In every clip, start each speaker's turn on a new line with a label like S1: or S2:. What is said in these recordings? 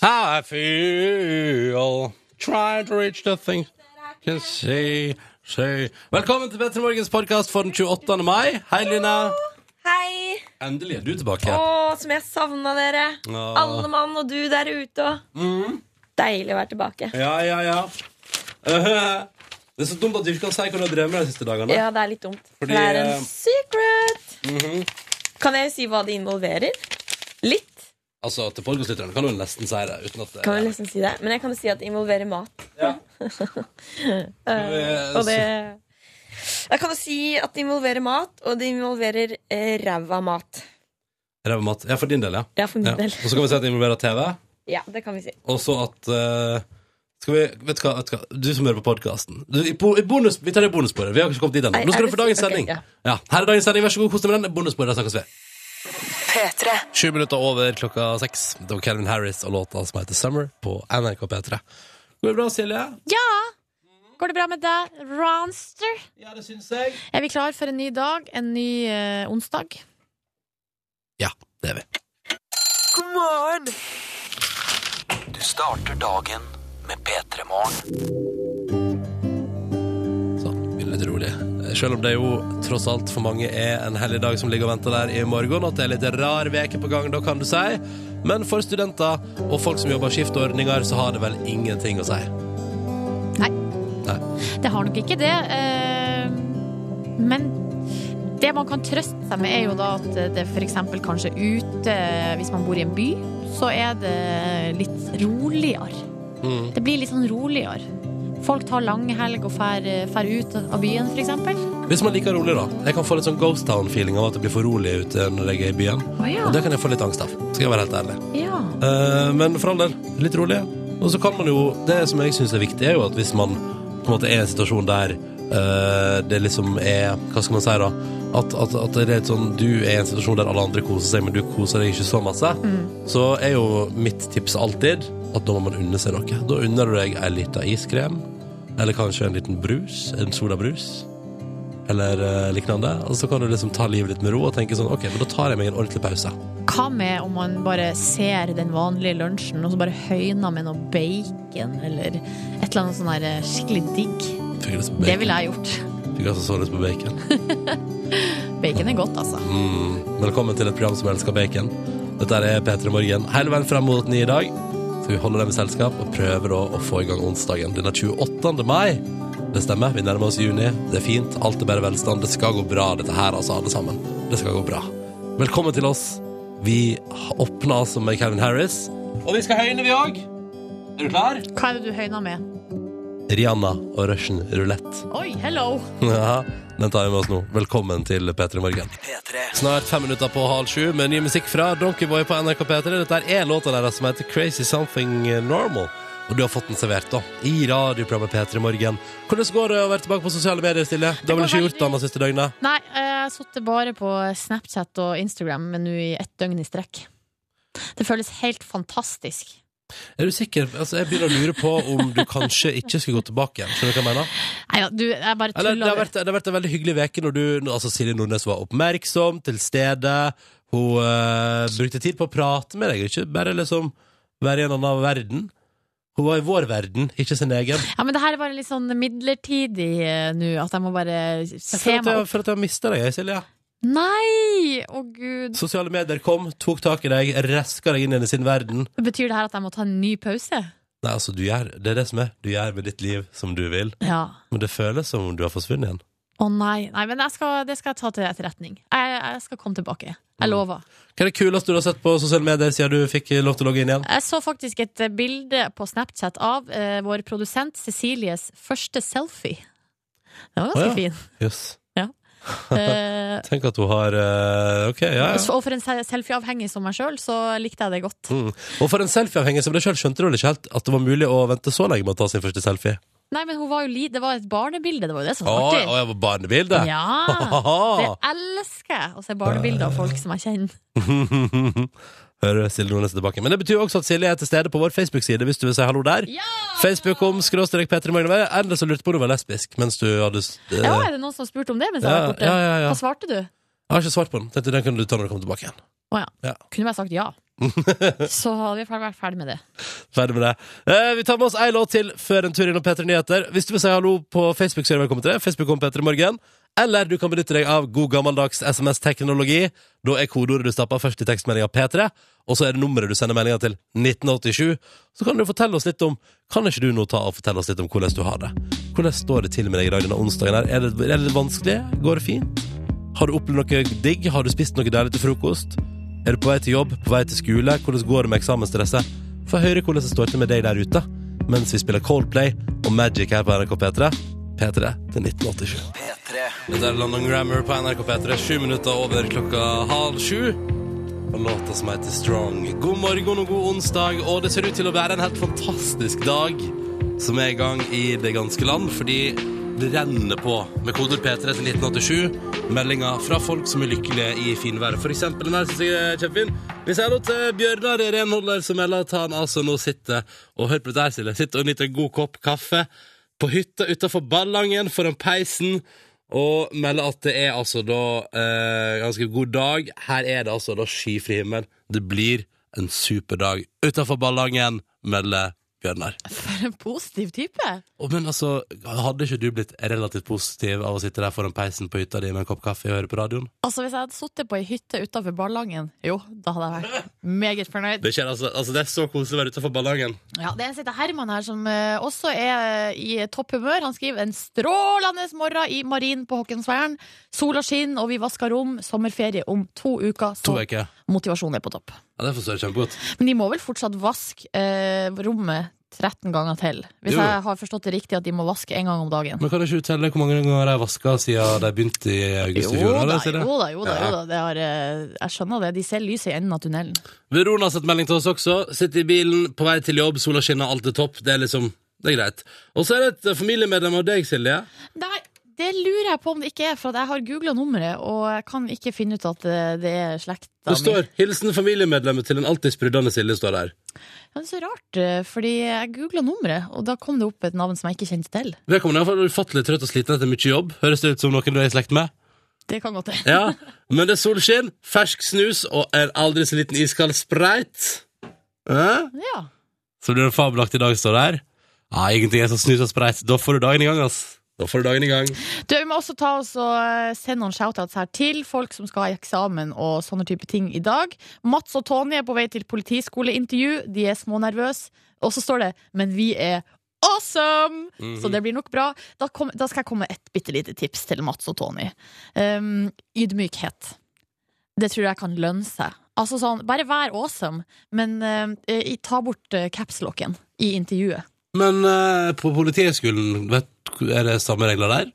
S1: How I feel Trying to reach the things Can see, see Velkommen til Petter Morgens podcast for den 28. mai Hei Lina
S2: Hei!
S1: Endelig er du tilbake
S2: Å, som jeg savna dere.
S1: Ja.
S2: Alle mann og du der ute. og- Deilig å være tilbake.
S1: Mm. Ja, ja, ja Det er så dumt at du ikke kan si hva du har drevet med de siste dagene
S2: Ja, det er litt dumt.
S1: Fordi,
S2: det er
S1: eh, Mhm.
S2: en secret. Kan jeg si hva det involverer? Litt.
S1: Altså til podcastlytterne kan du nesten si det Uten at det
S2: Kan vel nesten si det. Men jeg kan jo si at det involverer mat.
S1: Ja.
S2: Eh, og det Jeg kan jo si at det involverer mat, og det involverer eh, ræva mat.
S1: Ræv og mat. Ja, for din del, ja.
S2: Ja, for min
S1: ja.
S2: del.
S1: Og så kan vi si at det involverer TV.
S2: Ja, det kan vi si.
S1: Og så at eh, skal vi, vet du, hva, vet du hva, du som hører på podkasten Vi tar det i bonussporet. Vi har ikke kommet dit ennå.
S2: Nei,
S1: Nå skal
S2: er
S1: du få
S2: det-
S1: dagens
S2: ok,
S1: sending.
S2: ja.
S1: ja. Her er dagens sending. Vær så god, kos deg med den. Bonussporet, der snakkes vi. Sju minutter over klokka seks. Det var Calvin Harris og låta som heter Summer på NRK P3. Går det bra, Silje?
S3: Ja! Går det bra med deg, Ronster?
S1: Ja, det syns jeg.
S3: Er vi klar for en ny dag? En ny eh, onsdag?
S1: Ja, det er vi.
S4: Du starter dagen med P3 Morgen.
S1: Sånn, blir litt rolig. Eh, Selv om det jo tross alt for mange er en hellig dag som ligger og venter der i morgen, at det er litt rar veke på gang, da kan du si. Men for studenter og folk som jobber skiftordninger, så har det vel ingenting å si.
S3: Nei.
S1: Nei.
S3: Det har nok ikke det. eh, men det man kan trøste seg med, er jo da at eh, det f.eks. kanskje ute, eh, hvis man bor i en by, så er det litt roligere.
S1: Mm.
S3: Det blir litt sånn roligere. Folk tar langhelg og fær, eh, fær ut av byen, f.eks.
S1: Hvis man liker rolig, da. Jeg kan få litt sånn Ghost Town-feeling av at det blir for rolig ute når jeg er i byen.
S3: Å ja.
S1: Og det kan jeg få litt angst av, skal jeg være helt ærlig.
S3: ja.
S1: Eh, men for all del, litt rolig. Og så kan man jo Det som jeg syns er viktig, er jo at hvis man på en måte er i en situasjon der eh, det liksom er Hva skal man si, da? At, at, at det er litt sånn du er i en situasjon der alle andre koser seg, men du koser deg ikke så masse, så er jo mitt tips alltid at da må man unne seg noe. Da unner du deg ei lita iskrem, eller kanskje en liten brus, en solabrus, eller eh, lignende. Og så kan du liksom ta livet ditt med ro og tenke sånn OK, men da tar jeg meg en ordentlig pause.
S3: Hva med om man bare ser den vanlige lunsjen og så bare høyner med noe bacon eller et eller annet sånn her eh, skikkelig digg?
S1: Fikk lyst på
S3: Det
S1: bacon.
S3: ville jeg gjort.
S1: Fikk altså så lyst på bacon.
S3: Bacon er godt, altså.
S1: Mm. Velkommen til et program som elsker bacon. Dette er P3 Morgen. Hele veien frem mot ni i dag skal vi holde dem i selskap og prøve da å få i gang onsdagen. Den er 28. mai. Det stemmer. Vi nærmer oss juni. Det er fint. Alt er bare velstand. Det skal gå bra, dette her, altså, alle sammen. Det skal gå bra. Velkommen til oss. Vi åpner altså med Calvin Harris. Og vi skal høyne, vi òg. Er du klar?
S3: Hva er det du høyner med?
S1: Rihanna og Russian Roulette.
S3: Oi, hello!
S1: Ja, Den tar vi med oss nå. Velkommen til P3 Morgen.
S4: P3.
S1: Snart fem minutter på halv sju med ny musikk fra Donkeyboy på NRK P3. Dette er låta deres som heter Crazy Something Normal. Og du har fått den servert da, i radioprogrammet P3 Morgen. Hvordan går det å være tilbake på sosiale medier, Silje? Du har vel
S3: går
S1: ikke
S3: veldig-
S1: gjort det annet siste døgnet?
S3: Nei, eh, jeg satt bare på Snapchat og Instagram, men nå i ett døgn i strekk. Det føles helt fantastisk.
S1: Er du sikker? Altså, jeg begynner å lure på om du kanskje ikke skulle gå tilbake igjen. Skjønner du hva jeg mener?
S3: Nei da, du, jeg bare
S1: Eller, det, har
S3: tuller.
S1: vært, det har vært en veldig hyggelig veke når du når- Altså, Silje Nordnes var oppmerksom, til stede. Hun eh, brukte tid på å prate med deg, ikke bare liksom være i en annen verden. Hun var i vår verden, ikke sin egen.
S3: Ja, men det her er bare litt sånn midlertidig eh, nå, at jeg må bare
S1: Jeg
S3: se
S1: føler at
S3: meg
S1: jeg,
S3: opp.
S1: føler at jeg har mista deg, Silje.
S3: Nei! Å, gud.
S1: Sosiale medier kom, tok tak i deg, raska deg inn i sin verden.
S3: Betyr det her at jeg må ta en ny pause?
S1: Nei, altså, du gjør, Det er det som er. Du gjør med ditt liv som du vil.
S3: Ja.
S1: Men det føles som om du har forsvunnet igjen.
S3: Å nei, nei men jeg skal, det skal jeg ta til etterretning. Jeg, jeg skal komme tilbake.
S1: Mm.
S3: Jeg lover.
S1: Hva er det kuleste du har sett på sosiale medier siden du fikk lov til å logge inn igjen?
S3: Jeg så faktisk et eh, bilde på Snapchat av eh, vår produsent Cecilies første selfie. Den var ganske
S1: Å, ja.
S3: fin.
S1: Jøss.
S3: Eh,
S1: Tenk at hun har eh, OK, ja, ja.
S3: og for en se- selfieavhengig som meg sjøl, så likte jeg det godt.
S1: Mm. Og for en selfieavhenger som deg sjøl skjønte du vel ikke helt at det var mulig å vente så lenge med å ta sin første selfie?
S3: Nei, men hun var jo li det var et barnebilde. Det var jo det som
S1: Å,
S3: var
S1: å,
S3: artig.
S1: jeg var barnebilde?
S3: Ja! Det elsker jeg, å se barnebilder av folk som jeg kjenner.
S1: Hører Silje Nordnes er tilbake. Men det betyr jo også at Silje er til stede på vår Facebook-side hvis du vil si hallo der.
S3: Ja!
S1: Facebook om skråstrek Petter Magne. Eller så lurte på om du var lesbisk mens du hadde s- eh,
S3: ja, er det noen som spurte om det mens jeg
S1: ja,
S3: var borte?
S1: ja, ja, ja.
S3: Hva svarte du?
S1: Jeg har ikke svart på den. Tenkte den kunne du ta når du kom tilbake igjen.
S3: Å ja.
S1: Ja.
S3: Kunne bare sagt ja. Så hadde vi i hvert fall vært ferdig med det.
S1: Ferdig med det. Eh, vi tar med oss ei låt til før en tur innom P3 Nyheter. Hvis du vil si hallo på Facebook, så er du velkommen til det. Facebook om P3 Morgen. Eller du kan benytte deg av god gammeldags SMS-teknologi. Da er kodeordet du stapper først i tekstmeldinga P3, og så er det nummeret du sender meldinga til 1987. Så kan du fortelle oss litt om Kan ikke du nå ta og fortelle oss litt om hvordan du har det? Hvordan står det til med deg i dag denne onsdagen her? Er det, er det litt vanskelig? Går det fint? Har du opplevd noe digg? Har du spist noe deilig til frokost? Er du på vei til jobb? På vei til skole? Hvordan går det med eksamensstresset? Få høre hvordan det står til med deg der ute mens vi spiller Coldplay og Magic her på NRK P3. P3 til 1987.
S4: P3.
S1: Dette er London Grammar på NRK P3, sju minutter over klokka halv sju. Og låta som heter Strong. God morgen og god onsdag, og det ser ut til å være en helt fantastisk dag som er i gang i det ganske land, fordi det renner på med koder P3 til 1987. Meldinger fra folk som er lykkelige i finværet. For eksempel den her synes jeg er kjempefin. Vi sier hallo til Bjørnar Renholder, som melder at han altså nå sitter og hører på dette her, Silje. Sitter og nyter en god kopp kaffe på hytta utafor Ballangen foran peisen. Og melder at det er altså da eh, ganske god dag. Her er det altså da skyfri himmel. Det blir en super dag utafor Ballangen, melder Bjørnar.
S3: For en positiv type!
S1: Og men altså, Hadde ikke du blitt relativt positiv av å sitte der foran peisen på hytta di med en kopp kaffe og høre på radioen?
S3: Altså Hvis jeg hadde sittet på ei hytte utafor Ballangen, jo, da hadde jeg vært meget fornøyd.
S1: Det, skjer, altså, altså, det er så koselig å være utafor Ballangen.
S3: Ja, Det sitter Herman her som eh, også er eh, i topphumør. Han skriver en strålende morgen i Marin på Håkonsvern. Sola skinner, og vi vasker rom. Sommerferie om to uker. Så
S1: To uker.
S3: motivasjonen er på topp.
S1: Ja, Det forstår jeg kjempegodt.
S3: Men de må vel fortsatt vaske eh, rommet 13 ganger til? Hvis
S1: Jo, jo.
S3: jeg har forstått det riktig, at de må vaske én gang om dagen.
S1: Men kan du ikke telle hvor mange ganger de har vaska siden de begynte i august i
S3: Jo
S1: fjor?
S3: da,
S1: eller, Silje?
S3: jo da, jo da,
S1: Ja.
S3: jo da. Det har, eh, jeg skjønner det. De ser lyset i enden av tunnelen.
S1: Verona har sett melding til oss også. Sitter i bilen, på vei til jobb, sola skinner, alt er topp. Det er liksom, det er greit. Og så er det et eh, familiemedlem av deg, Silje.
S3: Nei, det lurer jeg på om det ikke er, for at jeg har googla nummeret, og jeg kan ikke finne ut at eh, det er slekta
S1: Det står 'Hilsen familiemedlemmet til en alltid sprudlende Silje' står der.
S3: Ja, det er så rart, eh, fordi jeg googla nummeret, og da kom det opp et navn som jeg ikke kjente til.
S1: Vedkommende er iallfall ufattelig trøtt og sliten etter mye jobb. Høres det ut som noen du er i slekt med?
S3: Det kan godt hende.
S1: Ja, Men det er solskinn, fersk snus og en aldri så liten iskald spreit. Eh?
S3: Ja.
S1: Så blir det en fabelaktig dag, står der. Ja, ingenting er som snus og spreit. Da får du dagen i gang, ass. Da får du dagen i gang.
S3: Du, Vi må også ta oss og eh, sende noen shoutouts her til folk som skal ha eksamen og sånne type ting i dag. Mats og Tonje er på vei til politiskoleintervju. De er smånervøse. Og så står det 'Men vi er awesome'!
S1: Mhm.
S3: Så det blir nok bra. Da, kom, da skal jeg komme med et bitte lite tips til Mats og Tonje. Um, ydmykhet. Det tror jeg kan lønne seg. Altså sånn, Bare vær awesome, men eh, i- ta bort eh, capslocken i intervjuet.
S1: Men eh, på Politihøgskolen, vet du- er det samme regler der?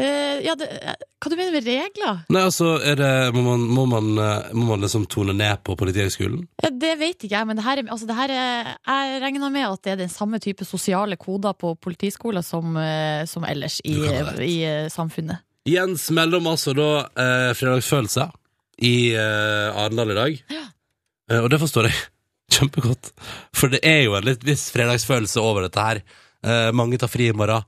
S3: Eh, ja, det, eh, hva du mener med regler?
S1: Nei, altså, er det, må, man, må, man, eh, må man liksom tone ned på Politihøgskolen?
S3: Ja, det vet ikke jeg, men det her, er- altså det her er, jeg regner med at det er den samme type sosiale koder på politiskoler som, eh, som ellers i,
S1: Du kan ha rett.
S3: i eh, samfunnet.
S1: Jens melder om altså da eh, fredagsfølelse i eh, Arendal i dag. Eh, og det forstår jeg kjempegodt. For det er jo en litt viss fredagsfølelse over dette her. Eh, mange tar fri i morgen.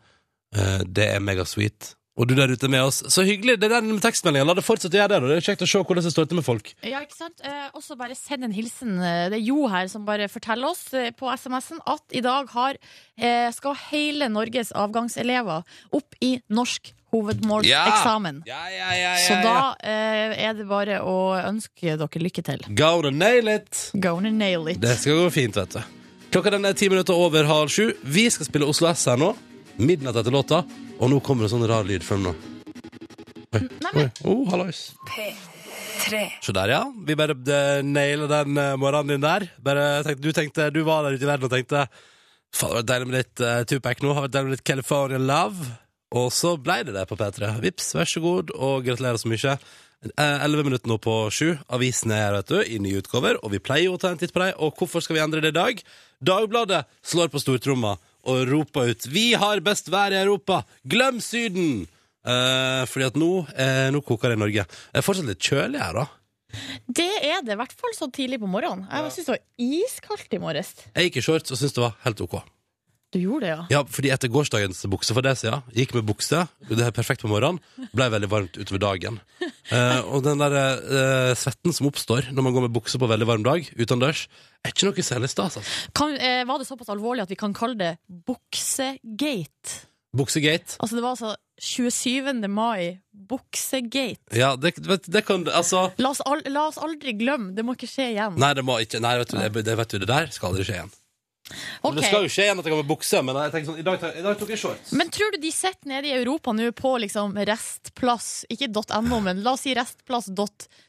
S1: Eh, det er megasweet. Og du der ute med oss, så hyggelig! Det er den med tekstmeldingen. La det fortsette å gjøre det. og Det er kjekt å se hvordan det står til med folk.
S3: Ja, ikke sant? Eh, også bare send en hilsen. Eh, Det er Jo her som bare forteller oss eh, på SMS-en at i dag har, eh, skal hele Norges avgangselever opp i norsk hovedmålseksamen.
S1: Ja, ja, ja, ja,
S3: Så da eh, er det bare å ønske dere lykke til.
S1: Go to nail it!
S3: Gonna nail it.
S1: Det skal gå fint, vet du. Klokka den er ti minutter over halv sju. Vi skal spille Oslo S her nå. Midnatt etter låta. Og nå kommer det sånn rar lyd fra nå. Oi, oi. Oh, hallois. Så der, ja. Vi bare eh, nailer den eh, morgenen din der. Bare tenkte, du tenkte, du var der ute i verden og tenkte Faen, det har vært deilig med litt uh, Tupac nå. Har vært deilig med litt California Love. Og så ble det det på P3. Vips, vær så god, og gratulerer så mye. Eh, Elleve minutter nå på sju. Avisen er her, vet du, i nye utgaver, og vi pleier jo å ta en titt på dem. Og hvorfor skal vi endre det i dag? Dagbladet slår på stortromma og roper ut 'Vi har best vær i Europa! Glem Syden!' Eh, fordi at nå, eh, nå koker det i Norge. Det er fortsatt litt kjølig her, da.
S3: Det er det, i hvert fall så tidlig på morgenen. Jeg synes det var iskaldt i morges.
S1: Jeg gikk i shorts og syntes det var helt ok.
S3: Du gjorde det, ja.
S1: Ja, fordi etter gårsdagens bukse for det siden Gikk med bukse, det er perfekt på morgenen Ble veldig varmt utover dagen Eh, Og den der eh, svetten som oppstår Når man går med bukse på veldig varm dag Utendørs, er ikke noe særlig stas altså.
S3: Kan, eh, var det såpass alvorlig at vi kan kalle det buksegate?
S1: Buksegate
S3: Altså, det var altså 27. mai, buksegate.
S1: Ja, det, vet, det kan, altså
S3: La oss, al la oss aldri glemme, det må ikke skje igjen.
S1: Nei, det må ikke, nei, vet du, det, det vet du, det der skal aldri skje igjen Men Det skal jo skje igjen at jeg går med bukse Men jeg tenker sånn, i dag, tar- i dag tok jeg shorts
S3: Men tror du de sitter nede i Europa nå på liksom restplass, ikke .no, men la oss si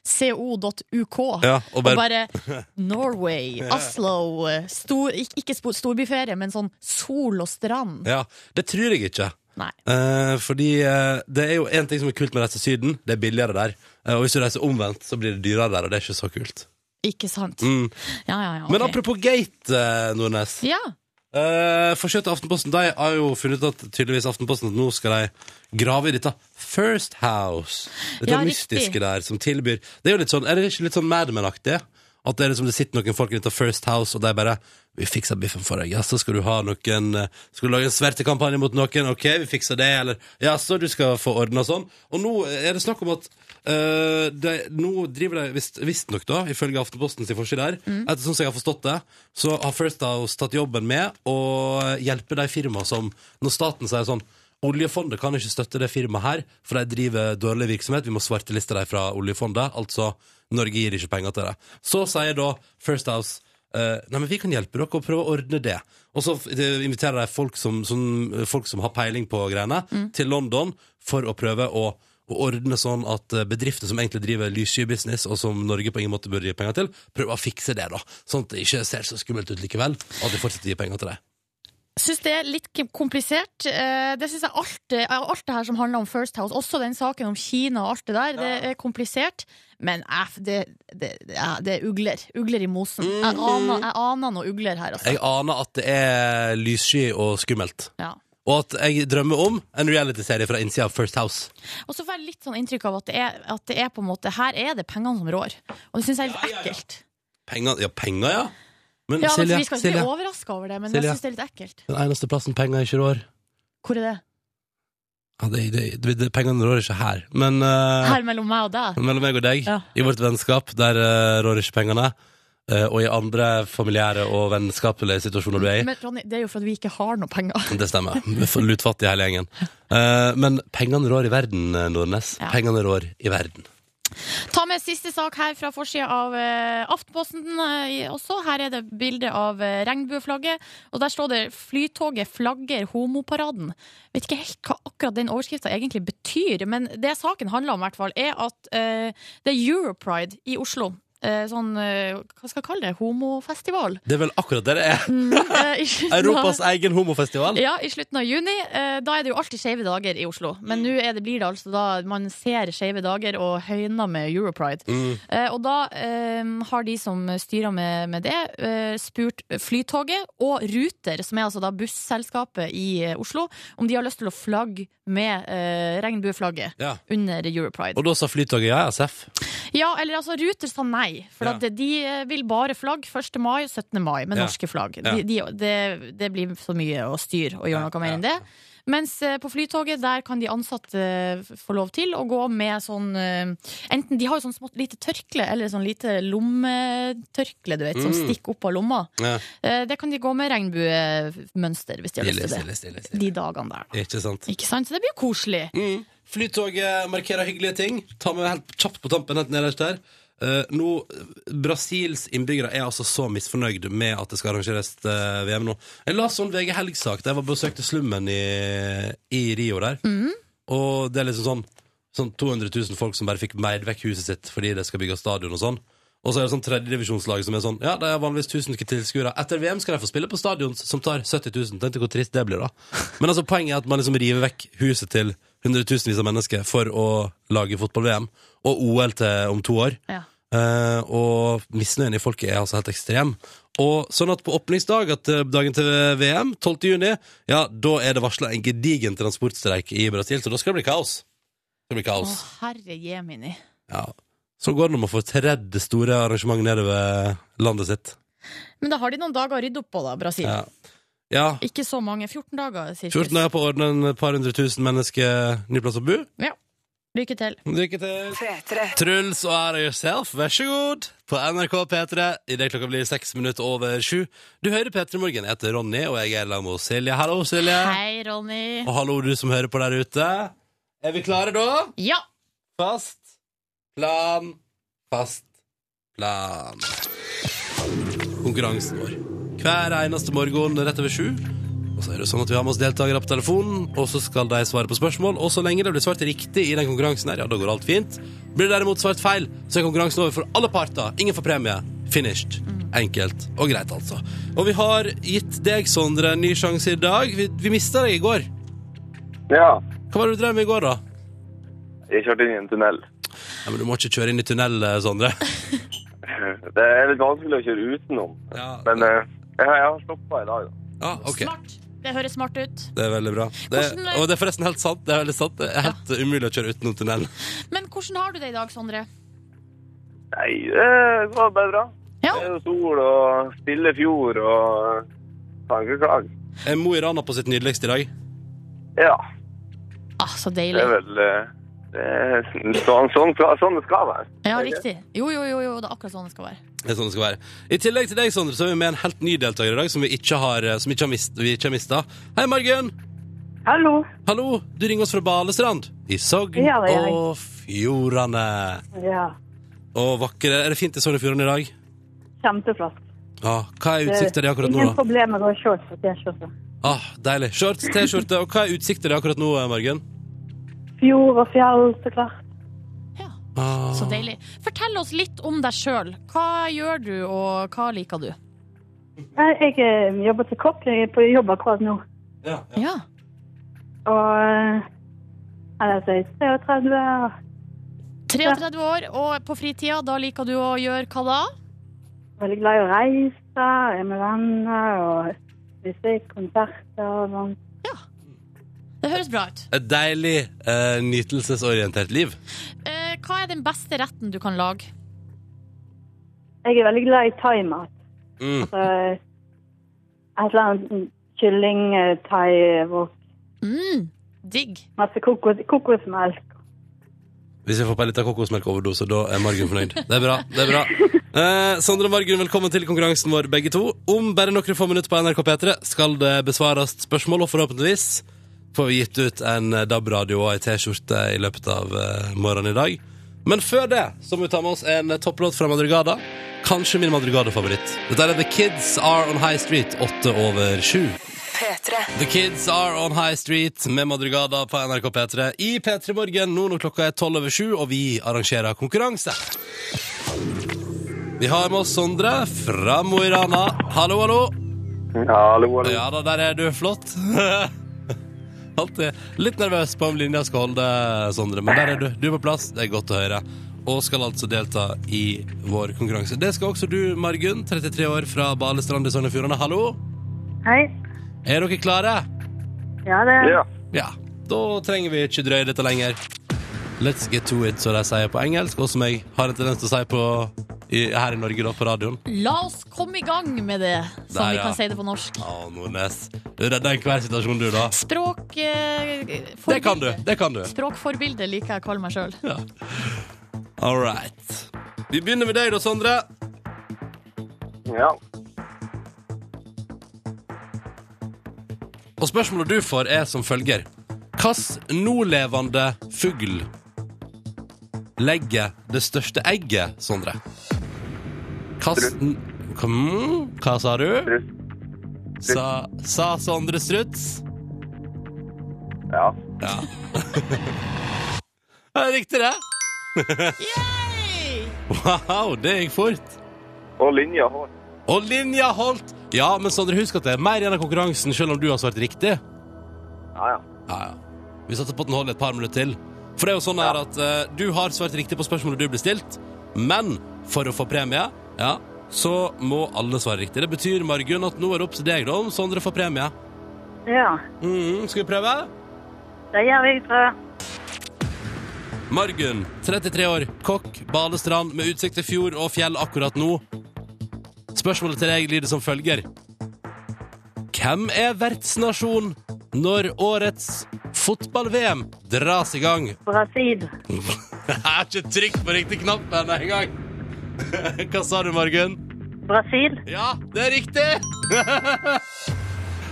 S3: restplass.co.uk,
S1: Ja, og
S3: og
S1: bare,
S3: bare Norway, Oslo, stor, ikke ikke stor- storbyferie, men sånn sol og strand.
S1: ja, det tror jeg ikke
S3: Nei.
S1: Eh, fordi eh, det er jo en ting som er kult med å reise til Syden, det er billigere der. Eh, og hvis du reiser omvendt, så blir det dyrere der, og det er ikke så kult.
S3: Ikke sant?
S1: Mm.
S3: Ja, ja, ja.
S1: Men
S3: ok.
S1: apropos gate, eh, Nordnes.
S3: Ja.
S1: Uh, Forskjønte Aftenposten de har jo funnet ut at tydeligvis Aftenposten at nå skal de grave i dette First House. Dette
S3: Ja,
S1: mystiske
S3: riktig.
S1: der som tilbyr Det er jo litt sånn, er det ikke litt sånn Mad Men-aktig? At det er liksom det sitter noen folk i dette First House, og de bare 'Vi fikser biffen for deg.' 'Jaså, skal du ha noen eh, Skal du lage en svertekampanje mot noen?' 'Ok, vi fikser det.' Eller 'Jaså, du skal få ordna sånn.' Og nå er det snakk om at eh, de, nå driver de visst- visstnok, da, ifølge Aftenpostens forside her, ettersom jeg har forstått det, så har First House tatt jobben med å hjelpe de firmaene som Når staten sier sånn Oljefondet kan ikke støtte det firmaet her, for de driver dårlig virksomhet. Vi må svarteliste dem fra oljefondet. Altså, Norge gir ikke penger til det. Så sier da First House eh, Nei, men vi kan hjelpe dere å prøve å ordne det. Og så f- de inviterer de folk som, som, folk som har peiling på greiene, til London for å prøve å, å ordne sånn at eh, bedrifter som egentlig driver lyssky-business, og som Norge på ingen måte burde gi penger til, prøver å fikse det, da. Sånn at det ikke ser så skummelt ut likevel, og at de fortsetter å gi penger til dem.
S3: Syns det er litt k- komplisert. Eh, Det synes jeg alt, eh, alt det her som handler om First House, også den saken om Kina og alt det der, det er komplisert. Men eh, f- det, det, det er- det er ugler. Ugler i mosen. Jeg aner, jeg aner noen ugler her, altså.
S1: Mhm. Jeg aner at det er lyssky og skummelt.
S3: Ja.
S1: Og at jeg drømmer om en reality-serie fra innsida av First House.
S3: Og så får jeg litt sånn inntrykk av at det er, at det er på en måte Her er det pengene som rår. Og det syns jeg er litt
S1: Ja, ja, ja.
S3: ekkelt.
S1: Penger, ja, penger, ja. Men
S3: Ja,
S1: Silje,
S3: altså, vi skal ikke
S1: Silje,
S3: bli overraska over det, men
S1: Silje.
S3: jeg syns det er litt ekkelt.
S1: den eneste plassen penger ikke rår
S3: Hvor er det?
S1: ja, det, det, det, det, Pengene rår ikke her, men eh,
S3: Her mellom meg og deg?
S1: mellom meg og deg,
S3: Ja.
S1: i vårt vennskap, der eh, rår ikke pengene. Eh, og i andre familiære og vennskapelige situasjoner du er i.
S3: Men Ronny, det er jo for at vi ikke har noe penger.
S1: Det stemmer. Vi får Lutfattig hele gjengen. Eh, men pengene rår i verden, eh, Nordnes.
S3: Ja.
S1: Pengene rår i verden.
S3: Ta med siste sak her fra forsida av eh, Aftenposten eh, i- også. Her er det bilde av eh, regnbueflagget, og der står det 'Flytoget flagger homoparaden'. Vet ikke helt hva akkurat den overskrifta egentlig betyr, men det saken handler om, i hvert fall, er at eh, det er Europride i Oslo. Eh, sånn, eh, hva skal jeg kalle det, homofestival.
S1: Det er vel akkurat det det er.
S3: Eh, i slutten av-
S1: Europas egen homofestival.
S3: Ja, i slutten av juni. Eh, Da er det jo alltid skeive dager i Oslo.
S1: Mm.
S3: Men nå er det, blir det altså da man ser skeive dager og høyner med Europride.
S1: Mm.
S3: Eh, Og da eh, har de som styrer med, med det, eh, spurt Flytoget og Ruter, som er altså da busselskapet i eh, Oslo, om de har lyst til å flagge med eh, regnbueflagget
S1: Ja.
S3: under Europride.
S1: Og da sa Flytoget ja, SF.
S3: Ja, eller altså Ruter sa nei, for
S1: Ja.
S3: at de eh, vil bare flagg 1. mai og 17. mai med
S1: Ja.
S3: norske flagg.
S1: Ja.
S3: De, de, det, det blir så mye å styre og gjøre
S1: Ja,
S3: noe mer
S1: ja,
S3: enn det. Mens eh, på Flytoget der kan de ansatte eh, få lov til å gå med sånn eh, Enten de har jo sånn smått lite tørkle eller sånn lite lommetørkle du vet, som
S1: Mm.
S3: stikker opp av lomma.
S1: Ja.
S3: Eh, Det kan de gå med regnbuemønster hvis de har lyst
S1: Stille,
S3: til det.
S1: stille, stille, stille.
S3: De dagene der. da.
S1: Ikke sant?
S3: Ikke sant? Så det blir jo koselig.
S1: Mm. Flytoget markerer hyggelige ting. Ta med helt kjapt på tampen helt nederst der. Eh, nå, Brasils innbyggere er altså så misfornøyd med at det skal arrangeres eh, VM nå. Jeg la sånn VG Helg-sak da jeg var besøkte slummen i, i Rio der. Og det er liksom sånn, sånn 200 000 folk som bare fikk meid vekk huset sitt fordi det skal bygge stadion og sånn. Og så er det sånn tredjedivisjonslag som er sånn Ja, de har vanligvis 1000 tilskuere. Etter VM skal de få spille på stadion som tar 70 000. Tenkte hvor trist det blir, da. Men altså, poenget er at man liksom river vekk huset til hundretusenvis av mennesker for å lage fotball-VM og OL til om to år.
S3: Ja.
S1: Eh, og misnøyen i folket er altså helt ekstrem. Og sånn at på åpningsdag, at eh, dagen til VM, 12. juni, ja, da er det varsla en gedigen transportstreik i Brasil, så da skal det bli kaos. Det blir
S3: Å,
S1: kaos.
S3: herre jemini.
S1: Ja. Så går det om å få tredd det store arrangement nedover landet sitt.
S3: Men da har de noen dager å rydde opp på, da, Brasil.
S1: Ja. Ja.
S3: Ikke så mange. 14 dager, cirka.
S1: 14 dager på å ordne en par hundre tusen mennesker ny plass å bo.
S3: Lykke til.
S1: Lykke til. Truls og Are Yourself, vær så god, på NRK P3 idet klokka blir seks minutter over sju. Du hører P3 Morgen. Jeg heter Ronny, og jeg er sammen med Silje. Hallo, Silje.
S3: Hei, Ronny.
S1: Og hallo, du som hører på der ute. Er vi klare, da?
S3: Ja!
S1: Fast plan, fast plan. Konkurransen vår. Hver eneste morgen rett over sju. Og så er det jo sånn at Vi har med oss deltakere på telefonen, og så skal de svare på spørsmål. Og så lenge det blir svart riktig i den konkurransen, her, ja, da går alt fint. Blir det derimot svart feil, så er konkurransen over for alle parter. Ingen får premie. Finished. Enkelt og greit, altså. Og vi har gitt deg, Sondre, en ny sjanse i dag. Vi, vi mista deg i går.
S5: Ja,
S1: Hva var det du drev med i går, da?
S5: jeg kjørte inn i en tunnel.
S1: Ja, men Du må ikke kjøre inn i tunnel, eh, Sondre.
S5: Det er litt vanskelig å kjøre utenom,
S1: Ja,
S5: men eh, jeg har- jeg har stoppa i dag. da.
S1: Ja, ok.
S3: Smart. Det høres smart ut.
S1: Det er veldig bra. Det er,
S3: Hvordan-
S1: og det er forresten helt sant. Det er veldig sant. Det er helt eh, umulig å kjøre utenom tunnelen.
S3: Men hvordan har du det i dag, Sondre?
S5: Nei, det var bare bra.
S3: Ja.
S5: Det er jo sol og stille fjord og tankeklag.
S1: Er Eh, Mo i Rana på sitt nydeligste i dag?
S5: Ja,
S3: Ah, så
S5: det
S3: deilig.
S5: er vel eh, det er sånn, sånn, sånn det skal være.
S3: Ja, riktig. Jo, jo, jo, jo, det er akkurat sånn det skal være.
S1: Det er sånn det skal være. I tillegg til deg, Sondre, så er vi med en helt ny deltaker i dag, som vi ikke har, eh, som ikke har, mist, vi ikke har mista. Hei, Margunn!
S6: Hallo.
S1: Hallo! Du ringer oss fra Balestrand i Sogn
S6: Ja, det er jeg.
S1: og Fjordane.
S6: Ja,
S1: Å, vakre. Er det fint i Sogn og Fjordane i dag?
S6: kjempeflott.
S1: Ja, hva er utsikta di akkurat nå,
S6: Ingen
S1: da?
S6: problemer med å se Eh, på T-skjorte.
S1: Ah, deilig. Shorts, T-skjorte. Og hva er utsikta di akkurat nå, eh, Margunn?
S6: Fjord og fjell, så klart.
S3: Ja,
S1: Ah.
S3: så deilig. Fortell oss litt om deg sjøl. Hva gjør du, og hva liker du?
S6: Nei, Jeg eh, jobber til kokk. Jeg er på jobb akkurat nå.
S1: Ja, ja.
S3: Ja.
S6: Og eh, ellers er jeg 33. og-
S3: 33 år, og på fritida, da liker du å gjøre hva da?
S6: Veldig glad i å reise. Jeg er med venner og musikk, konserter og sånn.
S3: Det høres bra ut.
S1: Et deilig, eh, nytelsesorientert liv.
S3: Eh, hva er den beste retten du kan lage?
S6: Jeg er veldig glad i thaimat.
S1: Mm.
S6: Så eh, Et eller annet kylling, eh, thai, wok,
S3: Mm, digg.
S6: masse kokos, kokosmelk.
S1: Hvis vi får på en liten kokosmelkoverdose, da er Margunn fornøyd. Det er bra. det er bra eh, Sondre og Margunn, velkommen til konkurransen vår, begge to. Om bare noen få minutter på NRK P3 skal det besvares spørsmål, og forhåpentligvis får vi gitt ut en eh, DAB-radio og ei T-skjorte i løpet av eh, morgenen i dag. Men før det så må vi ta med oss en topplåt fra Madrugada. Kanskje min Madrugada-favoritt. Dette er The Kids Are On High Street, åtte over sju. The Kids Are On High Street med Madrugada på NRK P3 i P3 Morgen nå når klokka er tolv over sju, og vi arrangerer konkurranse. Vi har med oss Sondre fra Mo i Rana. Hallo, hallo.
S5: Hallo, hallo.
S1: Ja da, der er du. Flott. Alltid litt nervøs på om linja skal holde, Sondre, men der er du. Du er på plass, det er godt å høre. Og skal altså delta i vår konkurranse. Det skal også du, Margunn, 33 år fra Balestrand i Sogn og Fjordane. Hallo.
S6: Hei.
S1: Er dere klare?
S6: Ja, det
S5: Ja.
S1: Ja, da trenger vi ikke drøye dette lenger. Let's get to it, som de sier på engelsk, og som jeg har en tendens til å si på, i, her i Norge, da, på radioen.
S3: La oss komme i gang med det, som
S1: Der,
S3: vi
S1: ja.
S3: kan si det på norsk.
S1: Å, Nordnes. Du redder enhver situasjon, du, da.
S3: Språk... Eh,
S1: Det kan du. Det kan du.
S3: Språkforbilde liker jeg å kalle meg sjøl.
S1: All right. Vi begynner med deg, da, Sondre.
S5: ja.
S1: Og spørsmålet du får, er som følger. Hvilken nålevende fugl legger det største egget, Sondre? Hvilken Kom, Hva sa du?
S5: Strutt.
S1: Sa, sa Sondre Struts?
S5: Ja.
S1: Ja. ja, riktig det. Wow, det gikk fort.
S5: Og linja har
S1: Og linja holdt. Ja, men Sondre, husk at det er mer igjen av konkurransen, selv om du har svart riktig.
S5: Ja, ja.
S1: Ja, ja. Vi satser på at den holder et par minutter til. For det er jo sånn her at eh, du har svart riktig på spørsmålet du blir stilt, men for å få premie, ja, så må alle svare riktig. Det betyr, Margunn, at nå er det opp til deg da om Sondre får premie.
S6: Ja,
S1: Mhm, skal vi prøve?
S6: det gjør vi fra
S1: Margunn, 33 år, kokk, balestrand med utsikt til fjord og fjell akkurat nå. Spørsmålet til deg lyder som følger. Hvem er vertsnasjon når årets fotball-VM dras i gang?
S6: Brasil.
S1: Jeg har ikke trykt på riktig knapp ennå engang. Hva sa du, Margunn?
S6: Brasil.
S1: Ja, det er riktig!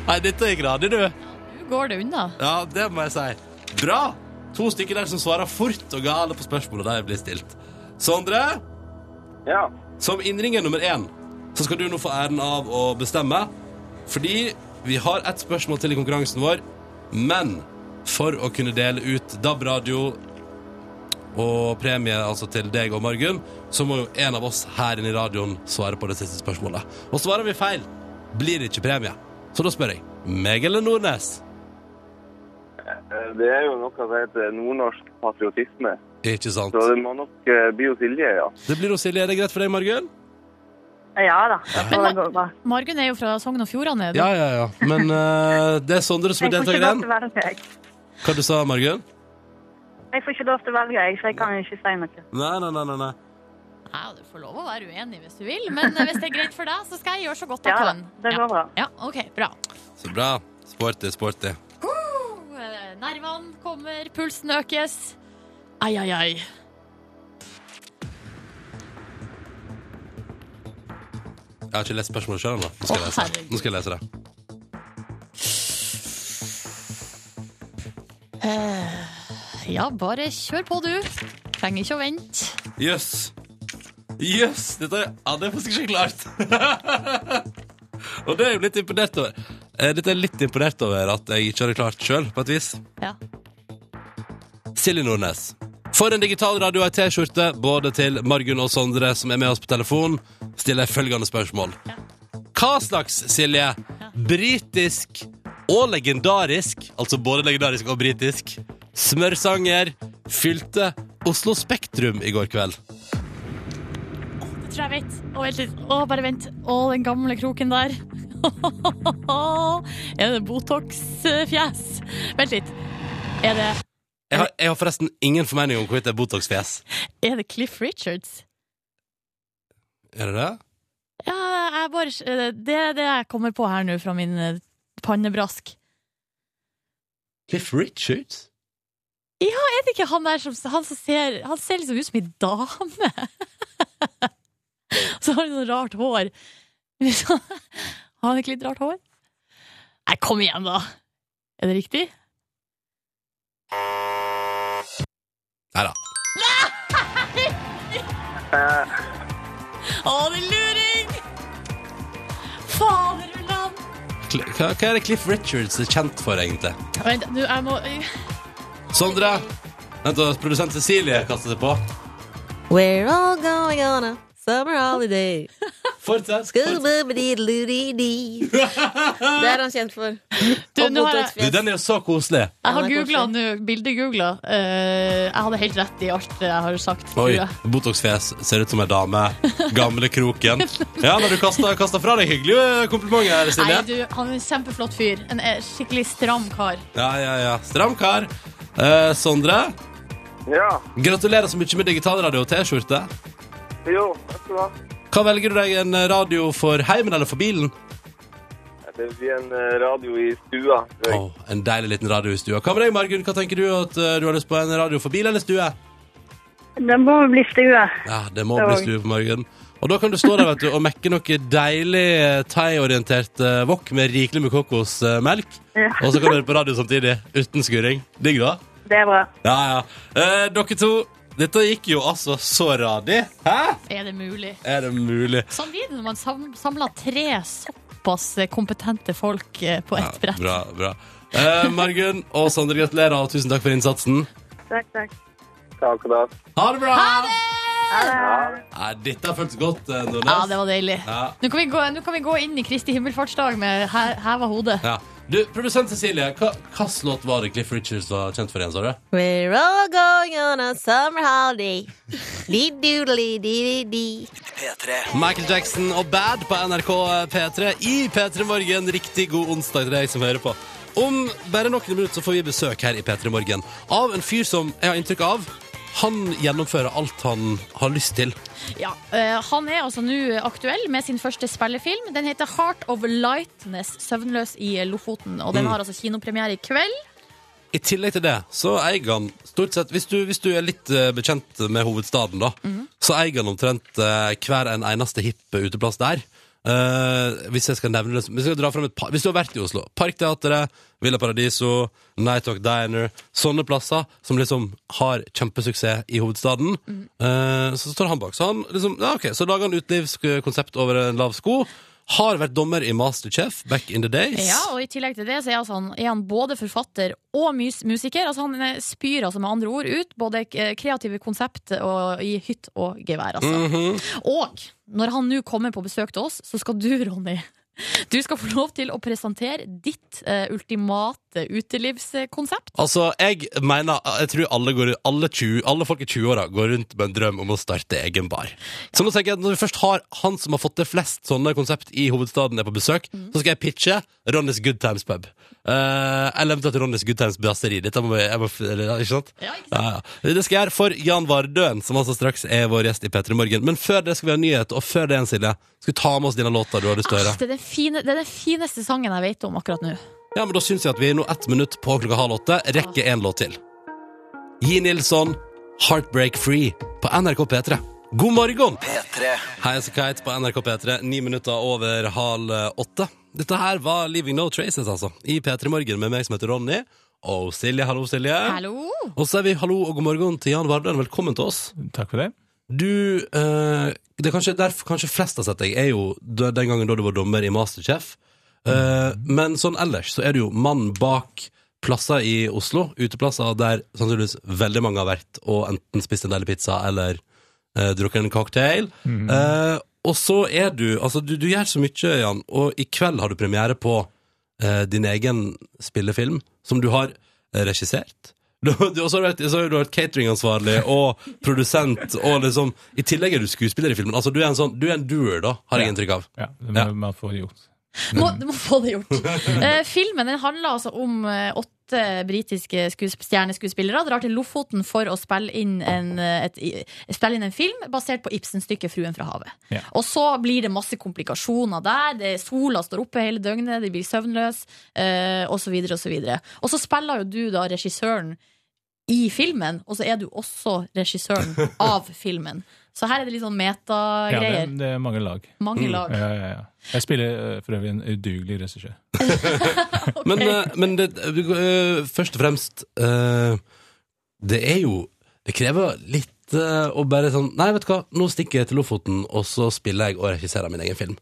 S1: Nei, dette gikk radig, du.
S3: Nå går det unna.
S1: Ja, det må jeg si. Bra! To stykker der som svarer fort og gale på spørsmålet der blir stilt. Sondre,
S5: Ja.
S1: som innringer nummer én, så skal du nå få æren av å bestemme. Fordi vi har ett spørsmål til i konkurransen vår, men for å kunne dele ut DAB-radio og premie altså til deg og Margunn, så må jo en av oss her inne i radioen svare på det siste spørsmålet. Og svarer vi feil, blir det ikke premie. Så da spør jeg meg eller Nordnes?
S5: Eh, Det er jo noe som heter nordnorsk patriotisme.
S1: Ikke sant?
S5: Så det må nok eh, bli hos Silje, ja.
S1: Det blir jo Silje. Er det greit for deg, Margunn?
S6: Ja da, jeg tror det går bra.
S3: Margunn er jo fra Sogn og Fjordane. da.
S1: Ja, ja, ja. Men eh, det er Sondre som
S6: Jeg
S1: er
S6: får ikke
S1: deltaker i
S6: lov
S1: den.
S6: til å velge, jeg.
S1: Hva du sa Margunn?
S6: Jeg får ikke lov til å velge, jeg, så jeg kan jo ikke si noe.
S1: Nei, nei, nei, nei, nei.
S3: Ja, du får lov å være uenig hvis du vil, men eh, hvis det er greit for deg, så skal jeg gjøre så godt jeg
S6: Ja da,
S3: kan.
S6: det går bra.
S3: Ja, ok, bra.
S1: Så bra. Sporty, sporty.
S3: Eh, Nervene kommer, pulsen økes. Ai, ai, ai.
S1: Jeg har ikke lest spørsmålet sjøl ennå. Nå skal jeg
S3: Å,
S1: lese det.
S3: herregud.
S1: Nå skal jeg lese det.
S3: Ja, bare kjør på, du. Trenger ikke å vente.
S1: Jøss. Jøss! Dette er Ja, det er faktisk ikke klart. Og det er jeg jo litt imponert over. Eh, Dette er jeg litt imponert over at jeg ikke hadde klart sjøl, på et vis.
S3: Ja.
S1: Silje Nordnes. For en digital radio og ei T-skjorte, både til Margunn og Sondre, som er med oss på telefon, stiller jeg følgende spørsmål.
S3: Ja.
S1: Hva slags, Silje, britisk og legendarisk, altså både legendarisk og britisk, smørsanger fylte Oslo Spektrum i går kveld?
S3: Det tror jeg vet. Å, vent litt. Å, bare vent. Å, den gamle kroken der. er det Botox-fjes? Vent litt. Er det,
S1: Jeg har, jeg har forresten ingen formening om hvorvidt det er Botox-fjes.
S3: er det Cliff Richards?
S1: Er det det?
S3: Ja, jeg bare, eh, det er det jeg kommer på her nå fra min eh, pannebrask.
S1: Cliff Richards?
S3: Er det ikke han der som Han, som ser, han ser liksom ut som ei dame. Så har han sånn rart hår. Liksom, Har han ikke litt rart hår? Nei, kom igjen, da! Er det riktig?
S1: Nei da.
S3: Å, det er luring! Fader ullan!
S1: Cl- Hva, hva er det Cliff Richards er kjent for, egentlig?
S3: Vent, du, jeg må
S1: Sondre? Vent, da, produsent Cecilie kaster seg på.
S7: We're all going on a summer holiday.
S1: Fortsett.
S7: Skubbediddeliddididdi.
S2: Det er han kjent for.
S3: du, nå har jeg,
S1: Du, den er jo så koselig.
S3: jeg har
S7: Den er
S3: googla nå, bildegoogla. Eh, jeg hadde helt rett i alt jeg har sagt. tror
S1: Oi,
S3: jeg.
S1: Botox-fjes ser ut som ei dame. Gamle kroken. Ja, når du kaster, kaster fra deg hyggelige eh, komplimenter, her, Silje.
S3: Nei, du, han er en kjempeflott fyr. En eh, skikkelig stram kar.
S1: Ja, ja, ja. Stram kar. Eh, Sondre,
S5: Ja.
S1: gratulerer så mye med digitalradio og T-skjorte.
S5: Jo, vet du hva.
S1: Hva velger du deg? En radio for heimen eller for bilen?
S5: Det blir en eh, radio i stua. tror jeg.
S1: Åh, en deilig liten radio i stua. Hva med deg, Margunn? Hva tenker du at eh, du har lyst på? En radio for bil eller stue?
S6: Det må jo bli stue.
S1: Ja, det må bli stue på Margunn. Og da kan du stå der vet du, og mekke noe deilig eh, thaiorientert eh, wok med rikelig med kokosmelk.
S6: Ja.
S1: Og så kan du høre på radio samtidig, uten skurring. Digg, da?
S6: Det er bra.
S1: Ja, ja. Eh, dere to, dette gikk jo altså så radig. Hæ?
S3: Er det mulig?
S1: Er det mulig?
S3: Sånn blir det når man sam- samler tre såpass kompetente folk eh, på ett brett.
S1: Bra, bra. Eh, Margunn og Sondre, gratulerer, og tusen takk for innsatsen.
S6: Takk, takk.
S5: Takk og takk.
S1: Ha det bra!
S6: Ha det.
S1: Nei, dette føltes godt, eh, Nordnes.
S3: Ja, det var deilig.
S1: Ja.
S3: Nå kan vi gå, nå kan vi gå inn i Kristi himmelfartsdag med he heva hode.
S1: Ja. Du, produsent Cecilie, hva hvilken låt var det Cliff Richards var kjent for igjen, sa du?
S7: We're all going on a summer holiday. Dee-doodly-dee-dee-dee.
S4: P3.
S1: Michael Jackson og Bad på NRK P3 i P3 Morgen. Riktig god onsdag til deg som hører på. Om bare noen minutter så får vi besøk her i P3 Morgen av en fyr som jeg har inntrykk av Han gjennomfører alt han har lyst til.
S3: Ja, eh, Han er altså nå aktuell med sin første spillefilm. Den heter Heart of Lightness, søvnløs i Lofoten. Og den
S1: Mm.
S3: har altså kinopremiere i kveld.
S1: I tillegg til det så eier han stort sett Hvis du, hvis du er litt eh, bekjent med hovedstaden, da,
S3: Mhm.
S1: så eier han omtrent eh, hver en eneste hipp uteplass der. Eh, hvis jeg skal nevne det Hvis jeg skal dra frem et par Hvis du har vært i Oslo. Parkteatret, Villa Paradiso, Night Talk Diner. Sånne plasser som liksom har kjempesuksess i hovedstaden.
S3: Mhm.
S1: Eh, så står han bak. Så han liksom ja, ok, så lager han utelivskonsept over en lav sko. Har vært dommer i Masterchef back in the days.
S3: Ja, og I tillegg til det så er, altså han, er han både forfatter og mus musiker. Altså Han eh, spyr altså med andre ord ut både eh, kreative konsept og, i hytt og gevær. Altså.
S1: Mhm.
S3: Og når han nå kommer på besøk til oss, så skal du, Ronny du skal få lov til å presentere ditt eh, ultimate utelivskonsept.
S1: Altså, jeg mener Jeg tror alle, går, alle, 20, alle folk i 20-åra går rundt med en drøm om å starte egen bar. Så nå tenker jeg at når vi først har han som har fått til flest sånne konsept i hovedstaden, er på besøk, så skal jeg pitche Ronnys Good Times Pub. Eh, eller eventuelt Ronnys Good Times Brasseri. Dette må jeg, jeg må, eller, ja, ikke sant?
S3: Ja, ikke sant?
S1: Ja, ja. Det skal jeg gjøre for Jan Vardøen, som altså straks er vår gjest i P3 Morgen. Men før det skal vi ha nyhet, og før det igjen, Silje, skal vi ta med oss dine låter du har lyst til å høre.
S3: Æsj, Ah, det, er den fine, det er den fineste sangen jeg vet om akkurat nå.
S1: Ja, men da syns jeg at vi nå ett minutt på klokka halv åtte rekker en låt til. Gi Nilsson, 'Heartbreak Free' på NRK P3. God morgen!
S4: P3.
S1: Hei, jeg er Kite på NRK P3, ni minutter over halv åtte. Dette her var 'Leaving No Traces', altså, i P3 Morgen med meg som heter Ronny. Og Silje, hallo, Silje.
S3: Hallo!
S1: Og så er vi hallo og god morgen til Jan Vardøen. Velkommen til oss.
S8: Takk for det.
S1: Du eh, Det er kanskje derfor kanskje flest har sett deg, er jo d- den gangen da du var dommer i Masterchef. Eh, men sånn ellers så er du jo mannen bak plasser i Oslo, uteplasser der sannsynligvis veldig mange har vært og enten spist en deilig pizza eller eh, drukket en cocktail.
S8: Mhm.
S1: Eh, og så er du Altså, du, du gjør så mye, Jan, og i kveld har du premiere på eh, din egen spillefilm, som du har eh, regissert. Du, du, og så har du vært, så har du vært cateringansvarlig og produsent, og liksom I tillegg er du skuespiller i filmen. Altså, du er en sånn Du er en doer, da, har jeg inntrykk av.
S8: Ja, det
S1: Ja.
S8: må man få gjort.
S3: Må, du må få det gjort. Eh, filmen den handler altså om eh, åtte britiske skuesp- stjerneskuespillere drar til Lofoten for å spille inn en, eh, et, i- spille inn en film basert på Ibsen-stykket 'Fruen fra havet'.
S8: Ja.
S3: Og så blir det masse komplikasjoner der. Det, sola står oppe hele døgnet, de blir søvnløse, eh, osv., osv. Og så spiller jo du da regissøren i filmen, og så er du også regissøren av filmen. Så her er det litt sånn
S8: Ja, det,
S3: metagreier.
S8: det er mange lag.
S3: Mange lag.
S8: Ja, ja, ja. Jeg spiller eh, for øvrig en udugelig regissør.
S1: Men, eh, men det, eh, først og fremst eh, Det er jo Det krever litt eh, å bare sånn Nei, vet du hva, nå stikker jeg til Lofoten, og så spiller jeg og regisserer min egen film.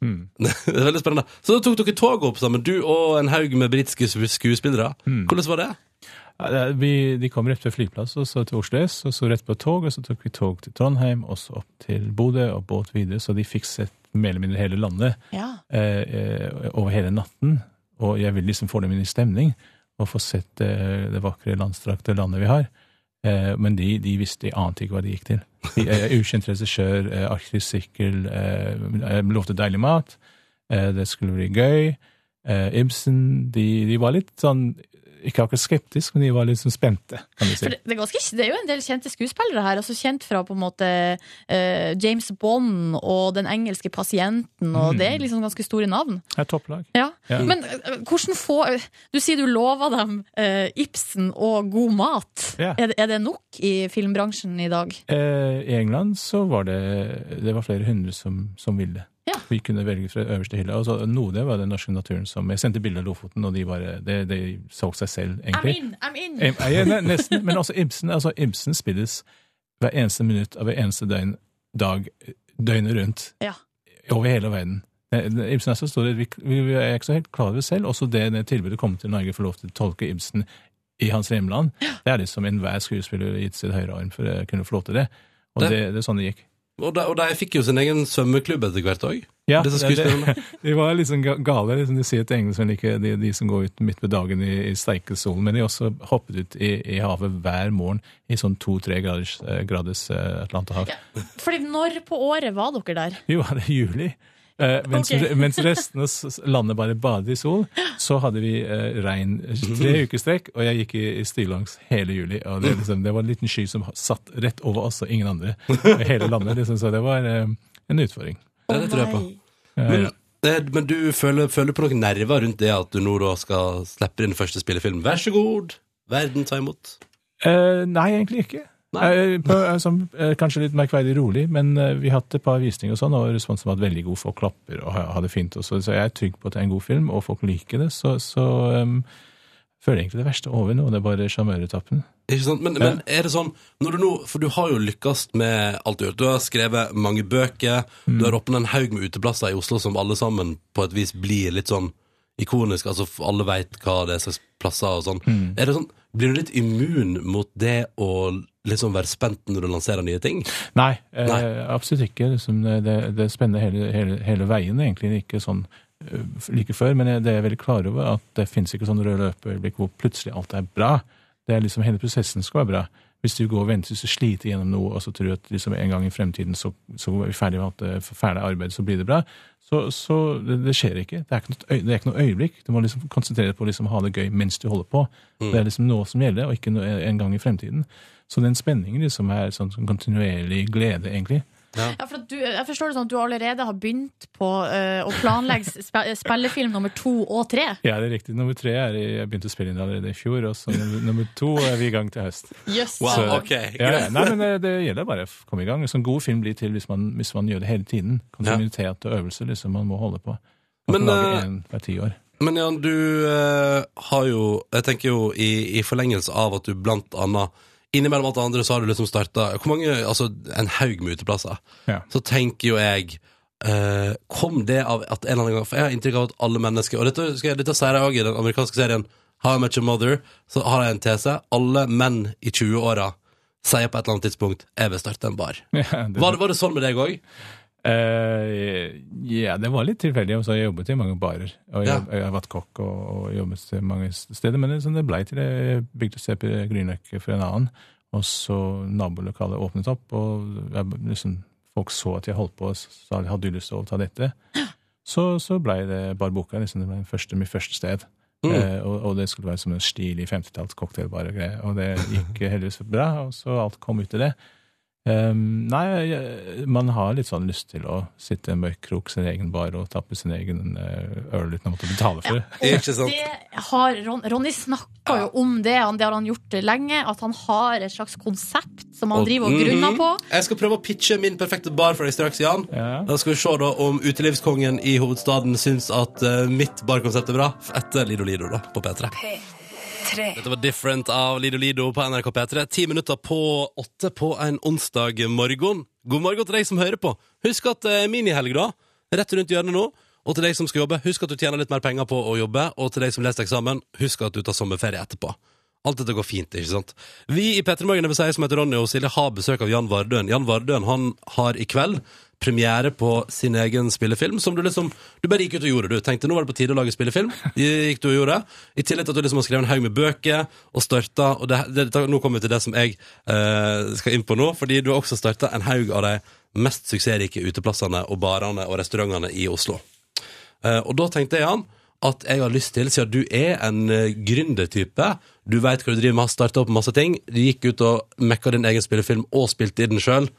S8: Mm.
S1: det er Veldig spennende. Så da tok dere toget opp sammen, du og en haug med britiske sku- skuespillere. Hvordan var det?
S8: Ja, det er- Vi, de kom rett ved flyplass, og så til Oslo S, og så rett på tog, og så tok vi tog til Trondheim, og så opp til Bodø, og båt videre, så de fikk sett mer eller mindre hele landet
S3: Ja.
S8: eh, eh, over hele natten, og jeg vil liksom få dem inn i stemning, og få sett eh, det vakre landstrakte landet vi har. Eh, men de, de visste, de ante ikke hva de gikk til. De, eh, ukjent regissør, eh, arktisk sirkel, eh, eh, lovte deilig mat, eh, det skulle bli gøy. Eh, Ibsen, de, de var litt sånn, ikke akkurat skeptisk, men de var litt sånn spente, kan du si.
S3: For det, det, er ganske, det er jo en del kjente skuespillere her, altså kjent fra på en måte eh, James Bond og den engelske pasienten, og
S8: Mm.
S3: det er liksom ganske store navn.
S8: Det er topplag.
S3: Ja.
S8: Ja.
S3: Men eh, hvordan få Du sier du lover dem eh, Ibsen og god mat.
S8: Ja.
S3: Er, det- er det nok i filmbransjen i dag?
S8: Eh, I England så var det, det var flere hundre som, som ville.
S3: Ja.
S8: Vi kunne velge fra øverste hylle. Og så noe av det var den norske naturen som Jeg sendte bilder av Lofoten, og de, bare, de, de så seg selv, egentlig.
S3: in! I'm in!
S8: Em- ja, ne- nesten, men også Ibsen. Altså, Ibsen spilles hver eneste minutt av hver eneste døgn, dag, døgnet rundt,
S3: Ja.
S8: over hele verden. Eh, Ibsen er så stor at vi, vi vi er ikke så helt klar over det selv. Også det, det tilbudet kom til Norge for lov til å tolke Ibsen i hans hjemland. Det er liksom enhver skuespiller gitt sitt høyre arm for å kunne få lov til det. Og
S1: Det-
S8: det, det er sånn det gikk.
S1: Og de, og de fikk jo sin egen svømmeklubb etter hvert òg.
S8: Ja,
S1: Disse
S8: det-
S1: skuespillerne.
S8: De var liksom ga- gale. Liksom de sier til engelskmenn ikke de, de som går ut midt på dagen i, i steikesolen, men de også hoppet ut i, i havet hver morgen i sånn to-tre graders, eh, graders eh, Atlanterhav.
S3: Fordi når på året var dere der?
S8: Vi var i juli. Eh, mens,
S3: Ok.
S8: mens resten av s- landet bare badet i sol, så hadde vi eh, regn tre uker strekk, og jeg gikk i, i stillongs hele juli. Og det, liksom, det var en liten sky som satt rett over oss og ingen andre i hele landet. Liksom, så det var eh, en utfordring.
S1: Ja, det tror jeg på. Men, eh, men du føler, føler på noen nerver rundt det at du nå da skal slippe din første spillefilm. Vær så god! Verden ta imot.
S8: Eh, nei, egentlig ikke.
S1: Nei.
S8: Eh, på, eh, som, eh, kanskje litt merkverdig rolig, men eh, vi har hatt et par visninger og sånn, og responsen var veldig god. Folk klapper og ha- har det fint. Og så, så jeg er trygg på at det er en god film, og folk liker det. Så, så em, føler jeg egentlig det verste over nå. Det er bare sjarmøretappen.
S1: Ikke sant? Men, men er det sånn når du nå, For du har jo lykkes med alt du har gjort. Du har skrevet mange bøker.
S8: Mm.
S1: Du har åpna en haug med uteplasser i Oslo som alle sammen på et vis blir litt sånn ikonisk. Altså f- alle veit hva det er slags plasser og sånn.
S8: Mm.
S1: Er det sånn, Blir du litt immun mot det å liksom være spent når du lanserer nye ting?
S8: Nei, eh,
S1: Nei.
S8: absolutt ikke. Liksom, det, det, det er spennende hele, hele, hele veien, egentlig. Ikke sånn eh, like før, men jeg- det er jeg veldig klar over, at det fins ikke sånn rød løpeøyeblikk hvor plutselig alt er bra. Det er liksom Hele prosessen skal være bra. Hvis du går og venter, så sliter gjennom noe, og så tror du at liksom en gang i fremtiden så, så er vi ferdig med alt det forferdelige arbeidet, så blir det bra. Så, så det, det skjer ikke. Det er ikke, noe, øy- det er ikke noe øyeblikk. Du må liksom konsentrere deg på å liksom ha det gøy mens du holder på. Det er liksom nå som gjelder, og ikke noe, en gang i fremtiden. Så den spenningen liksom er sånn som kontinuerlig glede, egentlig.
S3: Ja, for at du, jeg forstår det sånn at du allerede har begynt på eh, å planlegge spe, spillefilm nummer to og tre.
S8: Ja, det er riktig. Nummer tre er i, jeg begynte å spille inn allerede i fjor, og så nummer, nummer to er vi i gang til høst.
S3: Yes.
S1: Wow,
S8: Så-
S1: ok.
S8: Ja, ja. Nei, men eh, det gjelder bare å komme i gang. En sånn god film blir til hvis man, hvis man gjør det hele tiden. Kontinuitet og øvelse, liksom. Man må holde på. Man
S1: Men,
S8: kan lage
S1: eh,
S8: en hver ti år.
S1: Men Jan, du eh, har jo Jeg tenker jo i, i forlengelse av at du blant annet Innimellom alt det andre så har du liksom starta Hvor mange, altså en haug med uteplasser
S8: Ja.
S1: Så tenker jo jeg eh, Kom det av at en eller annen gang For jeg har inntrykk av at alle mennesker Og dette, skal jeg, dette sier jeg også i den amerikanske serien How I Met Your Mother Så har jeg en tese Alle menn i 20-åra Sier på et eller annet tidspunkt Jeg vil starte en bar
S8: Ja, det,
S1: Var, det- var det sånn med deg også?
S8: Eh, ja, det var litt tilfeldig. og så har Jeg jobbet i mange barer. Og jeg,
S1: Ja.
S8: jeg har vært kokk og, og jobbet i mange steder. Men det, sånn det blei til det. Jeg bygde CP Grünerløkka for en annen. Og så nabolokalet åpnet opp, og jeg, liksom, folk så at jeg holdt på og sa hadde du lyst til å overta dette. Så, så blei det Barboka. Liksom, det ble den første, mitt første sted.
S1: Mm.
S8: Eh, og, og det skulle være som en stilig 50-talls cocktailbar og greier. Og det gikk heldigvis bra, og så alt kom ut i det. Ehm, nei, jeg- man har litt sånn lyst til å sitte i en mørk krok, sin egen bar, og tappe sin egen eh, øl uten å måtte betale for det.
S1: Ikke sant?
S3: Det har, Ron, Ronny snakka jo om det, han- det har han gjort lenge. At han har et slags konsept som han driver og grunner
S1: Mhm.
S3: på.
S1: Jeg skal prøve å pitche min perfekte bar for deg straks, Jan.
S8: Ja.
S1: Da skal vi se da om utelivskongen i hovedstaden syns at eh, mitt barkonsept er bra. Etter Lido Lido, da, på P3. Dette var Different av Lido Lido på NRK P3. Ti minutter på åtte på en onsdag morgen. God morgen til deg som hører på. Husk at eh, minihelg, da. Rett rundt hjørnet nå. Og til deg som skal jobbe, husk at du tjener litt mer penger på å jobbe. Og til deg som leser eksamen, husk at du tar sommerferie etterpå. Alt dette går fint, ikke sant? Vi i P3 Morgen er vi som heter Ronny og Silje, har besøk av Jan Vardøen. Jan Vardøen han har i kveld premiere på sin egen spillefilm, som du liksom Du bare gikk ut og gjorde, du. Tenkte nå var det på tide å lage spillefilm. Gikk du og gjorde. I tillegg til at du liksom har skrevet en haug med bøker og starta Og det, det, det, nå kommer vi til det som jeg eh, skal inn på nå, fordi du har også starta en haug av de mest suksessrike uteplassene og barene og restaurantene i Oslo. Eh, Og da tenkte jeg, Jan, at jeg har lyst til, siden du er en eh, gründertype, du vet hva du driver med, har startet opp masse ting, du gikk ut og mekka din egen spillefilm og spilte i den selv,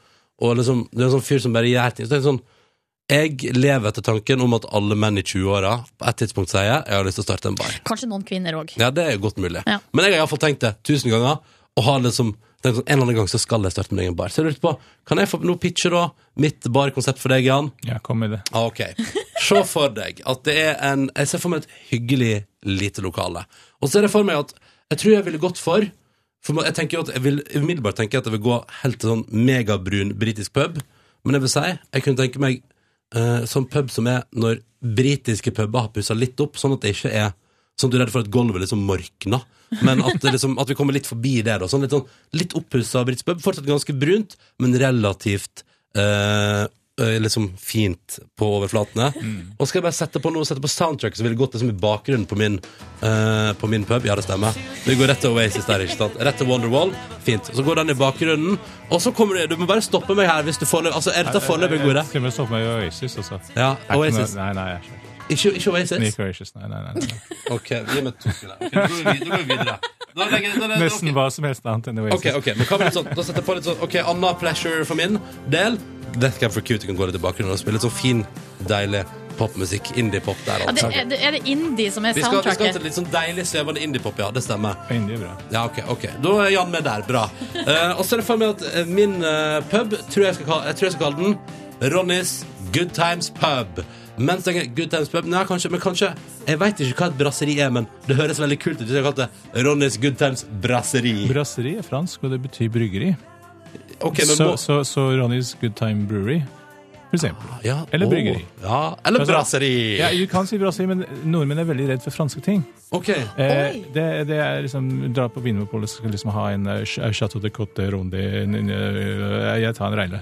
S1: og liksom, du er en sånn fyr som bare gjør ting. Så tenker jeg sånn, jeg lever etter tanken om at alle menn i 20-åra på et tidspunkt sier jeg har lyst til å starte en bar.
S3: Kanskje noen kvinner òg.
S1: Ja, det er godt mulig.
S3: Ja.
S1: Men jeg har iallfall tenkt det tusen ganger. Og har liksom tenkt sånn, En eller annen gang så skal jeg starte min egen bar. Så jeg lurte på, Kan jeg få nå pitche da mitt barkonsept for deg, Jan?
S8: Ja, kom med det.
S1: Ah, Ok. Se for deg at det er en Jeg ser for meg et hyggelig lite lokale. Og så ser jeg for meg at jeg tror jeg ville gått for For jeg tenker jo at jeg vil umiddelbart tenker jeg at jeg vil gå helt til sånn megabrun britisk pub. Men jeg vil si jeg kunne tenke meg eh, sånn pub som er når britiske puber har pussa litt opp, sånn at det ikke er Sånn at du er redd for at gulvet liksom morkner. Men at, det liksom, at vi kommer litt forbi det. Da. Sånn litt, sånn, litt oppussa britisk pub. Fortsatt ganske brunt, men relativt eh, eh, liksom fint på overflatene. Og skal jeg bare sette på noe, sette på soundtrack, så ville det gått liksom i bakgrunnen på min, eh, på min pub. Ja, det stemmer. Vi går rett til Oasis der, ikke sant? Rett til Wonderwall. Fint. Så går den i bakgrunnen, og så kommer du Du må bare stoppe meg her hvis du foreløpig Altså, er dette foreløpig en god idé?
S8: Skulle vi stoppe med Oasis også?
S1: Ja,
S8: Det er ikke
S1: Oasis.
S8: noe- Nei, nei, jeg er ikke-
S1: Ikke, ikke Oasis?
S8: ikke Oasis. Nei, nei, nei, nei.
S1: OK, gi meg to sekunder. Ok, Da går vi videre. Da går vi videre. Da legger, da, da, da,
S8: Nesten hva som helst annet enn Oasis.
S1: Ok, ok, men hva med litt sånn Da setter jeg på litt sånn Ok, Anna Pleasure for min del Death Cab for Cutie kan gå litt i bakgrunnen Og spille litt sånn fin, deilig popmusikk Indie-pop der
S3: Ja, det,
S1: altså
S3: er, det- er det indie som er
S1: vi skal, vi skal
S3: soundtracket?
S1: til litt sånn deilig svevende indie-pop, ja, det stemmer
S8: Indie er bra.
S1: Ja, ok, ok, da er Jan med der, bra Eh, Og så er det for meg at eh, min eh, pub tror jeg, skal kalle, jeg tror jeg skal kalle den Ronnys Good Times Pub Mens jeg Good Times Pub Nei, kanskje, men kanskje Jeg vet ikke hva et brasseri er, men det høres veldig kult ut Hvis jeg kalte det Ronnys Good Times Brasseri
S8: Brasseri er fransk, og det betyr bryggeri.
S1: Ok, men
S8: så,
S1: må-
S8: så, så Ronnys Good Time Brewery, for eksempel.
S1: Ja,
S8: Eller
S1: å,
S8: bryggeri.
S1: Ja, eller
S8: Altså,
S1: brasseri.
S8: Ja, du kan si brasseri, men nordmenn er veldig redd for franske ting.
S1: OK.
S8: Eh, det, det er liksom Dra på Vinmonopolet og skal liksom ha en eh, ch- Chateau de Cote Ronde en- en, eh, Jeg tar en reile.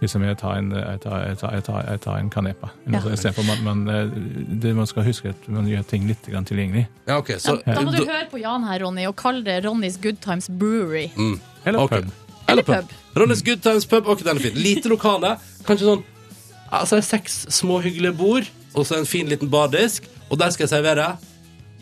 S8: Liksom jeg tar en, jeg tar, jeg tar, jeg tar, jeg tar en canepa. eller noe
S3: Ja.
S8: sånt, istedenfor at Man, man, eh, det, man skal huske at man gjør ting litt grann tilgjengelig.
S1: Ja, ok, så,
S3: Da må du høre på Jan her, Ronny, og kalle det Ronnys Good Times Brewery.
S8: Eller
S1: Ok.
S8: pub.
S3: Eller pub.
S1: Ronnys Good Times Pub. Ok, den er fin. Lite lokale. Kanskje sånn Altså det er seks små hyggelige bord, og så en fin liten bardisk, og der skal jeg servere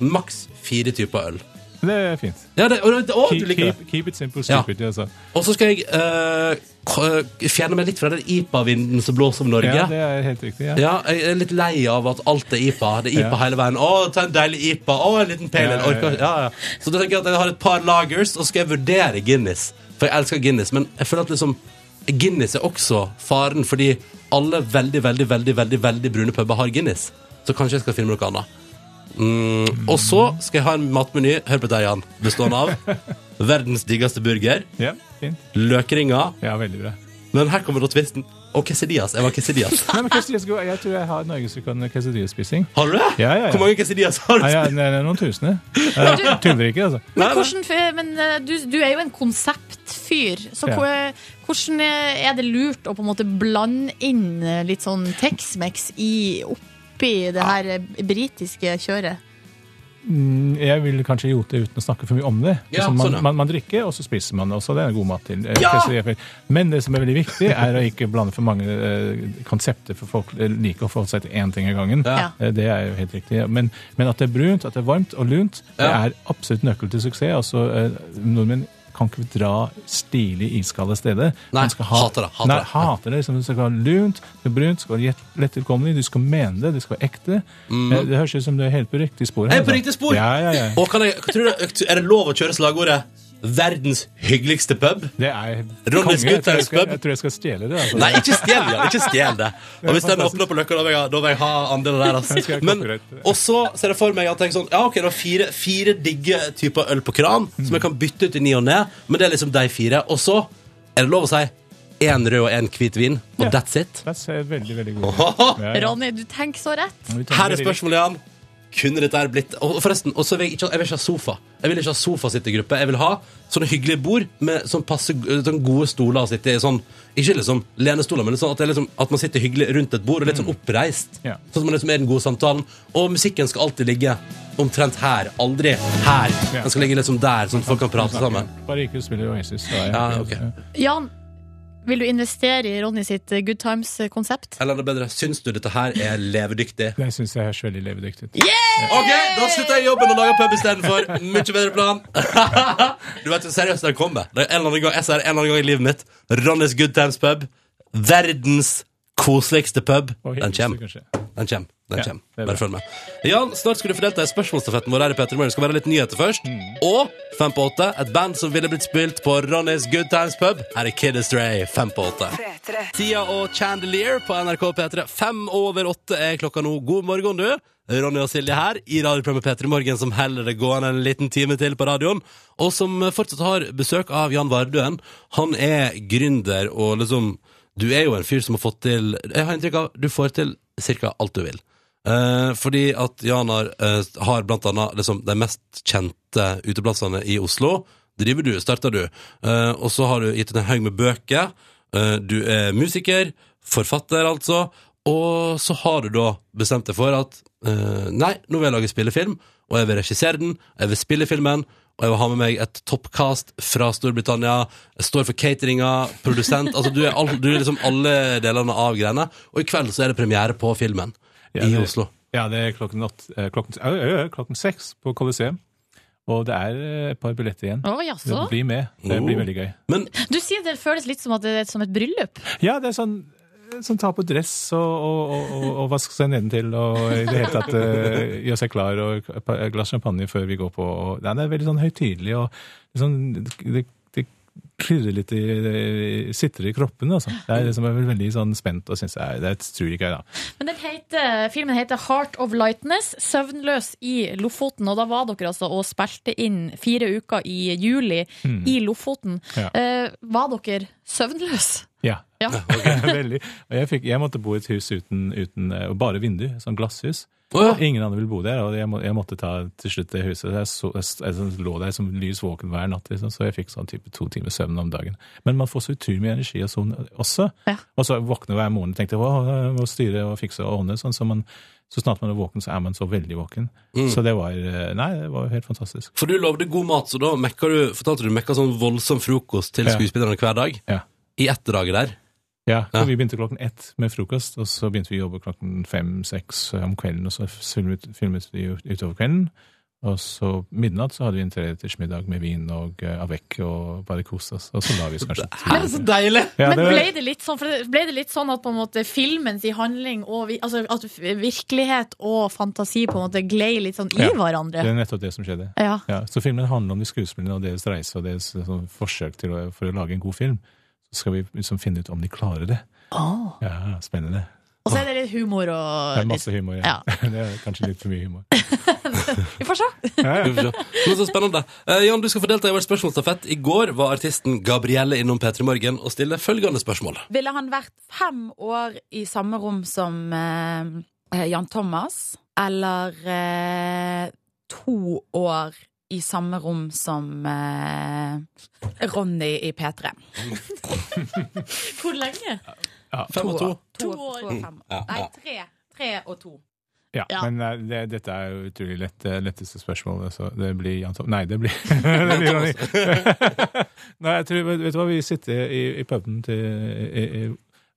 S1: maks fire typer øl.
S8: Det er fint.
S1: Ja, det, og, det- å, du
S8: Keep,
S1: liker det.
S8: keep, keep it simple,
S1: Ja.
S8: stupid. Altså.
S1: Og så skal jeg eh, k- fjerne meg litt fra den IPA-vinden som blåser om Norge.
S8: Ja, det er helt riktig. Ja.
S1: Ja, jeg er litt lei av at alt er IPA. Det er IPA
S8: Ja.
S1: hele veien. Å, ta en deilig IPA. Å, en liten pale ale.
S8: Ja, ja,
S1: Orker- Ja, ja. Så da tenker jeg at jeg har et par lagers, og så skal jeg vurdere Guinness. For jeg elsker Guinness, men jeg føler at liksom Guinness er også faren, fordi alle veldig, veldig, veldig, veldig, veldig brune puber har Guinness. Så kanskje jeg skal finne noe annet. Mm. Og så skal jeg ha en matmeny, hør på dette, Jan, bestående av verdens diggeste burger,
S8: Ja, fint.
S1: løkringer,
S8: Ja, veldig bra.
S1: men her kommer da tvisten. Og quesadillas. Jeg var quesadillas.
S8: Nei, men quesadillas går- Jeg tror jeg har norgesrekord i quesadillaspising.
S1: Har du det?
S8: Ja, ja, ja.
S1: Hvor mange quesadillas har du?
S8: Nei, ja, det er noen tusener. Jeg tuller ikke, altså.
S1: Nei,
S3: Men,
S1: nei.
S3: hvordan, f- men eh, du, du er jo en konseptfyr, så
S8: Ja.
S3: hvor- hvordan eh, er det lurt å på en måte blande inn eh, litt sånn Tex-Mex i oppi det her eh, britiske kjøret?
S8: Mm, Jeg vil kanskje jote uten å snakke for mye om det.
S1: Ja,
S8: Altså,
S1: sånn,
S8: man,
S1: ja.
S8: man, man drikker, og så spiser man også. Det er en god mat til. eh, quesadillas. Men det som er veldig viktig, er å ikke blande for mange eh, konsepter, for folk eh, liker å forholde seg til én ting av gangen.
S3: Ja.
S8: Eh, Det er jo helt riktig. Men, men at det er brunt, at det er varmt og lunt, det
S1: Ja.
S8: er absolutt nøkkel til suksess. Altså, eh, nordmenn kan ikke dra stilig iskalde steder.
S1: Nei,
S8: Man skal ha-
S1: hater det, hater
S8: Nei,
S1: det.
S8: hater det. Liksom, det skal være lunt, det skal være brunt, det skal være lett- lett tilkommelig, du skal mene det, det skal være ekte. Eh, Det høres ut som du er helt på riktig spor. her,
S1: Jeg er Mm. på
S8: da.
S1: riktig spor!
S8: Ja, ja, ja.
S1: Og kan jeg, tror du, er det lov å kjøre slagordet 'verdens hyggeligste pub'?
S8: Det er
S1: Ronnys
S8: konge. Jeg tror jeg
S1: Gutters
S8: skal-
S1: pub.
S8: Jeg tror jeg skal stjele det. Altså.
S1: Nei, ikke stjel det! Ikke stjel det. Og hvis den
S8: fantastisk.
S1: åpner på Løkka, da vil jeg, da vil jeg ha andelen der.
S8: Jeg skal
S1: Altså.
S8: ha
S1: Men,
S8: copyright.
S1: og så ser jeg for meg at jeg sånn, ja, ok, det var fire, fire digge typer øl på kran, som jeg kan bytte ut i ny og ne, men det er liksom de fire. Og så er det lov å si én rød og én hvit vin, og
S8: Ja.
S1: that's it.
S8: Det ser veldig, veldig god ut.
S1: Haha!
S8: Ja, ja.
S3: Ronny, du tenker så rett.
S8: Vi tar
S1: Her er
S8: veldig-
S1: spørsmålet, Jan. Kunne dette her blitt Og forresten, og så vil jeg, ikke, jeg vil ikke ha sofa. Jeg vil ikke ha sofa å sitte i gruppe. Jeg vil ha sånne hyggelige bord med sånn passe, sånn gode stoler å sitte i. Sånn, ikke liksom lenestoler, men litt sånn at, det er liksom, at man sitter hyggelig rundt et bord og litt sånn oppreist.
S8: Mm. Ja.
S1: Sånn at man liksom er i den gode samtalen. Og musikken skal alltid ligge omtrent her. Aldri her.
S8: Ja.
S1: Den skal ligge liksom der, sånn at folk kan prate sammen.
S8: Bare ikke spille Oasis. da er jeg-
S1: Ja, ok.
S3: Jan, vil du investere i Ronny sitt eh, Good Times-konsept?
S1: Eller enda bedre, syns du dette her er levedyktig?
S8: Det syns jeg høres veldig levedyktig ut.
S1: Ok, da slutter jeg jobben og lager pub istedenfor. Mye bedre plan. du vet jo seriøst den kommer. Det er en eller annen gang, jeg sier det en eller annen gang i livet mitt. Ronnys Good Times Pub. Verdens koseligste pub.
S8: Og
S1: Den
S8: hyggeligste,
S1: kommer.
S8: kanskje.
S1: Den kommer. Den
S8: Ja,
S1: kommer.
S8: det er
S1: Bare
S8: bra.
S1: følg med. Jan, snart skal du få delta i spørsmålsstafetten vår her i Petter Morgen. Det skal være litt nyheter først.
S8: Mm.
S1: Og Fem på åtte, et band som ville blitt spilt på Ronnys Good Times Pub. Her er Kid Astray, fem på åtte. Tia og Chandelier på NRK P3. Fem over åtte er klokka nå. God morgen, du. Ronny og Silje her i radioprogrammet P3 Morgen, som heller det gående en liten time til på radioen. Og som fortsatt har besøk av Jan Vardøen. Han er gründer og liksom Du er jo en fyr som har fått til Jeg har inntrykk av du får til cirka alt du vil. Eh, fordi at Jan har, eh, har blant annet liksom, de mest kjente uteplassene i Oslo. Driver du, starter du. Eh, og så har du gitt ut en haug med bøker. Eh, du er musiker, forfatter, altså. Og så har du da bestemt deg for at eh, nei, nå vil jeg lage spillefilm, og jeg vil regissere den, og jeg vil spille filmen, og jeg vil ha med meg et toppkast fra Storbritannia, jeg står for cateringa, produsent Altså du er, all, du er liksom alle delene av greiene. Og i kveld så er det premiere på filmen
S8: Ja,
S1: i
S8: det-
S1: Oslo.
S8: Ja, det er klokken, åtte- eh, klokken, ø, ø, ø, klokken seks på Colosseum. Og det er eh, et par billetter igjen.
S3: Å, jaså?
S8: Bli med. Det
S1: Oh.
S8: blir veldig gøy.
S1: Men
S3: Du sier det føles litt som, at det er som et bryllup.
S8: Ja, det er sånn Sånn ta på dress og, og, og, og, og vaske seg nedentil og i det hele tatt eh, gjøre seg klar og et par- et glass champagne før vi går på. Og, nei, det er veldig sånn høytidelig og liksom, det, det klirrer litt i det sitter i kroppen. Altså. Det er liksom jeg er veldig sånn spent og syns det er det tror jeg ikke jeg, da.
S3: Men den heter, filmen heter Heart of Lightness, Søvnløs i Lofoten. Og da var dere altså og spilte inn fire uker i juli i Lofoten.
S8: Mm. Ja.
S3: Eh, var dere søvnløse?
S8: Ja.
S3: Ja.
S8: veldig. Og jeg, fikk, jeg måtte bo i et hus uten, uten eh, og bare vindu, sånn glasshus.
S1: Åh,
S8: Ingen andre ville bo der, og jeg, må, jeg måtte ta til slutt det huset. Jeg, så, jeg, jeg, sånn lå der som lys våken hver natt, liksom, så jeg fikk sånn type to timer søvn om dagen. Men man får så utrolig mye energi og sånn også.
S3: Ja.
S8: Og så våkne hver morgen og tenkte at jeg må styre og fikse og ordne. Sånn, så, man, så snart man er våken, så er man så veldig våken. Så det var eh, Nei, det var helt fantastisk.
S1: for du lovde god mat, så da mekka du, fortalte du mekka sånn voldsom frokost til
S8: Ja.
S1: skuespillerne hver dag.
S8: Ja.
S1: I ett dager der.
S8: Ja, for
S1: Ja.
S8: Vi begynte klokken ett med frokost, og så begynte vi å jobbe klokken fem-seks om kvelden. Og så filmet, filmet vi ut- utover kvelden. Og så midnatt så hadde vi en trerettersmiddag med vin og uh, avec og bare kose oss. Og så la vi oss kanskje
S1: Hæ, så deilig!
S3: Altså,
S8: Ja,
S3: Men
S8: det
S3: ble
S8: var,
S3: det litt sånn, for det- ble det litt sånn at på en måte filmens i handling og vi, altså, at virkelighet og fantasi på en måte glei litt sånn i
S8: Ja. det
S3: hverandre?
S8: er nettopp det som skjedde.
S3: Ja.
S8: Ja, så filmen handler om de skuespillerne og deres reise og deres sånn, forsøk til å, for å lage en god film. Så skal vi liksom finne ut om de klarer det.
S3: Og
S8: Ja, Spennende.
S3: så er det litt humor
S8: Det
S3: og
S8: er
S3: litt,
S8: masse humor.
S3: Ja.
S8: Ja. det er kanskje litt for mye humor.
S3: Vi får se!
S1: Vi får se. Men så spennende. Eh, Jan, du skal få delta i vår spørsmålsstafett. I går var artisten Gabrielle innom P3 Morgen og stiller følgende spørsmål.
S9: Ville han vært fem år i samme rom som eh, Jan Thomas? Eller eh, to år i samme rom som eh, Ronny i P3?
S3: Hvor lenge?
S1: Fem og to.
S9: To,
S3: To år.
S9: to og fem.
S1: Ja,
S9: Nei,
S1: ja.
S9: tre. Tre og to.
S8: Ja,
S3: Ja.
S8: men eh, det, dette er jo utrolig lett, det letteste spørsmålet, så det blir Jan Tom... Nei, det blir, det blir Ronny. Nei, jeg tror, vet du hva, vi sitter i, i puben til i, i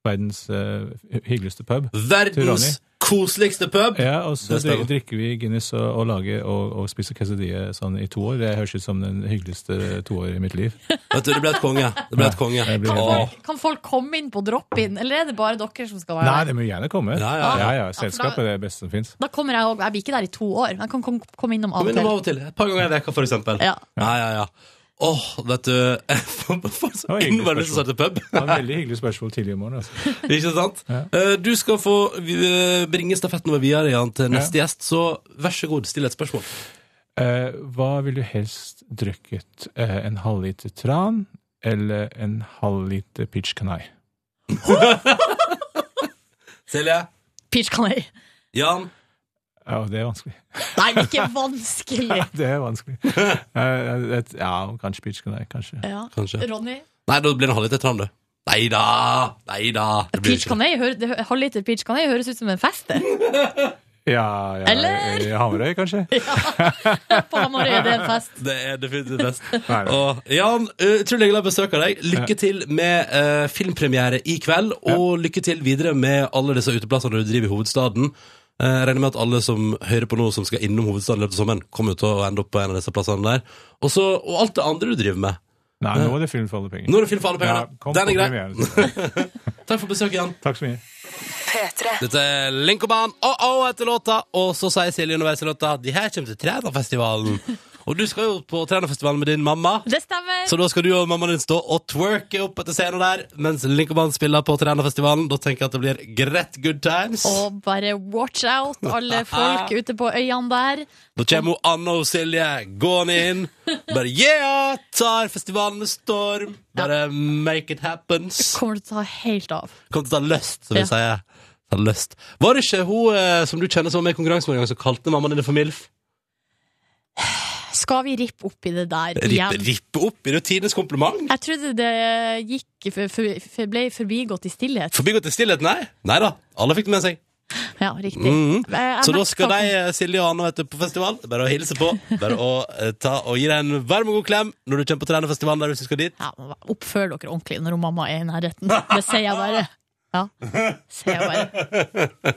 S8: verdens eh, hyggeligste pub.
S1: Verdens koseligste pub.
S8: Ja, og så
S1: Det stemmer.
S8: dri- drikker vi Guinness og, og lager og, og spiser quesadilla sånn i to år. Det høres ut som den hyggeligste to år i mitt liv.
S1: Vet du, det ble et konge. Det ble et konge.
S8: Det blir
S3: Kan
S8: helt-
S1: Åh.
S3: folk, kan folk komme inn på drop-in, eller er det bare dere som skal være
S8: Nei,
S3: der?
S8: det må gjerne komme.
S1: Ja, ja, ja.
S8: Selskapet er det beste som fins.
S3: Da kommer jeg òg. Jeg blir ikke der i to år, men jeg kan kom- komme innom av
S1: Kom
S3: og
S1: innom
S3: til.
S1: av og til. Et par ganger i veka, for eksempel.
S3: Ja.
S1: Ja, ja, ja. Åh, vet du Jeg får får så
S8: var hyggelig
S1: innmari lyst til å starte pub.
S8: Det var et veldig hyggelig spørsmål tidlig i morgen. Altså.
S1: Ikke sant? Eh, Du skal få eh, bringe stafetten vår videre Jan, til neste gjest, så vær så god, still et spørsmål.
S8: Eh, hva ville du helst drukket? Eh, en halvliter tran eller en halvliter peach canai?
S1: Silje?
S3: Peach Canary.
S1: Jan?
S8: Ja, det er vanskelig.
S3: Nei, ikke vanskelig!
S8: Det er vanskelig. Eh, et, ja, kanskje peach canai, kanskje.
S3: Ja.
S1: Kanskje.
S3: Ronny?
S1: Nei, da blir det en halvliter tran, du. Nei da! Nei da! Det blir ikke
S3: Peach
S1: det.
S3: Canary, hører- det- halvliter Peach Canary høres ut som en fest, det.
S8: Ja, ja
S3: Eller?
S8: i Hamarøy, kanskje?
S3: På Hamarøy er det en fest.
S1: Det er definitivt best.
S8: Nei, nei.
S1: Og Jan, eh, utrolig glad i å besøke deg. Lykke til med eh, filmpremiere i kveld, og lykke til videre med alle disse uteplassene du driver i hovedstaden. Eh, Jeg regner med at alle som hører på nå, som skal innom hovedstaden i løpet av sommeren, kommer jo til å ende opp på en av disse plassene der. Og så, og alt det andre du driver med.
S8: Nei, nå er det film for alle penger.
S1: Nå er det film for alle
S8: Ja,
S1: pengene.
S8: kom
S1: Den
S8: på
S1: er grei.
S8: premieren, så.
S1: Takk for besøket, Jan.
S8: Takk så mye.
S1: Dette er Linkoban og Å etter låta, og så sier Silje underveis i låta de her kommer til Trænafestivalen. Og du skal jo på Trænafestivalen med din mamma.
S3: Det stemmer.
S1: Så da skal du og mammaen din stå og twerke opp etter scenen der, mens Linkoman spiller på Trænafestivalen. Da tenker jeg at det blir greit good times.
S3: Og bare watch out, alle folk ute på øyene der.
S1: Da kommer hun Anne og Silje gående inn. Bare yeah! Tar festivalen med storm. Bare make it happens.
S3: Kommer det til å ta helt av.
S1: Kom til å ta lyst, som vi
S3: Ja.
S1: sier. Ta lyst. Var det ikke hun eh, som du kjenner som var med i konkurransen en gang, som kalte mammaen din for MILF?
S3: Skal vi rippe opp i det der
S1: Rippe,
S3: igjen?
S1: rippe opp i rutines kompliment?
S3: Jeg trodde det gikk for, for, for, ble forbigått i stillhet.
S1: Forbigått i stillhet? Nei. Nei da. Alle fikk det med seg.
S3: Ja, riktig.
S1: Mhm.
S3: Eh, jeg
S1: Så da
S3: merker
S1: skal
S3: at-
S1: de, eh, Silje og Anne, vet du, på festival. Bare å hilse på. Bare å eh, ta og gi deg en varm og god klem når du kommer på Trænefestivalen der hvis du skal dit.
S3: ja, Oppfør dere ordentlig når hun mamma er i nærheten. Det sier jeg bare. Ja, sier jeg bare.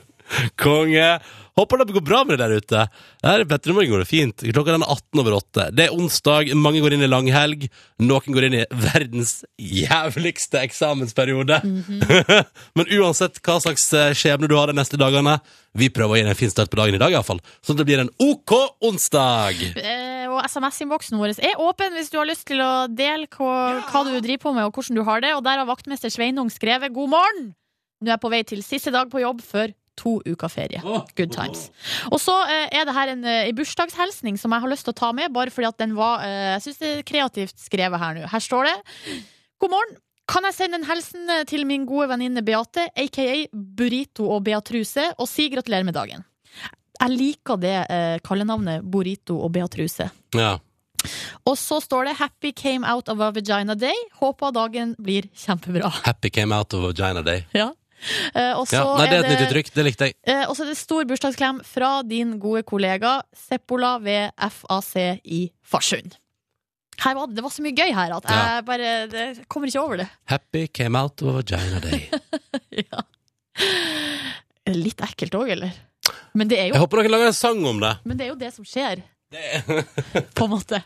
S1: Konge! Håper det går bra med det der ute. Her i Petter i morgen går det fint. Klokka den er 18 over 8. Det er onsdag, mange går inn i langhelg. Noen går inn i verdens jævligste eksamensperiode.
S3: Mhm.
S1: Men uansett hva slags eh, skjebne du har de neste dagene, vi prøver å gi deg en fin start på dagen i dag, iallfall. Sånn at det blir en OK onsdag!
S3: Eh, og SMS-innboksen vår er åpen hvis du har lyst til å dele hva, hva du driver på med og hvordan du har det. Og der har vaktmester Sveinung skrevet 'God morgen'! Nå er jeg på vei til siste dag på jobb før to uker ferie. Good times. Og så eh, er det her en, eh, en bursdagshelsning som jeg har lyst til å ta med, bare fordi at den var eh, Jeg syns det er kreativt skrevet her nå. Her står det God morgen. Kan jeg sende en hilsen eh, til min gode venninne Beate, aka Burrito og Beatruse, og si gratulerer med dagen? Jeg liker det eh, kallenavnet Burrito og Beatruse.
S1: Ja.
S3: Og så står det 'Happy came out of a vagina day'. Håper dagen blir kjempebra.
S1: Happy came out of vagina day.
S3: Ja. Eh, og så
S1: Ja, nei, det er
S3: er
S1: et nytt
S3: det,
S1: uttrykk. Det likte jeg.
S3: eh, og så er det stor bursdagsklem fra din gode kollega Seppola ved FAC i Farsund. Her var det, det var så mye gøy her at
S1: Ja.
S3: jeg bare det, jeg kommer ikke over det.
S1: Happy came out of vagina day.
S3: ja. Litt ekkelt òg, eller? Men det, er
S1: Jeg
S3: jo,
S1: håper dere lager en sang om det.
S3: men det er jo det som skjer, på en måte.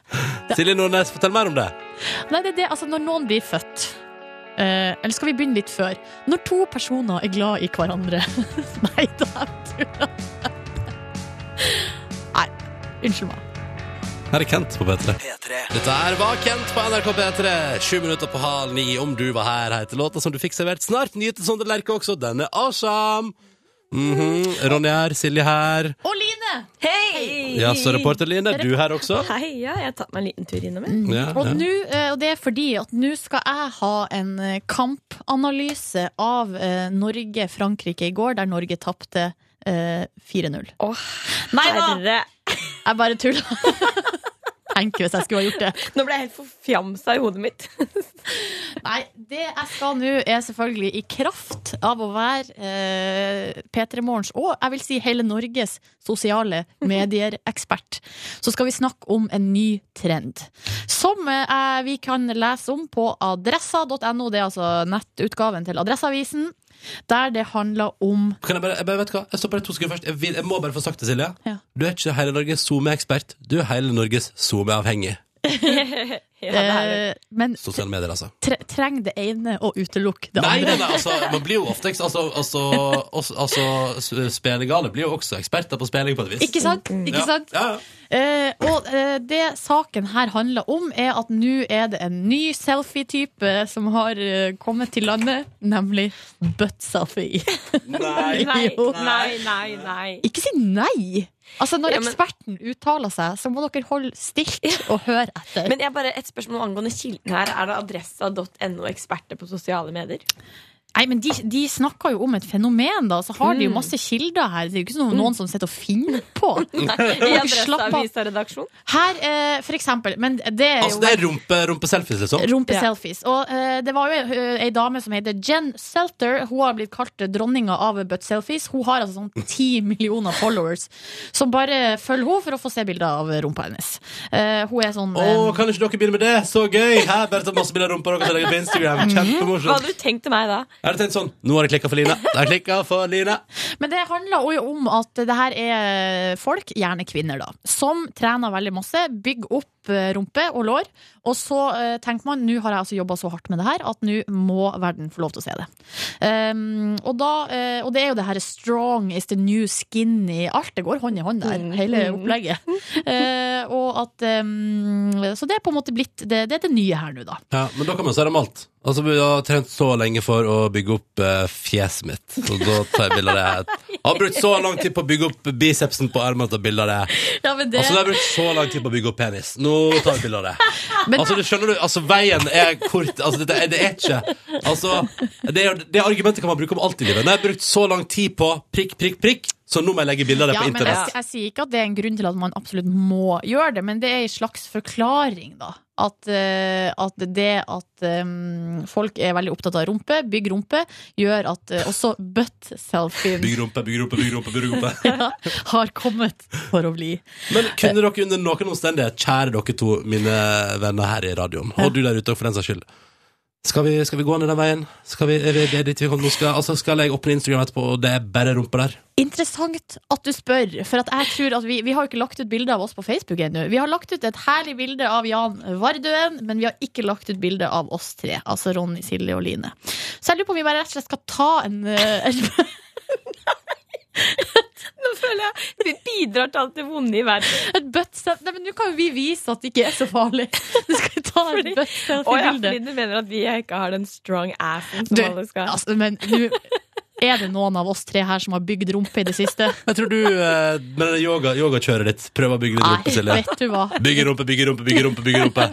S1: Silje Nordnes, fortell mer om det.
S3: Nei, det er det, altså når noen blir født eh, Eller skal vi begynne litt før? Når to personer er glad i hverandre Nei, da tror jeg Nei, unnskyld meg
S1: Her er Kent på P3.
S4: P3.
S1: Dette her var Kent på NRK P3. Sju minutter på halv ni. Om du var her, heter låta som du fikk servert snart. Nyte Sondre Lerche også. Den er awesome! Mhm. Ronny her, Silje her.
S3: Og Line!
S2: Hei!
S1: Ja, så reporter Line, er du her også?
S2: Hei, ja, jeg har tatt meg en liten tur innom. jeg.
S1: Ja,
S3: Og,
S1: ja.
S3: nå, eh, og det er fordi at nå skal jeg ha en eh, kampanalyse av eh, Norge-Frankrike i går Der Norge tappte eh, 4-0
S2: Å,
S3: Nei da,
S2: herre!
S3: jeg bare tuller Tenk hvis jeg skulle ha gjort det
S2: Nå ble jeg helt forfjamsa i hodet mitt.
S3: Nei, det jeg skal nå er selvfølgelig i kraft av å være eh, P3 Morgens og jeg vil si hele Norges sosiale medier-ekspert. Så skal vi snakke om en ny trend. Som eh, vi kan lese om på adressa.no, det er altså nettutgaven til Adresseavisen. Der det handler om
S1: Kan jeg bare, jeg bare, vet du hva? Jeg stopper deg to sekunder først. Jeg, vil, jeg må bare få sagt det, Silje.
S3: Ja.
S1: Du er ikke hele Norges SoMe-ekspert. Du er hele Norges SoMe-avhengig.
S2: Ja, det er det.
S3: eh, Men
S1: Sosiale medier, altså.
S3: tre trenger det ene å utelukke det
S1: Nei,
S3: andre?
S1: nei, nei, altså, man blir jo ofte eks- altså, altså, altså, altså, s- Spillegale blir jo også eksperter på spilling på et vis.
S3: Ikke sant? Ikke sant?
S1: Ja, ja, ja.
S3: Eh, og eh, det saken her handler om, er at nå er det en ny selfie-type som har eh, kommet til landet, nemlig butt-selfie.
S1: Nei.
S2: Nei,
S3: Jo.
S2: nei, nei. nei.
S3: Ikke si nei! Altså, når
S2: Ja, men-
S3: eksperten uttaler seg, så må dere holde stilt og høre etter.
S2: Men jeg bare et spørsmål angående kilden her. Er det adressa.no eksperter på sosiale medier?
S3: Nei, men de, de snakker jo om et fenomen, da, så har de jo masse kilder her. Det er jo ikke sånn noen som sitter og finner på.
S10: Mm.
S2: I
S3: slapp av.
S2: Adresseavisa-redaksjon?
S3: Her, eh, for eksempel, men det er jo
S1: Altså, det er rumpe, rumpeselfies, liksom.
S3: Rumpeselfies. Og eh, det var jo eh, ei dame som heter Jen Selter. Hun har blitt kalt dronninga av buttselfies. Hun har altså sånn ti millioner followers som bare følger henne for å få se bilder av rumpa hennes. Eh, hun er sånn
S1: Å,
S3: eh,
S1: kan ikke dere begynne med det? Så gøy! Her, bare ta masse bilder av rumpa dere og legge på Instagram.
S2: Hva hadde
S1: Kjempemorsomt.
S2: du tenkt til meg da?
S1: Jeg hadde tenkt sånn Nå har jeg klikka for Line. Jeg har klikket for Line.
S3: Men det handler jo om at det her er folk, gjerne kvinner, da, som trener veldig masse, bygger opp eh, rumpe og lår, og så eh, tenker man nå har jeg altså jobba så hardt med det her at nå må verden få lov til å se det. Um, og, da, eh, og det er jo det her strong is the new skinny Alt det går hånd i hånd der, hele opplegget. Eh, og at um, Så det er på en måte blitt Det, det er det nye her nå, da.
S1: Ja, men da kan man se dem alt. Altså, jeg har trent så lenge for å bygge opp eh, fjeset mitt, og da tar jeg bilde av det. her. Jeg har brukt så lang tid på å bygge opp bicepsen på armen og ta bilde av det.
S3: Ja, men det,
S1: Altså, jeg har brukt så lang tid på å bygge opp penis. Nå tar vi bilde av det.
S3: Men-
S1: altså, det skjønner du, altså, veien er kort. Altså, det, det er ikke Altså, det, er- det argumentet kan man bruke om alt i livet. Når jeg har brukt så lang tid på prikk, prikk, prikk, Så nå må jeg legge bilder av det
S3: Ja,
S1: på
S3: men jeg,
S1: internett.
S3: jeg sier ikke at det er en grunn til at man absolutt må gjøre det, men det er en slags forklaring, da. At, eh, at det at eh, folk er veldig opptatt av rumpe, bygg rumpe, gjør at eh, også butt-selfien
S1: Bygg rumpe, bygg rumpe, bygg rumpe. bygg rumpe
S3: har kommet for å bli.
S1: Men kunne dere under noen omstendighet, kjære dere to, mine venner her i radioen, og du der ute for den saks skyld skal vi, skal vi gå ned den veien? Skal, vi, er det, er det dit vi kommer? nå? Skal, altså, skal jeg åpne Instagram etterpå, og det er bare rumpe der?
S3: Interessant at du spør, for at jeg tror at vi, vi har jo ikke lagt ut bilde av oss på Facebook ennå. Vi har lagt ut et herlig bilde av Jan Vardøen, men vi har ikke lagt ut bilde av oss tre. Altså Ronny, Silje og Line. Så jeg lurer på om vi bare rett og slett skal ta en, eh, en
S2: Nå føler jeg vi bidrar til alt det vonde i verden.
S3: Et buttselfie Nei, men nå kan jo vi vise at det ikke er så farlig. Du skal ta et
S2: Fordi- Å ja,
S3: buttselfie-bilde.
S2: fordi du mener at vi ikke har den strong assen som
S3: Du,
S2: alle skal
S3: altså, men nå er det noen av oss tre her som har bygd rumpe i det siste.
S1: Jeg tror du, eh, med det yoga- yogakjøret ditt, prøver å bygge litt rumpe, Silje.
S3: vet du hva.
S1: Bygge rumpe, bygge rumpe, bygge rumpe. bygge rumpe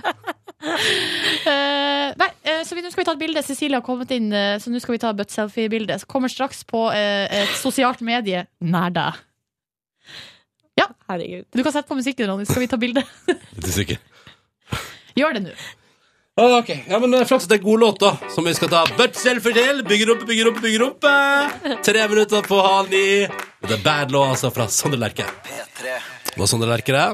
S3: Eh, nei, eh, så vi, nå skal vi ta et bilde. Cecilie har kommet inn, eh, så nå skal vi ta et buttselfie-bilde. Så kommer straks på eh, et sosialt medie nær deg.
S2: Herregud.
S3: Du kan sette på musikken, Ronny, så skal vi ta bilde.
S1: Litt usikker.
S3: Gjør det nå.
S1: Ok, ja, men det er Flaks at det er god låt, da, som vi skal ta butt selfie til. Bygge rumpe, bygge rumpe, bygge rumpe. Tre minutter på halv ni. Det er bad law, altså, fra Sondre Lerche.
S4: P3.
S1: Var sånn det lerker det.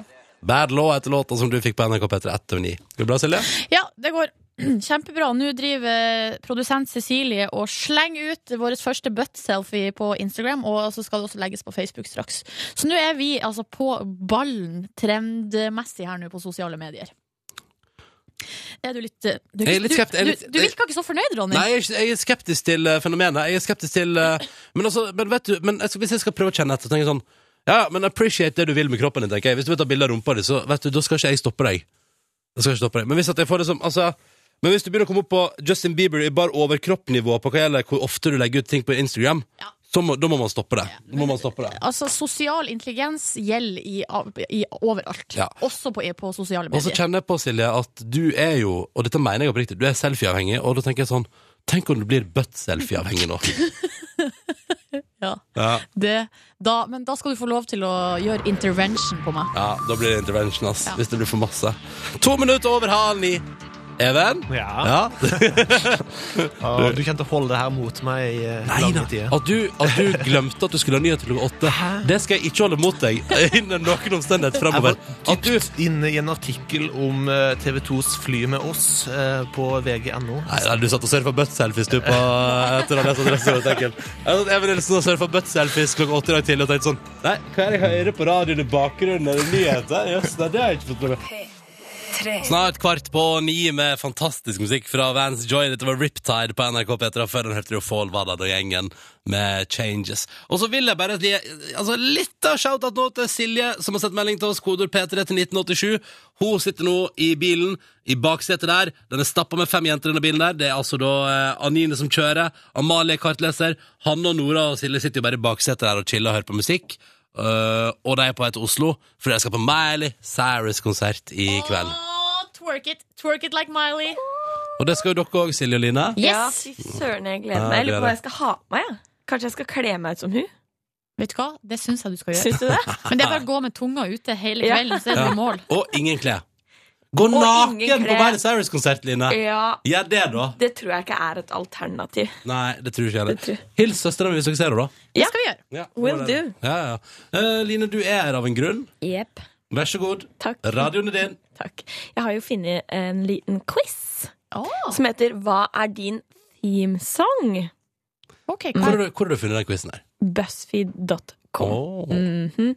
S1: Bad Law etter låta som du fikk på NRK P3 ett over ni. Går det bra, Silje?
S3: Ja, det går kjempebra. Nå driver produsent Cecilie og slenger ut vår første butt-selfie på Instagram, og så skal det også legges på Facebook straks. Så nå er vi altså på ballen trendmessig her nå på sosiale medier. Er du litt Du, du,
S1: Jeg er litt skeptisk. Jeg er
S3: du,
S1: litt-
S3: du virker ikke så fornøyd, Ronny.
S1: Nei, jeg er, ikke- jeg er skeptisk til eh, fenomenet. Jeg er skeptisk til eh, Men altså, men vet du, men jeg skal, hvis jeg skal prøve å kjenne etter, så tenker jeg sånn Ja, ja, men appreciate det du vil med kroppen din, tenker jeg. Hvis du vil ta bilde av rumpa di, så vet du, da skal ikke jeg stoppe deg. Da skal jeg ikke stoppe deg. Men hvis at jeg får det som Altså men hvis du begynner å komme opp på Justin Bieber i bar overkroppnivå på hva gjelder hvor ofte du legger ut ting på Instagram,
S3: Ja.
S1: så må, da må man stoppe det. Da må man stoppe det.
S3: Altså, sosial intelligens gjelder i, av- i, overalt.
S1: Ja.
S3: Også på, på sosiale
S1: Og så
S3: medier.
S1: kjenner jeg på, Silje, at du er jo, og dette mener jeg oppriktig, du er selfie-avhengig, og da tenker jeg sånn, tenk om du blir butt-selfie-avhengig nå.
S3: Ja.
S1: Ja,
S3: Det, da, men da skal du få lov til å gjøre intervention på meg.
S1: ja, da blir det intervention, ass,
S3: Ja.
S1: hvis det blir for masse. To minutter over halv ni. Even?
S11: Ja.
S1: Ja.
S11: Og du kjente å holde det her mot meg i eh,
S1: Nei da.
S11: lange tider.
S1: At du, at du glemte at du skulle ha nyheter klokka åtte, det skal jeg ikke holde mot deg innen noen omstendighet
S11: Jeg var
S1: fremover. At du...
S11: dypt inne i en artikkel om eh, TV 2s fly med oss eh, på vg.no.
S1: Nei, nei, du satt og surfa butt-selfies du på eh, etter å ha lest adressen. Jeg satt Even Nilsen og surfa butt-selfies klokka åtte i dag tidlig og tenkte sånn Nei, hva er det jeg hører på radioen i bakgrunnen? Er det nyheter? Jøss, nei, det har jeg ikke fått med meg. Snart kvart på ni med fantastisk musikk fra Vans Joy. Dette var Riptide på NRK P3. Før den hørte du Fall Vallad og gjengen med Changes. Og så vil jeg bare gi altså, litt av shout-out nå til Silje, som har sett melding til oss, kodord P3 til 1987. Hun sitter nå i bilen i baksetet der. Den er stappa med fem jenter i denne bilen der. Det er altså da eh, Anine som kjører, Amalie er kartleser, Hanne og Nora og Silje sitter jo bare i baksetet der og chiller og hører på musikk. Eh, og de er på vei til Oslo, for de skal på Miley Cyrus-konsert i kveld.
S3: Åh, twerk it, twerk it like Miley.
S1: Og det skal jo dere òg, Silje og Line.
S2: Ja, fy søren, jeg gleder meg. Jeg lurer på hva jeg skal ha på meg. Ja. Kanskje jeg skal kle meg ut som hun?
S3: Vet du hva? Det syns jeg du skal gjøre.
S2: Syns du det?
S3: Men det er bare å gå med tunga ute hele
S2: Ja.
S3: kvelden, så er det
S1: Ja.
S3: noe mål.
S1: Og ingen klær. Gå
S2: ingen
S1: naken på
S2: klær.
S1: Miley Cyrus-konsert, Line!
S2: Ja,
S1: Gjør det, da.
S2: det tror jeg ikke er et alternativ.
S1: Nei, det tror jeg ikke
S2: Det tror
S1: heller. Hils søstera mi hvis dere ser henne, da.
S3: Det
S2: Ja.
S3: skal vi gjøre.
S1: Ja,
S2: Will
S1: det er det. Ja, ja. Eh, Line, du er her av en grunn.
S2: Jepp.
S1: Vær så god.
S2: Takk.
S1: Radioen er din.
S2: Takk. Jeg har jo funnet en liten quiz som heter Hva er din theme song?
S3: Ok,
S1: Hvor
S3: hva
S1: har du, hvor har du funnet den quizen her?
S2: Buzzfeed.com.
S1: Åh.
S2: Mhm.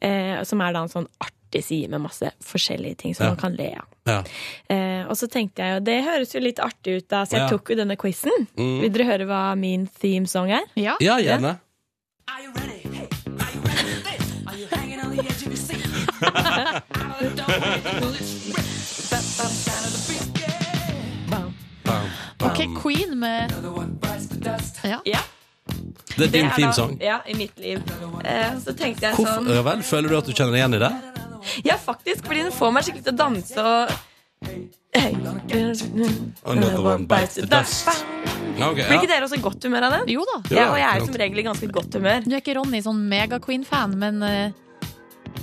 S2: eh, som er da en sånn artig side med masse forskjellige ting som
S1: Ja.
S2: man kan le av.
S1: Ja.
S2: Eh, og så tenkte jeg jo, det høres jo litt artig ut, da, så jeg
S1: Ja.
S2: tok jo denne quizen.
S1: Mm.
S2: Vil dere høre hva min theme song er?
S3: Ja.
S1: ja, gjerne.
S3: Ok, Queen med ja.
S2: Ja,
S1: Det
S2: det
S1: er din
S2: er da-
S1: themesong.
S2: Ja, i mitt liv. Eh, så tenkte jeg
S1: Hvorfor,
S2: sånn
S1: ja vel, føler du at du kjenner deg igjen i det?
S2: Ja, faktisk, fordi den får meg skikkelig til å danse og
S1: Another one bites the dust. Ja, ok,
S10: Blir
S1: ja.
S10: ikke dere også i godt humør av det?
S3: Jo da.
S1: Jo da,
S10: Ja, og jeg er
S1: klart.
S10: som regel i ganske godt humør.
S3: Du er ikke Ronny sånn mega-queen-fan, men eh,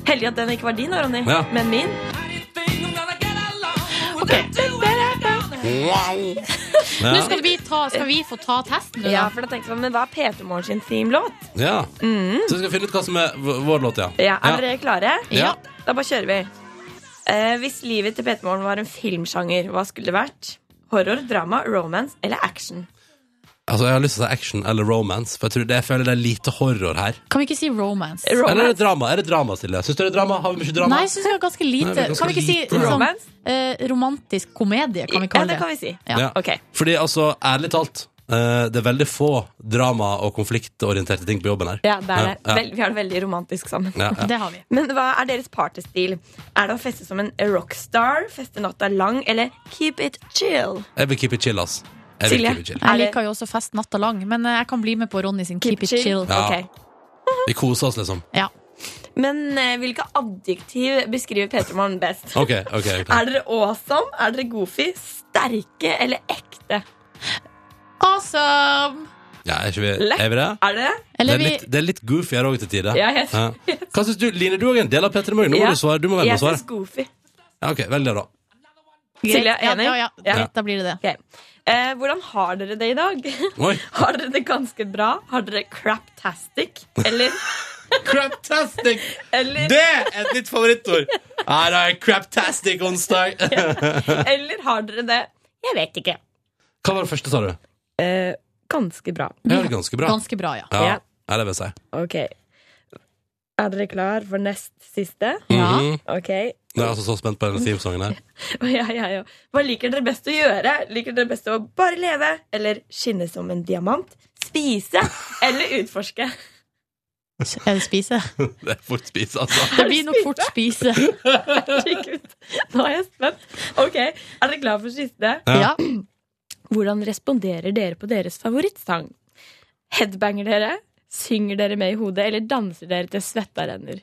S10: Heldig at den ikke var din, da, Ronny,
S1: Ja.
S10: men min.
S1: Ja.
S3: Nå skal vi, ta, skal vi få ta testen, du,
S10: Ja,
S3: da.
S10: for da tenkte jeg sånn, men hva er P3 Morgen sin themelåt?
S1: ja. Så vi skal finne ut hva som er v- vår låt, ja.
S10: Mm. Ja, er dere klare?
S1: Ja.
S10: Da bare kjører vi. Eh, hvis livet til P3 Morgen var en filmsjanger, hva skulle det vært? Horror, drama, romance eller action?
S1: Altså, jeg har lyst til å si action eller romance, for jeg, tror det, jeg føler det er lite horror her.
S3: Kan vi ikke si romance?
S1: Eller er det
S10: Romance?
S1: drama? Er det drama, Silje? Syns du det er drama? Har vi mye drama?
S3: Nei, jeg syns vi har ganske
S1: Nei,
S3: lite.
S1: vi har ganske
S3: kan vi ikke si
S1: lite, ja.
S3: sånn
S10: romance?
S3: eh, romantisk komedie, kan vi
S10: Ja,
S3: kalle
S10: det kan
S3: det?
S10: vi si.
S3: Ja.
S1: Ja.
S10: Ok.
S1: Fordi, altså, ærlig talt, eh, det er veldig få drama- og konfliktorienterte ting på jobben her.
S10: Ja, det er det.
S1: Ja, ja.
S10: Vel, vi har det veldig romantisk sammen.
S1: Ja, ja.
S3: Det har vi.
S10: Men hva er deres partystil? Er det å feste som en rockstar, feste natta lang, eller keep it chill?
S1: Jeg vil keep it chill, ass. Jeg vil
S10: Silje?
S1: keep it chill.
S10: Er
S3: Jeg
S10: det-
S3: liker jo også fest natta lang, men eh, jeg kan bli med på Ronny sin Keep it chill.
S1: Ja.
S10: Ok.
S1: Vi koser oss, liksom.
S3: Ja.
S10: Men eh, hvilke adjektiv beskriver Peter Morgen best?
S1: OK. ok, ok
S10: Er dere awesome? Er dere goofy? Sterke eller ekte?
S3: Awesome!
S1: Ja, er ikke vi, er vi det?
S10: Er dere
S1: Det
S10: det?
S1: er
S3: Eller vi
S1: litt, det er litt goofy her òg til tider.
S10: Ja, jeg-
S1: Hva syns du? Line, du er også en del av P3 Morgen. Nå
S10: Ja.
S1: må du svare. Du må være med og
S10: Jeg
S1: svare.
S10: syns goofy.
S1: Ja, OK. Velg det, da.
S10: Silje,
S3: Ja,
S10: enig?
S3: ja, ja.
S10: Ja.
S3: Greit, Da blir det det.
S10: Ok. Eh, hvordan har dere det i dag?
S1: Oi.
S10: Har dere det ganske bra? Har dere craptastic? Eller,
S1: Craptastic!
S10: eller,
S1: Det er et nytt favorittord! Her er craptastic onsdag.
S10: eller har dere det Jeg vet ikke.
S1: Hva var det første, sa du?
S10: Eh, ganske bra.
S1: Jeg har det ganske bra.
S3: Ganske bra, ja.
S1: Ja,
S10: Ja.
S1: ja, det vil jeg si.
S10: Ok. Er dere klar for nest siste?
S1: Mhm.
S10: Ok.
S1: Nå er jeg altså så spent på denne themesongen her.
S10: Og jeg, jeg, og- Hva liker dere best å gjøre? Liker dere best å bare leve? Eller skinne som en diamant? Spise? Eller utforske?
S3: Er det spise?
S1: Det er fort spise, altså.
S3: Det blir nok fort spise.
S10: Herregud, Nå er jeg spent. Ok, Er dere klar for siste?
S3: Ja.
S10: Hvordan responderer dere på deres favorittsang? Headbanger dere? Synger dere med i hodet, eller danser dere til svetta renner?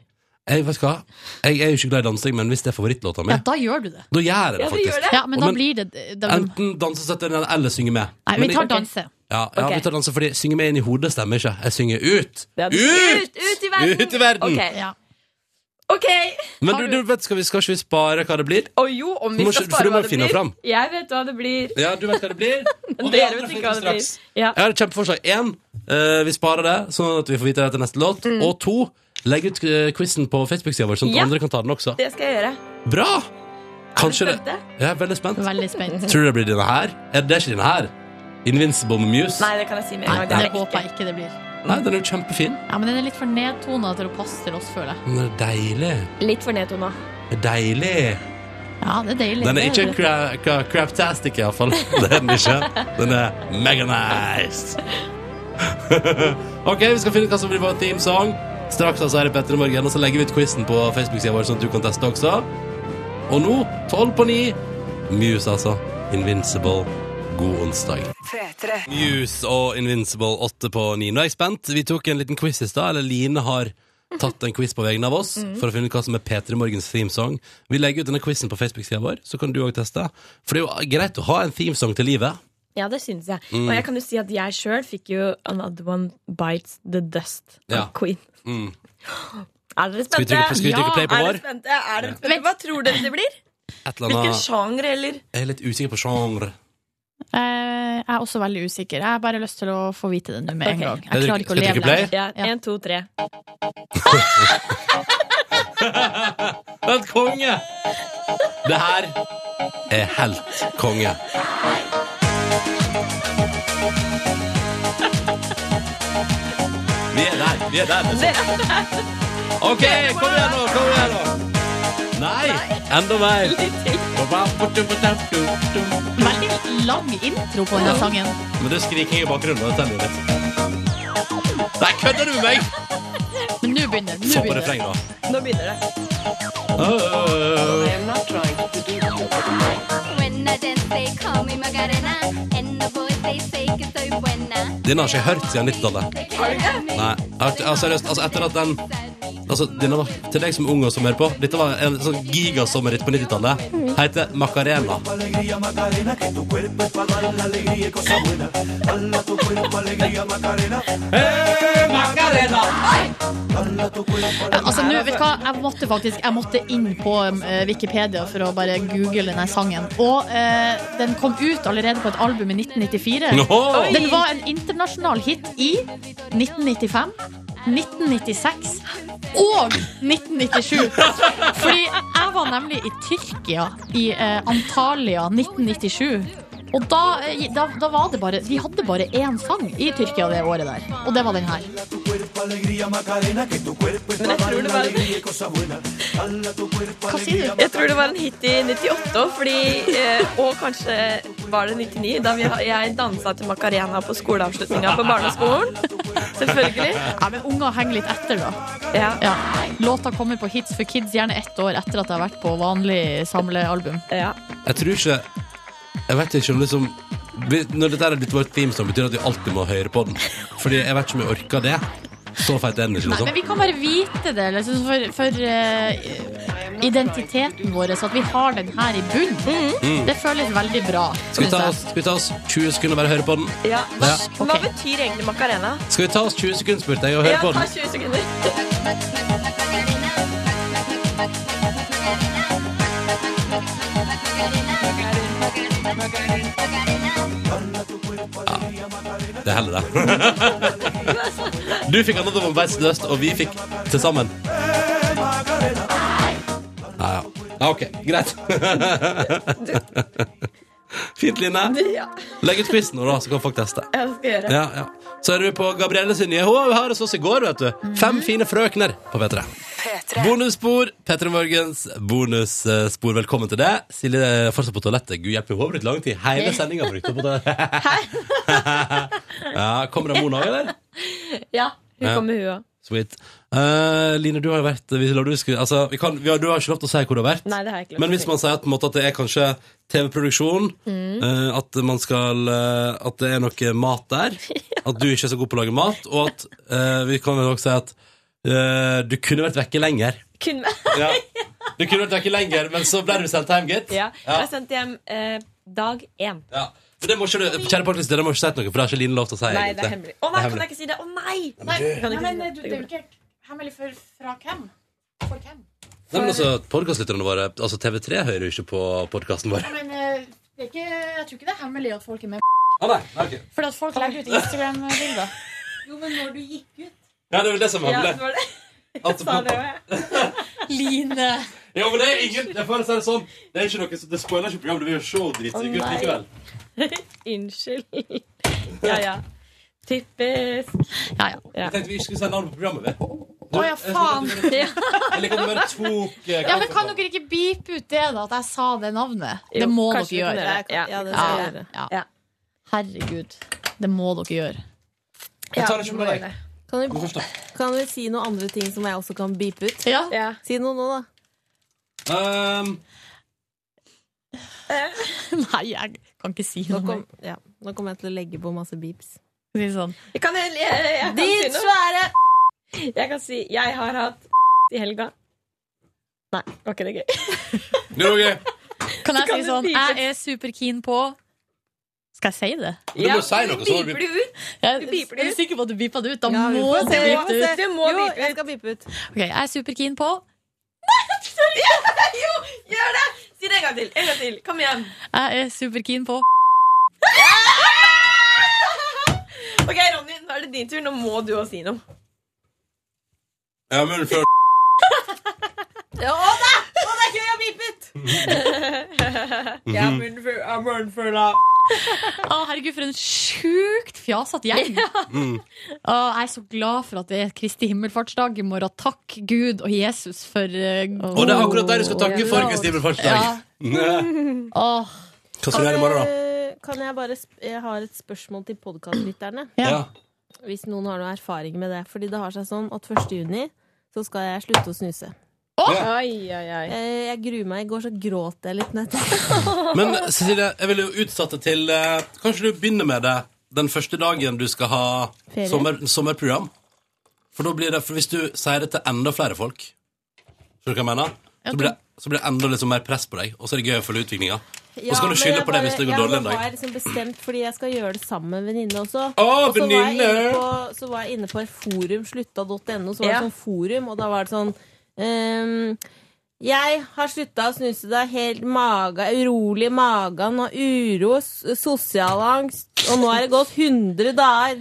S1: Jeg, vet du hva? jeg er jo ikke glad i dansing, men hvis det er favorittlåta mi,
S3: ja, da gjør du det.
S1: da gjør jeg
S10: Ja,
S1: det
S10: dere gjør
S1: faktisk.
S10: det?
S3: Ja, men da
S1: Men-
S3: blir det da,
S1: Enten danse, sette den eller synge med.
S3: Nei,
S1: Men
S3: vi tar
S1: jeg-
S3: danse.
S1: Ja, ja
S10: Ok.
S1: vi tar danse, fordi synge med inn i hodet stemmer ikke. Jeg synger ut!
S10: Det er-
S1: Ut!
S10: Ut! Ut i verden!
S1: Ut i verden!
S10: Ok.
S3: Ja.
S10: ok.
S1: Men
S3: Har
S1: du,
S3: du-
S1: du vet, skal, vi, skal ikke vi spare hva det blir?
S10: Å jo, om vi
S1: Du må
S10: skal
S1: skj- for
S10: spare
S1: du må
S10: hva det
S1: finne
S10: blir.
S1: fram.
S10: Jeg vet hva det blir.
S1: Ja, du vet hva det blir? Og vi
S10: Dere
S1: andre
S10: vet
S1: finner
S10: ikke hva det blir.
S1: straks.
S10: Ja.
S1: Jeg har et kjempeforslag. Én, eh, vi sparer det, sånn at vi får vite det til neste låt. Og to, legg ut eh, quizen på Facebook-sida vår, sånn at
S10: Mm. Ja.
S1: andre kan ta den også.
S10: Det skal jeg gjøre.
S1: Bra! Kanskje det.
S10: spente?
S1: Jeg er veldig spent.
S3: Veldig spent.
S1: Tror du det blir denne her? Er det ikke denne her? Invincible med Muse?
S10: Nei, det kan jeg si med
S3: Nei,
S10: en gang.
S3: det
S10: Det er
S3: håper
S10: ikke.
S3: jeg ikke det blir.
S1: Nei, den er jo kjempefin.
S3: Ja, Men den er litt for nedtona til å passe til oss, føler jeg.
S1: Den er deilig.
S10: Litt for nedtona.
S1: Den er Deilig.
S3: Ja, det er deilig.
S1: Den er
S3: Det
S1: ikke
S3: det.
S1: cra cra craptastic, iallfall. Det er den ikke. Den er mega nice. OK, vi skal finne ut hva som blir vår theme song. Straks altså er det Petter i morgen, og så legger vi ut quizen på Facebook-sida vår, sånn at du kan teste også. Og nå, tolv på ni, Muse, altså. Invincible. God onsdag. Muse og Invincible 8 på 9. Nå er jeg spent. Vi tok en liten quiz i stad. Eller Line har tatt en quiz på vegne av oss
S3: Mhm.
S1: for å finne ut hva som er P3 Morgens themesong. Vi legger ut denne quizen på Facebook-sida vår, så kan du òg teste. For det er jo greit å ha en themesong til livet.
S10: Ja, det syns jeg.
S1: Mm.
S10: Og jeg kan jo si at jeg sjøl fikk jo Another One Bites The Dust av
S1: Ja.
S10: Queen.
S1: Mm.
S10: Er dere
S1: Skal vi trykke på,
S10: spente?
S1: skal vi trykke play på
S10: Er
S1: vår?
S10: dere spente? Er dere spente? Hva tror dere det blir?
S1: Et eller
S10: Hvilken
S1: annet
S10: sjanger, eller?
S1: Jeg er litt usikker på sjanger.
S3: Eh, Jeg er også veldig usikker. Jeg har bare lyst til å få vite det nå med en
S10: Ok.
S3: gang.
S1: Skal jeg
S3: Jeg klarer ikke å
S1: trykke-
S3: leve
S1: skal jeg trykke
S3: lenger.
S10: Ja,
S3: Ja.
S10: Én, to, tre.
S1: Helt konge! Det her er helt konge. Vi er der. Vi er der. liksom. OK, kom igjen nå. Kom igjen nå. Nei, enda mer.
S3: Veldig lang intro på denne sangen.
S1: Men det er skriking i bakgrunnen. og Det teller jo litt. Nei, kødder du med meg?
S3: Men nå begynner
S1: Få
S3: nå
S1: på
S3: begynner det.
S1: refreng, da.
S10: Nå begynner det.
S1: Åh. Den har ikke jeg hørt siden 90-tallet. Nei, jeg har- altså, seriøst, altså, etter at den altså, denne var, til deg som er ung og som hører på, dette var en sånn gigasommerhit på 90-tallet.
S4: Mm.
S1: Heter Macarena.
S4: Alegría Macarena, que tu cuerpo es para dar la alegría y cosa buena. Dala tu cuerpo, alegría Macarena. ¡Eh, Macarena! Dala tu cuerpo,
S3: Altså, nå, vet du hva? Jeg måtte faktisk Jeg måtte inn på eh, Wikipedia for å bare google denne sangen. Og eh, den kom ut allerede på et album i 1994.
S4: Nå!
S3: Den var en internasjonal hit i 1995. 1996 og 1997. Fordi jeg var nemlig i Tyrkia, i eh, Antalya 1997. Og da, eh, da, da var det bare De hadde bare én sang i Tyrkia det året der, og det var den her.
S4: alegría Macarena, que tu cuerpo es para dar la alegría y cosa buena. Dala tu cuerpo, alegría
S10: Jeg tror det var en hit i 98 òg, fordi eh, Og kanskje var det 99, da vi, jeg dansa til Macarena på skoleavslutninga på barneskolen. Selvfølgelig.
S3: Ja, men unger henger litt etter, da.
S10: Ja.
S3: Låta kommer på hits for kids gjerne ett år etter at det har vært på vanlig samlealbum.
S1: Jeg tror ikke Jeg vet ikke om liksom vi- Når dette er blitt vårt themesong, betyr det at vi alltid må høre på den. Fordi jeg vet ikke om jeg orker det. Så feit er den ikke,
S3: Nei, men
S1: liksom.
S3: vi kan bare vite det liksom, for, for eh, identiteten vår, så at vi har den her i bunnen.
S1: Mm.
S3: Det føles veldig bra.
S1: Skal vi, ta
S3: synes
S1: oss, skal vi ta oss 20 sekunder og bare høre på den?
S10: Ja. Hva,
S1: Ja.
S10: hva betyr egentlig Macarena?
S1: Skal vi ta oss 20 sekunder, spurte jeg, og høre
S10: Ja,
S1: på
S10: ta
S1: den?
S10: 20 sekunder.
S1: Det er heller det. Du fikk annet om Beist Nøst, og vi fikk til sammen. Ja, ja. Ja, OK. Greit. Fint, Line.
S10: Ja.
S1: Legg ut quizen nå, da, så kan folk teste.
S10: Jeg skal gjøre
S1: Ja, ja. Så er vi på Gabrielle sin nye Hun har hos oss i går, vet du. Fem fine frøkner på P3. Bonusspor. P3 Morgens bonusspor. Velkommen til det. Silje er fortsatt på toalettet. Gud hjelpe, hun har brukt lang tid. Hele sendinga brukte hun på toalettet. ja, kommer det Mona òg, eller?
S2: Ja, hun
S1: Ja.
S2: kommer hun òg.
S1: Sweet. Eh, Line, du har jo vært vi, la du, skri- altså, vi kan, vi har, du har ikke lov til å si hvor du har vært.
S2: Nei, det har jeg ikke lov
S1: Men
S2: til å
S1: hvis
S2: si.
S1: man sier at, på en måte, at det er kanskje TV-produksjon,
S2: Mm.
S1: eh, at man skal eh, At det er noe mat der, at du ikke er så god på å lage mat, og at eh, vi kan vel også si at eh, du kunne vært vekke lenger.
S10: Kunne
S1: Ja. Du kunne vært vekke lenger, men så ble du sendt hjem, gitt.
S10: Ja.
S1: Ja.
S10: Jeg er sendt hjem eh, dag én.
S1: Ja. For det må ikke du, kjære parklist, det må ikke si noe, for det har ikke Line lov til å si.
S10: Nei, det er
S1: egentlig.
S10: hemmelig.
S1: Det
S10: Å nei,
S1: er
S10: kan
S1: hemmelig.
S10: jeg ikke si det? Å nei!
S1: Nei, men du-
S10: kan jeg
S3: Nei,
S10: ikke
S3: nei,
S10: si
S3: du-
S10: det.
S3: det er jo ikke hemmelig for, fra hvem? For hvem?
S1: Nei, men altså, Podkastlytterne våre, altså TV3, hører jo ikke på podkasten vår.
S3: Ja, men, eh, det er ikke, jeg tror ikke det er hemmelig at folk er med.
S10: Ah,
S1: Å nei, nei, ok.
S3: Fordi at folk legger ut Instagram-bilder. Jo, men når du gikk ut
S1: Ja, det er vel det som er hemmelig.
S10: var det.
S1: At på-
S3: Line.
S1: Ja, men det er ingen Det får jeg si det sånn. Det er ikke noe som Det spoiler ikke programmet. Det blir jo show dritsykt
S10: Å, nei.
S1: likevel.
S10: Unnskyld. Ja, ja. Typisk.
S3: Ja, ja.
S1: Jeg tenkte vi ikke skulle si navnet på programmet, vi.
S3: Å ja, faen.
S1: Eller kan du bare tok eh,
S3: Ja, men Kan dere ikke beepe ut det, da? At jeg sa det navnet? det må dere gjøre. Ja, ja. Herregud. Det må dere gjøre.
S7: Jeg tar det ikke med deg. Kan vi, kan vi si noen andre ting som jeg også kan beepe ut? Si noe nå, da.
S1: Um,
S3: Nei, jeg kan ikke si
S7: noe. Nå, kom, ja, nå kommer jeg til å legge på masse beeps.
S3: Si sånn.
S10: Jeg kan, jeg, jeg, jeg kan
S7: Ditt
S10: si noe. Jeg kan si jeg har hatt i helga. Nei, var ikke det gøy?
S1: Det var gøy.
S3: Kan
S10: Kan
S3: jeg si
S10: du
S3: sånn
S10: beepe?
S3: Jeg er superkeen på Skal jeg si det?
S1: Du må si noe, så må du beepe.
S10: ut.
S3: Jeg er du sikker på at du beepa det ut. Da
S7: Ja, vi
S3: må
S7: får
S3: du
S7: se, vi
S3: beepe
S7: får
S3: det
S7: se.
S3: ut.
S10: Du må
S7: jo,
S10: beepe
S7: jeg skal beepe ut.
S3: Ok, Jeg er superkeen på
S10: Jo, gjør det! Si det en gang til. En gang til. Kom igjen.
S3: Jeg er superkeen på
S10: Ok, Ronny, nå er det din tur. Nå må du også si noe.
S1: Ja, men før
S10: Ja, Å da! Å, det er gøy å bipe ut! Ja,
S1: Mhm.
S10: men for- ja, men for da.
S3: Å, herregud, for en sjukt fjasete gjeng.
S1: mm.
S3: Å, jeg er så glad for at det er Kristi himmelfartsdag i morgen. Takk Gud og Jesus for eh,
S7: Mm.
S3: god
S1: Og det er akkurat der du skal takke for Kristi himmelfartsdag.
S3: Ja. Åh.
S1: Hva skal du gjøre i morgen, da?
S7: Kan jeg bare sp Jeg har et spørsmål til podkastlytterne.
S1: Ja.
S7: Hvis noen har noe erfaring med det. Fordi det har seg sånn at 1. juni så skal jeg slutte å snuse.
S1: Ja.
S7: Eh, Jeg gruer meg. I går så gråt jeg litt nettopp.
S1: Men Cecilie, jeg vil jo utsette til eh, Kanskje du begynner med det den første dagen du skal ha
S7: Ferie.
S1: sommer, sommerprogram? For da blir det, for hvis du sier det til enda flere folk, skjønner du hva jeg mener? Så blir det, så blir det enda liksom mer press på deg, og så er det gøy å følge utviklinga. og så kan du skylde på det hvis det går dårlig en
S7: Jeg
S1: dag.
S7: var liksom bestemt fordi jeg skal gjøre det sammen med en venninne også.
S1: Å,
S7: og så var, jeg
S1: venninne!
S7: inne på- så var jeg inne på et forum, slutta.no, så var
S10: Ja.
S7: det sånn forum, og da var det sånn ehm, jeg har slutta å snuse. Det er helt mage, urolig i magen og uro, s- sosial angst. Og nå er det gått 100 dager.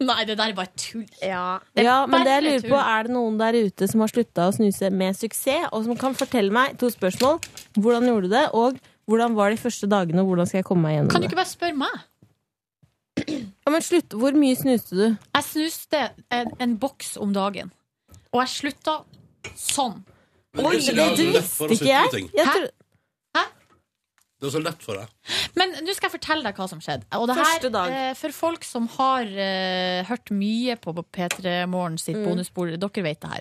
S3: Nei, det der er bare tull.
S10: Ja,
S7: Ja, men det jeg lurer på Er det noen der ute som har slutta å snuse med suksess, og som kan fortelle meg to spørsmål? Hvordan gjorde du det, og hvordan var de første dagene, og hvordan skal jeg komme meg gjennom
S3: Kan du
S7: det?
S3: ikke bare spørre meg?
S7: Ja, men slutt, Hvor mye snuste du?
S3: Jeg snuste en, en boks om dagen, og jeg slutta sånn.
S1: Men Oi, plutselig har det du lett for å visste slutte ikke jeg. på ting. Jeg
S3: Hæ?
S1: tror- Det er så lett for deg.
S3: Men nå skal jeg fortelle deg hva som skjedde. Og det
S7: Første
S3: her,
S7: dag.
S3: eh, for folk som har eh, hørt mye på P3 Morgen sitt
S7: Mm.
S3: bonusbord, dere vet det her.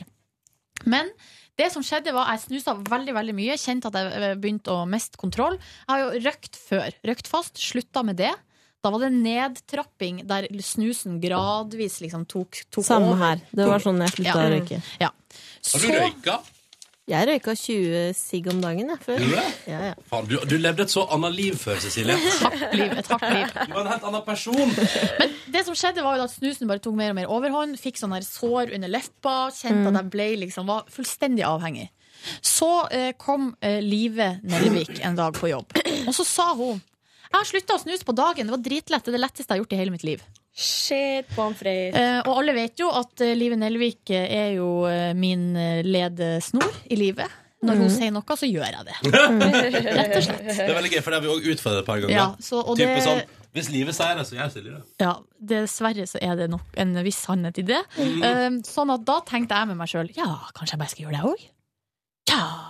S3: Men det som skjedde var jeg snusa veldig veldig mye. Kjente at jeg eh, begynte å miste kontroll. Jeg har jo røkt før. Røkt fast. Slutta med det. Da var det nedtrapping der snusen gradvis liksom tok, tok
S7: Samme
S3: over.
S7: her. Det var sånn jeg slutta å røyke.
S3: Ja.
S1: Har du
S3: Så-
S1: røyka?
S7: Jeg røyka 20 sigg om dagen, jeg, før.
S1: Gjorde du det?
S7: Ja, ja.
S1: Faen, du, du levde et så annet liv før, Cecilie.
S3: Et hardt liv.
S1: Du var en helt annen person.
S3: Det som skjedde var jo at Snusen bare tok mer og mer overhånd. Fikk sånne her sår under leppa. Kjente at jeg ble liksom, var fullstendig avhengig. Så eh, kom eh, Live Nelvik en dag på jobb. Og så sa hun Jeg har slutta å snuse på dagen. Det var dritlett. Det er det letteste jeg har gjort i hele mitt liv.
S10: Shit, pommes frites.
S3: Eh, og alle vet jo at eh, Live Nelvik eh, er jo eh, min eh, ledesnor i livet. Når hun
S1: Mhm.
S3: sier noe, så gjør jeg det.
S1: Rett
S3: og slett.
S1: Det er veldig gøy, for det har vi også utfordret et par ganger.
S3: Ja, så- og
S1: Type
S3: det-
S1: sånn, Hvis livet sier det, så gjør Silje det.
S3: Ja, dessverre så er det nok en viss sannhet i det.
S1: Mhm.
S3: Eh, sånn at da tenkte jeg med meg sjøl ja, kanskje jeg bare skal gjøre det òg. Ja!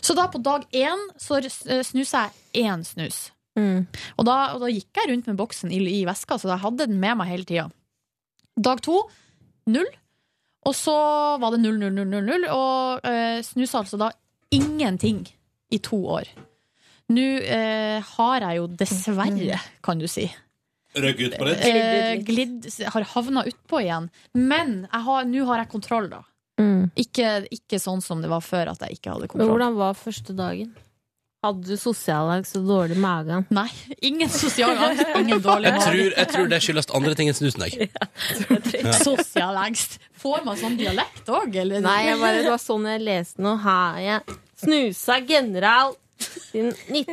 S3: Så da på dag én så eh, snuser jeg én snus.
S7: Mm.
S3: Og, da, og da gikk jeg rundt med boksen i, i veska, så jeg hadde den med meg hele tida. Dag to null. Og så var det null, null, null, null, null. Og eh, snusa altså da ingenting i to år. Nå eh, har jeg jo dessverre, kan du si,
S1: Røyk ut på det.
S3: eh, glidd, har havna utpå igjen. Men jeg har- nå har jeg kontroll, da.
S7: Mm.
S3: Ikke, ikke sånn som det var før, at jeg ikke hadde
S7: Men
S3: kontroll.
S7: hvordan var første dagen? Hadde du sosial angst og dårlig i magen?
S3: Nei. Ingen sosial angst, ingen dårlig
S1: Jeg
S3: mage.
S1: tror, jeg tror det skyldes andre ting enn snusen, jeg. Ja.
S3: Sosial angst. Får man sånn dialekt òg, eller?
S7: Nei, jeg bare, det var sånn jeg leste nå. Har jeg snusa general siden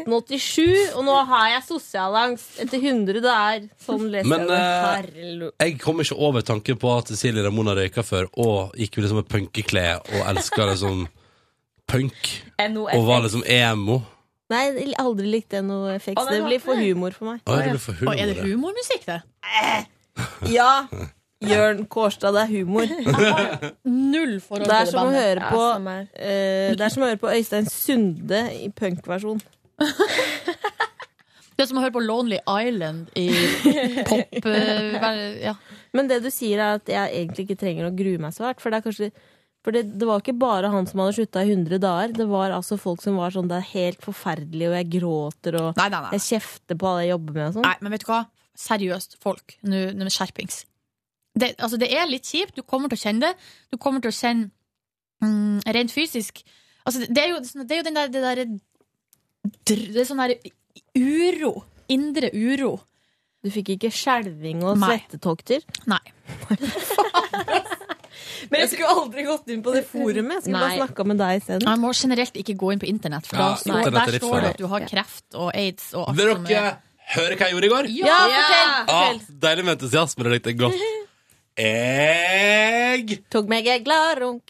S7: 1987, og nå har jeg sosial angst etter 100 dager. Sånn leser
S1: Men
S7: jeg det.
S1: eh, jeg kom ikke over tanken på at Cecilie Ramona røyka før og gikk jo liksom med punkeklær og elska liksom punk.
S7: NOFX.
S1: Og var liksom emo.
S7: Nei, jeg aldri likte noe effekt.
S3: Å, nei,
S7: Det
S3: du
S7: blir
S3: hater
S7: for
S3: det.
S7: humor for meg.
S1: Å, det blir for humor,
S3: Og er det
S1: ja.
S3: humormusikk, det?
S7: Ja! Jørn Kårstad, det er humor.
S3: Null forhold
S7: det
S3: til
S7: er
S3: det
S7: som å
S3: bandet.
S7: høre
S3: Ja,
S7: på
S3: samme her.
S7: eh, Det er som å høre på Øystein Sunde i punkversjon.
S3: Det er som å høre på Lonely Island i pop eh, ver- ja.
S7: Men det du sier, er at jeg egentlig ikke trenger å grue meg så hardt. For det er kanskje for det, det var ikke bare han som hadde slutta i 100 dager. Det var altså folk som var sånn Det er helt forferdelig, og jeg gråter, og jeg kjefter på alle jeg jobber med, og sånn.
S3: Nei, men vet du hva? Seriøst, folk. Nå nå skjerpings. Det, altså, det er litt kjipt. Du kommer til å kjenne det. Du kommer til å kjenne mm, rent fysisk altså, det, er jo, sånn- det er jo den der, det der dr- Det er sånn der uro. Indre uro.
S7: Du fikk ikke skjelving og
S3: Nei.
S7: svettetokter?
S3: Nei.
S7: Men jeg skulle aldri gått inn på det forumet. Jeg skulle bare
S3: Nei.
S7: snakka med deg isteden.
S3: Jeg må generelt ikke gå inn på internett, for da
S1: Ja,
S3: står,
S1: internett er
S3: der
S1: litt
S3: står det
S1: farlig.
S3: at du har kreft og aids og alt
S1: Vil
S3: som
S1: dere
S3: er
S1: høre hva jeg gjorde i går?
S3: Ja, fortell, fortell.
S1: Ah, deilig med entusiasme. Det likte jeg godt. Jeg
S7: Tok meg en glad runk.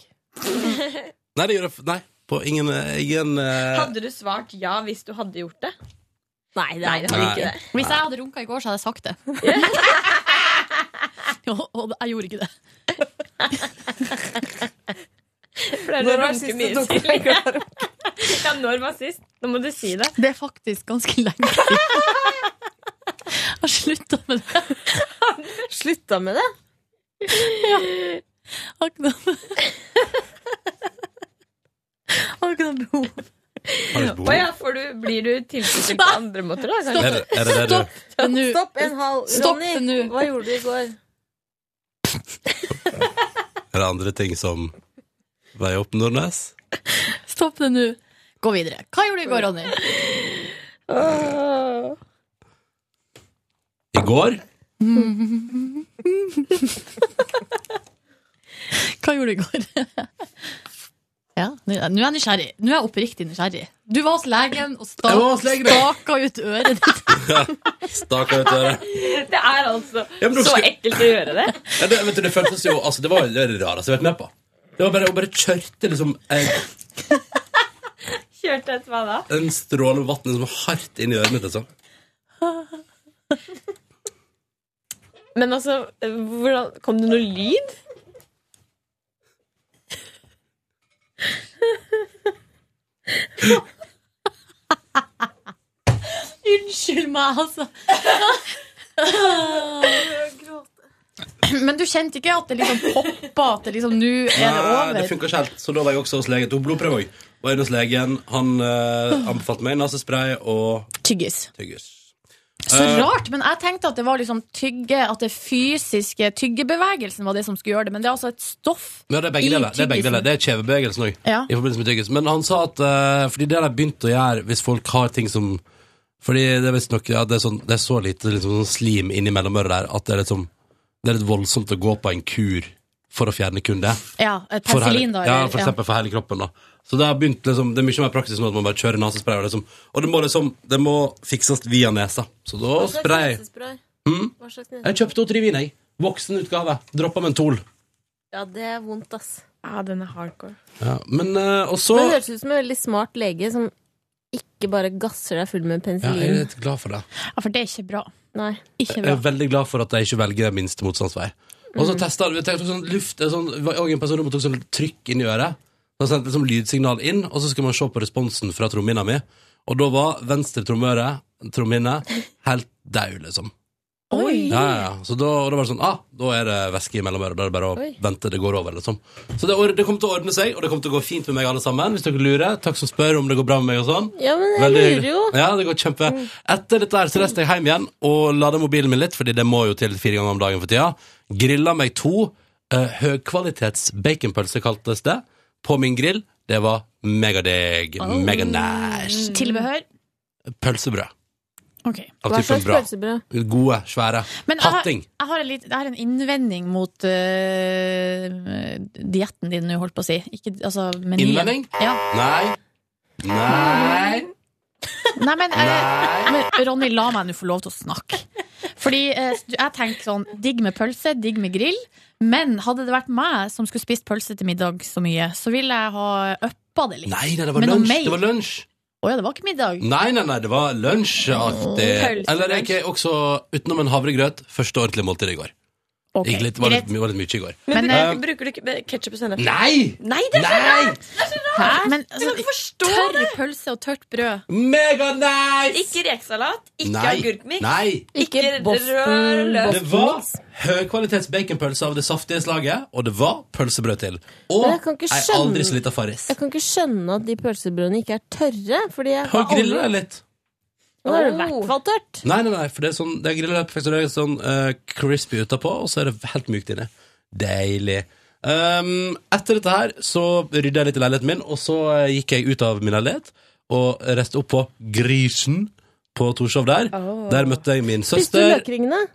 S1: Nei, det gjorde jeg f- Nei, på ingen, ingen eh,
S10: Hadde du svart ja hvis du hadde gjort det?
S7: Nei,
S10: det hadde
S1: Nei.
S10: ikke det.
S1: Hvis
S3: Hvis jeg hadde runka i går, så hadde jeg sagt det. og, og jeg gjorde ikke det.
S10: Pleier du å
S3: Når var
S10: runke
S3: sist du
S10: mye,
S3: tok deg
S10: Silje? ja, når var sist? Nå må du si det.
S3: Det er faktisk ganske lenge siden. Jeg har slutta med det.
S7: Slutta med det?
S3: Ja. Har ikke noe Har ikke noe behov.
S10: Å ja, får du, blir du tilfredsstilt på andre måter, da?
S1: Er det- er det det du-
S3: Stopp,
S7: stopp en halv.
S10: Stopp
S7: Ronny, hva gjorde du i går?
S1: Er det andre ting som veier opp Nordnes?
S3: Stopp det nå. Gå videre. Hva gjorde du i går, Ronny?
S1: I går
S3: Hva gjorde du i går? Ja, nå nå er jeg nysgjerrig. Nå er jeg oppriktig nysgjerrig. Du var hos legen og sta
S1: Jeg var hos legen, ja.
S3: staka ut øret ditt.
S1: staka ut øret.
S2: Det er altså
S1: Ja, men du
S2: så
S1: skal-
S2: ekkelt å gjøre det.
S1: Ja, det, vet du, det føltes jo altså, Det var jo det rareste jeg har vært med på. Det var bare, Hun bare kjørte liksom en,
S2: Kjørte etter meg da.
S1: en stråle med vann liksom, hardt inn i øret mitt. Liksom.
S2: Men altså, hvordan, kom det noe lyd?
S3: Unnskyld meg, altså. Men du kjente ikke at det liksom poppa, at det liksom nå er det
S1: Nei, det
S3: over?
S1: funka ikke helt. Så da var jeg også hos legen. Tok blodprøve òg. Var inne hos legen. Han eh, anbefalte meg nesespray og
S3: Tyggis.
S1: tyggis.
S3: Så
S1: Eh,
S3: rart, men jeg tenkte at det var liksom tygge At det fysiske tyggebevegelsen var det som skulle gjøre det, men det er altså et stoff
S1: Men ja, det er begge
S3: i
S1: deler. Det er, begge
S3: tyggisen.
S1: deler. Det er kjevebevegelsen òg.
S3: Ja.
S1: I forbindelse med tyggis. Men han sa at eh, Fordi det har de begynt å gjøre hvis folk har ting som Fordi det er visstnok ja, det, er sånn, det er så lite liksom, sånn slim innimellom øret der at det er litt sånn Det er litt voldsomt å gå på en kur for å fjerne kun det.
S3: Ja, eh,
S1: For hele-
S3: penicillin, da.
S1: Ja,
S3: eller-
S1: for eksempel for hele kroppen, da. Så det har begynt liksom Det er mye mer praksis nå at man bare kjører nesespray. Og, liksom, og det må liksom Det må fikses via nesa. Så da
S7: Hva slags
S1: spray jeg.
S7: nesespray?
S1: Mm?
S7: Hva slags nesespray?
S1: Jeg kjøpte Otrivin, jeg. Voksenutgave. Droppa mentol.
S7: Ja, det er vondt, ass.
S2: Ja, den er hardcore.
S1: Ja, men eh, Og så
S7: Men det høres ut som en veldig smart lege som ikke bare gasser deg full med
S1: ja, jeg er
S7: penicillin.
S1: litt glad for det.
S3: Ja, for det er ikke bra.
S7: Nei.
S3: Ikke
S1: Jeg er veldig glad for at jeg ikke velger minste motstandsvei. Og så
S7: Mm.
S1: testet vi tenkte sånn luft eh, sånn, Det var også en person som tok sånn trykk inn i øret. Så sendte liksom lydsignal inn, og så skulle man se på responsen fra trommehinna mi. Og da var venstre trommeøre, trommehinne, helt daud, liksom.
S4: Oi.
S1: Ja, ja, ja. Så da, og da var det sånn Ah, da er det væske i mellomøret. Da er det bare å
S4: Oi.
S1: vente, det går over, liksom. Så det, or- det kommer til å ordne seg, og det kommer til å gå fint med meg, alle sammen. Hvis dere lurer. Takk som spør om det går bra med meg og sånn.
S7: Ja, men jeg
S1: Veldig
S7: lurer
S1: hyggelig.
S7: jo.
S1: Ja, det går kjempe
S3: Mm.
S1: Etter dette her så reiste jeg hjem igjen og lada mobilen min litt, fordi det må jo til fire ganger om dagen for tida. Grilla meg to eh, høgkvalitets baconpølser, kaltes det, på min grill. Det var megadigg. Meganish.
S3: Tilbehør.
S1: Pølsebrød.
S3: Ok.
S1: Av typen bra. Gode, svære.
S3: Men ah. jeg har,
S1: Hatting.
S3: jeg, har en litt, jeg har en innvending mot uh, dietten din nå, holdt på å si. Ikke, altså, menyen.
S1: Innvending?
S3: Ja.
S1: Nei. Nei.
S3: Nei, men, eh, men Ronny, la meg nå få lov til å snakke. Fordi eh, jeg tenker sånn, digg med pølse, digg med grill. Men hadde det vært meg som skulle spist pølse til middag så mye, så ville jeg ha uppa det litt.
S1: Nei, Mm, nei, det var
S3: Med noe
S1: lunsj.
S3: mer.
S1: Det var lunsj.
S3: Å ja, det var ikke middag.
S1: Nei, nei, nei, det var lunsjaktig.
S3: Pølselunsj.
S1: Eller jeg gikk også utenom en havregrøt. Første ordentlige måltid i går.
S3: Ok,
S1: Gikk litt, var, litt,
S3: greit.
S1: var litt mye i går.
S10: Men,
S1: Eh,
S10: bruker, bruker du ikke ketsjup og sennep?
S1: Nei!
S10: Nei, det er så
S1: Nei!
S10: rart! Det er så
S3: Hæ?
S10: rart!
S3: Men, altså,
S10: du kan ikke forstå det!
S3: Tørr pølse og tørt brød.
S1: Mega nice!
S10: Ikke rekesalat, ikke
S1: Nei.
S10: agurkmiks,
S1: Nei.
S10: ikke rør løk.
S1: Det var høykvalitets baconpølse av det saftige slaget, og det var pølsebrød til. Og
S7: Men
S1: ei
S7: jeg kan ikke skjønne-
S1: aldri så lita farris.
S7: Jeg kan ikke skjønne at de pølsebrødene ikke er tørre. Fordi jeg
S1: Har grilla det litt.
S7: Nå er det i hvert fall tørt.
S1: Nei, nei, nei, for det er sånn Det er grilla perfekt, så det er sånn eh, crispy utapå, og så er det helt mykt inni. Deilig. Ehm, etter dette her så rydda jeg litt i leiligheten min, og så eh, gikk jeg ut av min leilighet og reiste opp på Grisen på Torshov der. Der møtte jeg min
S7: Spiste du
S1: søster.
S7: løkringene?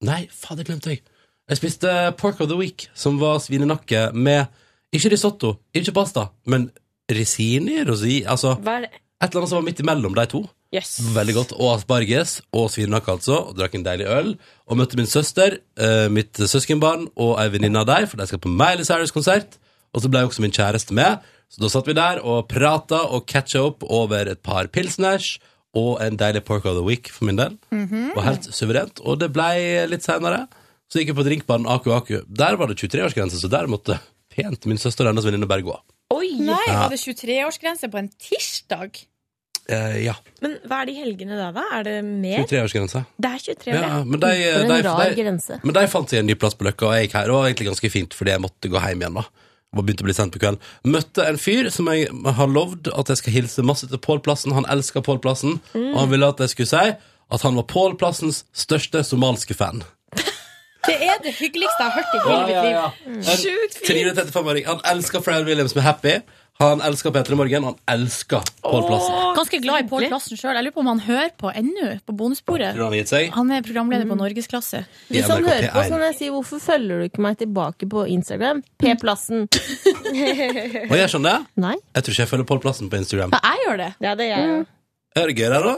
S1: Nei, faen, det glemte jeg. Jeg spiste pork of the week, som var svinenakke med ikke risotto, ikke pasta, men risini, rosi, altså
S2: Hva er det?
S1: et eller annet som var midt imellom de to.
S2: Yes.
S1: Veldig godt. Og asparges og svinenakke, altså. Og drakk en deilig øl. Og møtte min søster, eh, mitt søskenbarn og ei venninne av deg, for de skal på Miley Cyrus-konsert. Og så ble også min kjæreste med. Så da satt vi der og prata og catcha opp over et par pilsners og en deilig pork of the week for min del. Det var helt suverent. Og det ble litt senere. Så gikk jeg på drinkbaren Aku Aku. Der var det 23-årsgrense, så der måtte pent min søster og hennes venninne bare gå.
S2: Oi!
S1: Nei, Ja. var det
S2: 23-årsgrense på en tirsdag?
S1: Eh, ja.
S2: Men hva er de helgene da, da? Er det mer?
S1: 23-årsgrense.
S2: Det er 23,
S1: Ja, men de,
S7: For en
S1: de,
S7: rar
S1: de,
S7: grense.
S1: Men de fant seg en ny plass på Løkka, og jeg gikk her. Det var egentlig ganske fint, fordi jeg måtte gå hjem igjen da. Og begynte å bli sendt på kvelden. Møtte en fyr som jeg har lovd at jeg skal hilse masse til Pål Plassen. Han elsker Pål Plassen,
S4: Mm.
S1: og han ville at jeg skulle si at han var Pål Plassens største somalske fan.
S3: Det er det hyggeligste jeg har hørt i
S1: Ja,
S3: hele
S1: ja, ja.
S3: mitt liv.
S1: En Trine 35-åring. Han elsker Pharrell Williams med Happy. Han elsker Peter i Morgen. Han elsker Pål Plassen.
S3: Ganske glad i Pål Plassen sjøl. Jeg lurer på om han hører på ennå, på bonussporet.
S1: Tror du han har gitt seg?
S3: Han er programleder på Norgesklasse.
S1: I
S7: Hvis han
S1: NRK
S7: hører på,
S1: P1.
S7: så kan jeg si hvorfor følger du ikke meg tilbake på Instagram? P-plassen.
S1: Og jeg skjønner det?
S7: Nei.
S1: Jeg tror ikke jeg følger Pål Plassen på Instagram.
S3: jeg gjør det.
S7: Ja, det gjør jeg.
S1: Er det gøy der, da?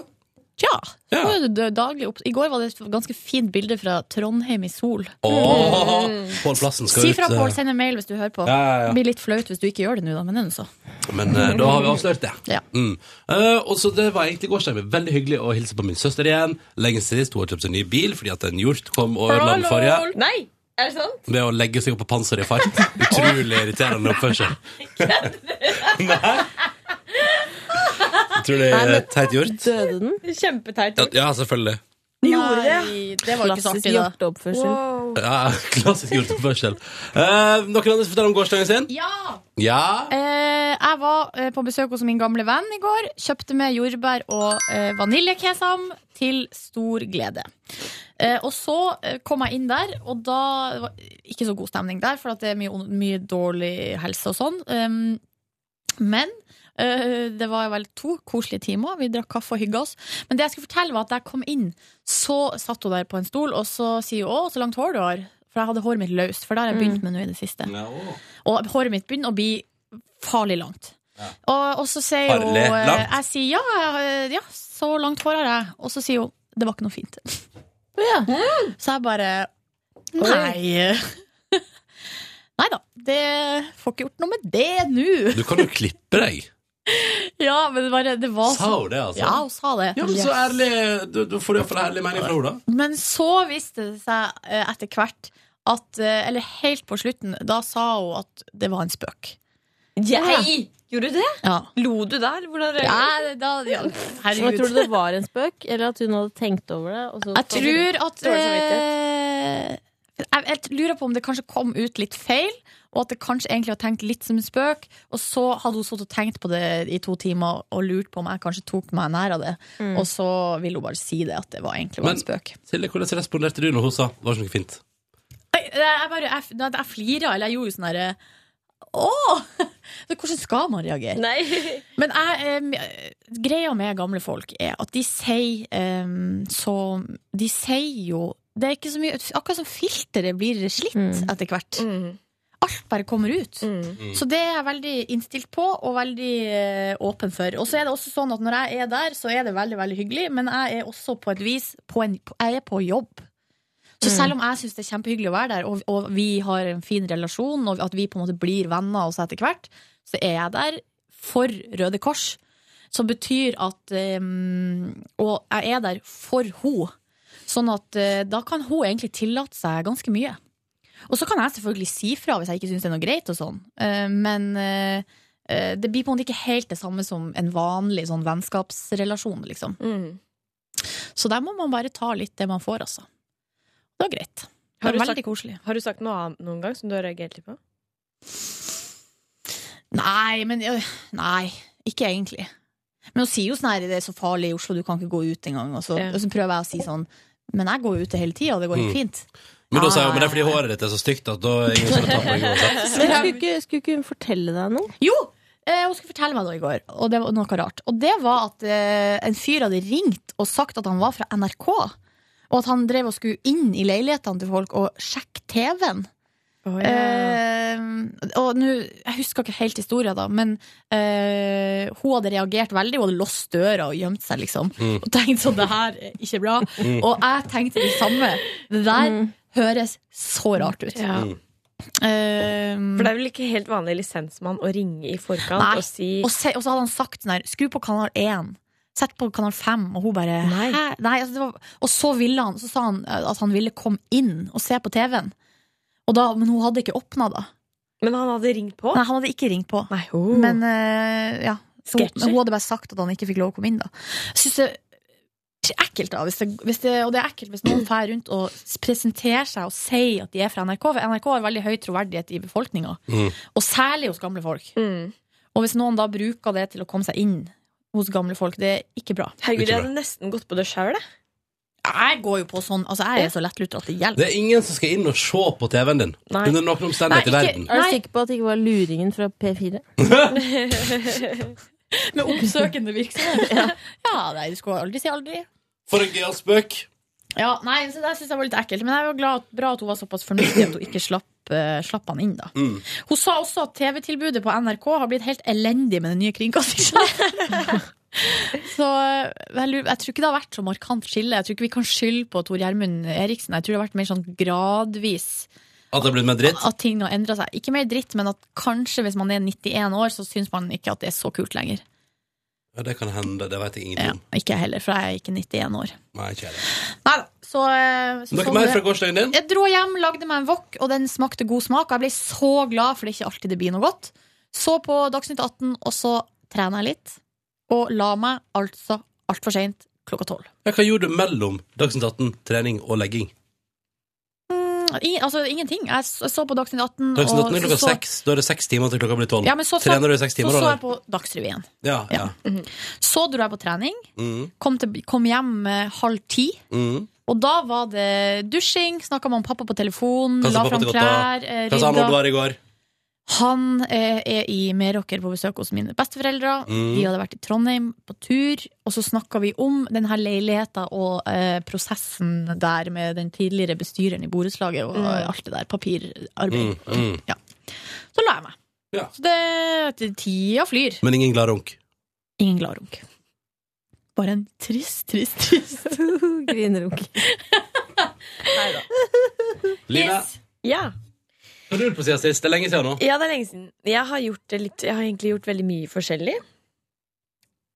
S3: Tja. så er det daglig opp- I går var det et ganske fint bilde fra Trondheim i sol.
S1: Åh, Pål Plassen skal
S3: Si
S1: ut.
S3: fra,
S1: eh,
S3: Pål. Send en mail hvis du hører på.
S1: Ja, ja, ja.
S3: Det blir litt flaut hvis du ikke gjør det nå, da, men ennå så.
S1: Men eh, da har vi avslørt det.
S3: Ja.
S1: Mm. Eh, og så Det var egentlig gårsdagen. Veldig hyggelig å hilse på min søster igjen. Lenge sist. Hun har kjøpt seg ny bil fordi at en hjort kom og ødela den forrige.
S10: Nei, er det sant?
S1: Ved å legge seg opp på panseret i fart. Utrolig irriterende oppførsel. Utrolig eh,
S7: Nei, men-
S1: teit gjort.
S7: Døde den?
S10: Kjempeteit.
S1: Ja, Ja, selvfølgelig.
S7: Gjorde det?
S3: det var jo ikke så
S7: Klassisk
S3: artig, da.
S7: hjorteoppførsel.
S1: Ja, klassisk gjort oppførsel. Eh, noen andre som forteller om gårsdagen sin?
S3: Ja!
S1: Ja.
S3: Eh, jeg var eh, på besøk hos min gamle venn i går. Kjøpte med jordbær og eh, vaniljekesam til stor glede. Eh, og så eh, kom jeg inn der, og da det var Ikke så god stemning der, for at det er mye, on- mye dårlig helse og sånn. Um, men eh, det var vel to koselige timer. Vi drakk kaffe og hygga oss. Men det jeg skulle fortelle var at da jeg kom inn, så satt hun der på en stol, og så sier hun 'Å, så langt hår du har'. For jeg hadde håret mitt løst, for det har jeg begynt med nå i det siste. Og håret mitt begynner å bli farlig langt. Og, og så sier hun
S10: Farlig
S3: eh,
S10: langt?
S3: Jeg sier ja, jeg- ja, så langt hår har jeg. Og så sier hun det var ikke noe fint. Mm. Så jeg bare Nei. Nei da. Det får ikke gjort noe med det nå.
S1: Du kan jo klippe deg.
S3: Ja, men det, bare, det var
S1: Sa hun det, altså?
S3: Ja, hun sa det.
S1: Ja, men Så ærlig Du, du får iallfall ærlig mening fra henne, da.
S3: Men så viste det seg eh, etter hvert at eh, Eller helt på slutten, da sa hun at det var en spøk.
S10: Jeg? Gjorde du det?
S3: Ja.
S10: Lo du der? Hvordan
S3: Ja, da- ja, herregud.
S7: Men tror du det var en spøk, eller at hun hadde tenkt over det? Og så
S3: Jeg tror at eh, jeg, jeg lurer på om det kanskje kom ut litt feil, og at det kanskje egentlig var tenkt litt som en spøk. Og så hadde hun stått og tenkt på det i to timer og lurt på om jeg kanskje tok meg nær av det.
S1: Mm.
S3: Og så ville hun bare si det, at det var egentlig var
S1: Men
S3: en spøk.
S1: Silje, hvordan responderte du når hun sa det var ikke noe fint?
S3: Nei, Jeg, bare, jeg, da- jeg flira, eller jeg gjorde jo sånn herre Åh! Så Hvordan skal man reagere?
S10: Nei.
S3: Men jeg, eh, greia med gamle folk er at de sier eh, så De sier jo Det er ikke så mye Akkurat som filteret blir slitt etter hvert. Alt bare kommer ut. Så det er jeg veldig innstilt på og veldig eh, åpen for. Og så er det også sånn at når jeg er der, så er det veldig veldig hyggelig, men jeg er også på et vis på en, på- Jeg er på jobb. Så selv om jeg syns det er kjempehyggelig å være der, og, og vi har en fin relasjon, og at vi på en måte blir venner også etter hvert, så er jeg der for Røde Kors. Som betyr at eh, Og jeg er der for henne. Sånn at eh, da kan hun egentlig tillate seg ganske mye. Og så kan jeg selvfølgelig si fra hvis jeg ikke syns det er noe greit, og sånn. Eh, men eh, eh, det blir på en måte ikke helt det samme som en vanlig sånn vennskapsrelasjon, liksom.
S10: Mm.
S3: Så der må man bare ta litt det man får, altså. Det var greit. Det
S10: Har
S3: var
S10: du,
S3: veldig
S10: sagt,
S3: koselig.
S10: har du sagt noe annet noen gang som du har reagert litt på?
S3: Nei, men øh, Nei, ikke egentlig. Men hun sier jo sånn her, det er så farlig i Oslo, du kan ikke gå ut engang. Og, så-
S10: Ja.
S3: og så prøver jeg å si sånn, men jeg går ute hele tida, og det går
S1: Mm.
S3: helt fint.
S1: Men da sa
S3: Ah, Ja,
S1: hun men det er fordi håret ditt er så stygt at da er ingen som vil ta på deg
S7: Men
S1: uansett.
S7: skulle ikke, skulle ikke hun fortelle deg noe?
S3: Jo! Eh, hun skulle fortelle meg noe i går, og det var noe rart. Og det var at eh, en fyr hadde ringt og sagt at han var fra NRK. Og at han drev og skulle inn i leilighetene til folk og sjekke TV-en. Eh, og nå, jeg husker ikke helt historien da, men eh, hun hadde reagert veldig. Hun hadde låst døra og gjemt seg, liksom.
S10: Mm.
S3: Og tenkt sånn, det her er ikke bra.
S10: Mm.
S3: Og jeg tenkte det samme. Det der høres så rart ut. Ehm,
S10: Ja. For det er vel ikke helt vanlig lisensmann å ringe i forkant
S3: Nei.
S10: og si
S3: Og, se, og så hadde han sagt sånn her Skru på kanal 1 Sett på kanal 5 Og hun bare Nei, Nei altså det var, Og så ville han Så sa han eh, at han ville komme inn Og se på TV-en Og da Men hun hadde ikke åpnet da
S10: Men han hadde ringt på?
S3: Nei, han hadde ikke ringt på
S10: Nei, Oh.
S3: Men eh, ja Så hun,
S10: Mm. Sketsjer?
S3: men hun hadde bare sagt At han ikke fikk lov å komme inn da Jeg synes det det er ekkelt da hvis det, hvis det, Og det er ekkelt hvis noen fær rundt Og s- presenterer seg og sier at de er fra NRK For NRK har veldig høy troverdighet i befolkningen og særlig hos gamle folk.
S10: Mm.
S3: Og hvis noen da bruker det til å komme seg inn hos gamle folk, det er ikke bra.
S10: Herregud, jeg hadde nesten gått på det sjøl, jeg.
S3: Ja, jeg går jo på sånn Altså, jeg er jo så lettlurt at det hjelper.
S1: Det er ingen som skal inn og se på TV-en din
S3: Nei.
S1: under noen omstendighet i verden.
S7: Er du sikker på at det ikke var luringen fra P4?
S3: Med oppsøkende virksomhet. ja. nei, du skulle aldri si aldri.
S1: For en gøyal spøk.
S3: Ja, nei, så Det syns jeg var litt ekkelt. Men jeg var glad, bra at hun var såpass fornuftig at hun ikke slapp, eh, slapp han inn, da. Hun sa også at TV-tilbudet på NRK har blitt helt elendig med den nye kringkastingsloven. Så eh, jeg, lurer, jeg tror ikke det har vært så markant skille. Jeg tror ikke vi kan skylde på Tor Gjermund Eriksen. Jeg tror det har vært mer sånn gradvis
S1: At det har blitt mer dritt?
S3: at ting har endra seg. Ikke mer dritt, men at kanskje hvis man er 91 år, så syns man ikke at det er så kult lenger.
S1: Ja, det kan hende. Det vet jeg
S3: Ja,
S1: ingenting om.
S3: ikke jeg heller, for jeg er ikke 91 år.
S1: Nei, ikke jeg heller.
S3: Nei da. Så, eh, så
S1: Noe
S3: sånn
S1: mer
S3: det.
S1: fra gårsdagen din?
S3: Jeg dro hjem, lagde meg en wok, og den smakte god smak. Og jeg ble så glad, for det er ikke alltid det blir noe godt. Så på Dagsnytt 18, og så trener jeg litt. Og la meg altså altfor seint klokka tolv.
S1: Ja, Hva gjorde du mellom Dagsnytt 18, trening og legging?
S3: I- Altså ingenting. Jeg s- så på Dagsnytt 18,
S1: Dagsnytt
S3: Mm, og
S1: 18 er klokka
S3: så-
S1: seks. Da er det seks timer til klokka blir tolv.
S3: Ja, men så, så,
S1: Trener du i seks timer,
S3: så, så
S1: da?
S3: jeg på Dagsrevyen.
S1: Ja, ja.
S3: Så dro jeg på trening.
S1: Mm.
S3: Kom, til, kom hjem eh, halv ti.
S1: Mm.
S3: Og da var det dusjing, snakka med pappa på telefon,
S1: Hva sa
S3: la
S1: pappa
S3: fram
S1: til godta?
S3: klær, eh,
S1: Hva sa han når du var
S3: rydda.
S1: i går?
S3: Han eh, er i Meråker på besøk hos mine besteforeldre.
S1: Mm.
S3: De hadde vært i Trondheim på tur. Og så snakka vi om denne leiligheta og eh, prosessen der med den tidligere bestyreren i borettslaget og
S10: Mm.
S3: alt det der papirarbeidet.
S1: Mm, mm.
S3: Så la jeg meg. Så det, tida flyr.
S1: Men ingen gladrunk?
S3: Ingen gladrunk. Bare en trist, trist, trist
S7: Grinerunk.
S1: Line,
S10: Ja.
S1: hva har du gjort på siden sist? Det er lenge siden nå.
S10: ja, det er lenge siden. Jeg har, gjort det litt, jeg har egentlig gjort veldig mye forskjellig.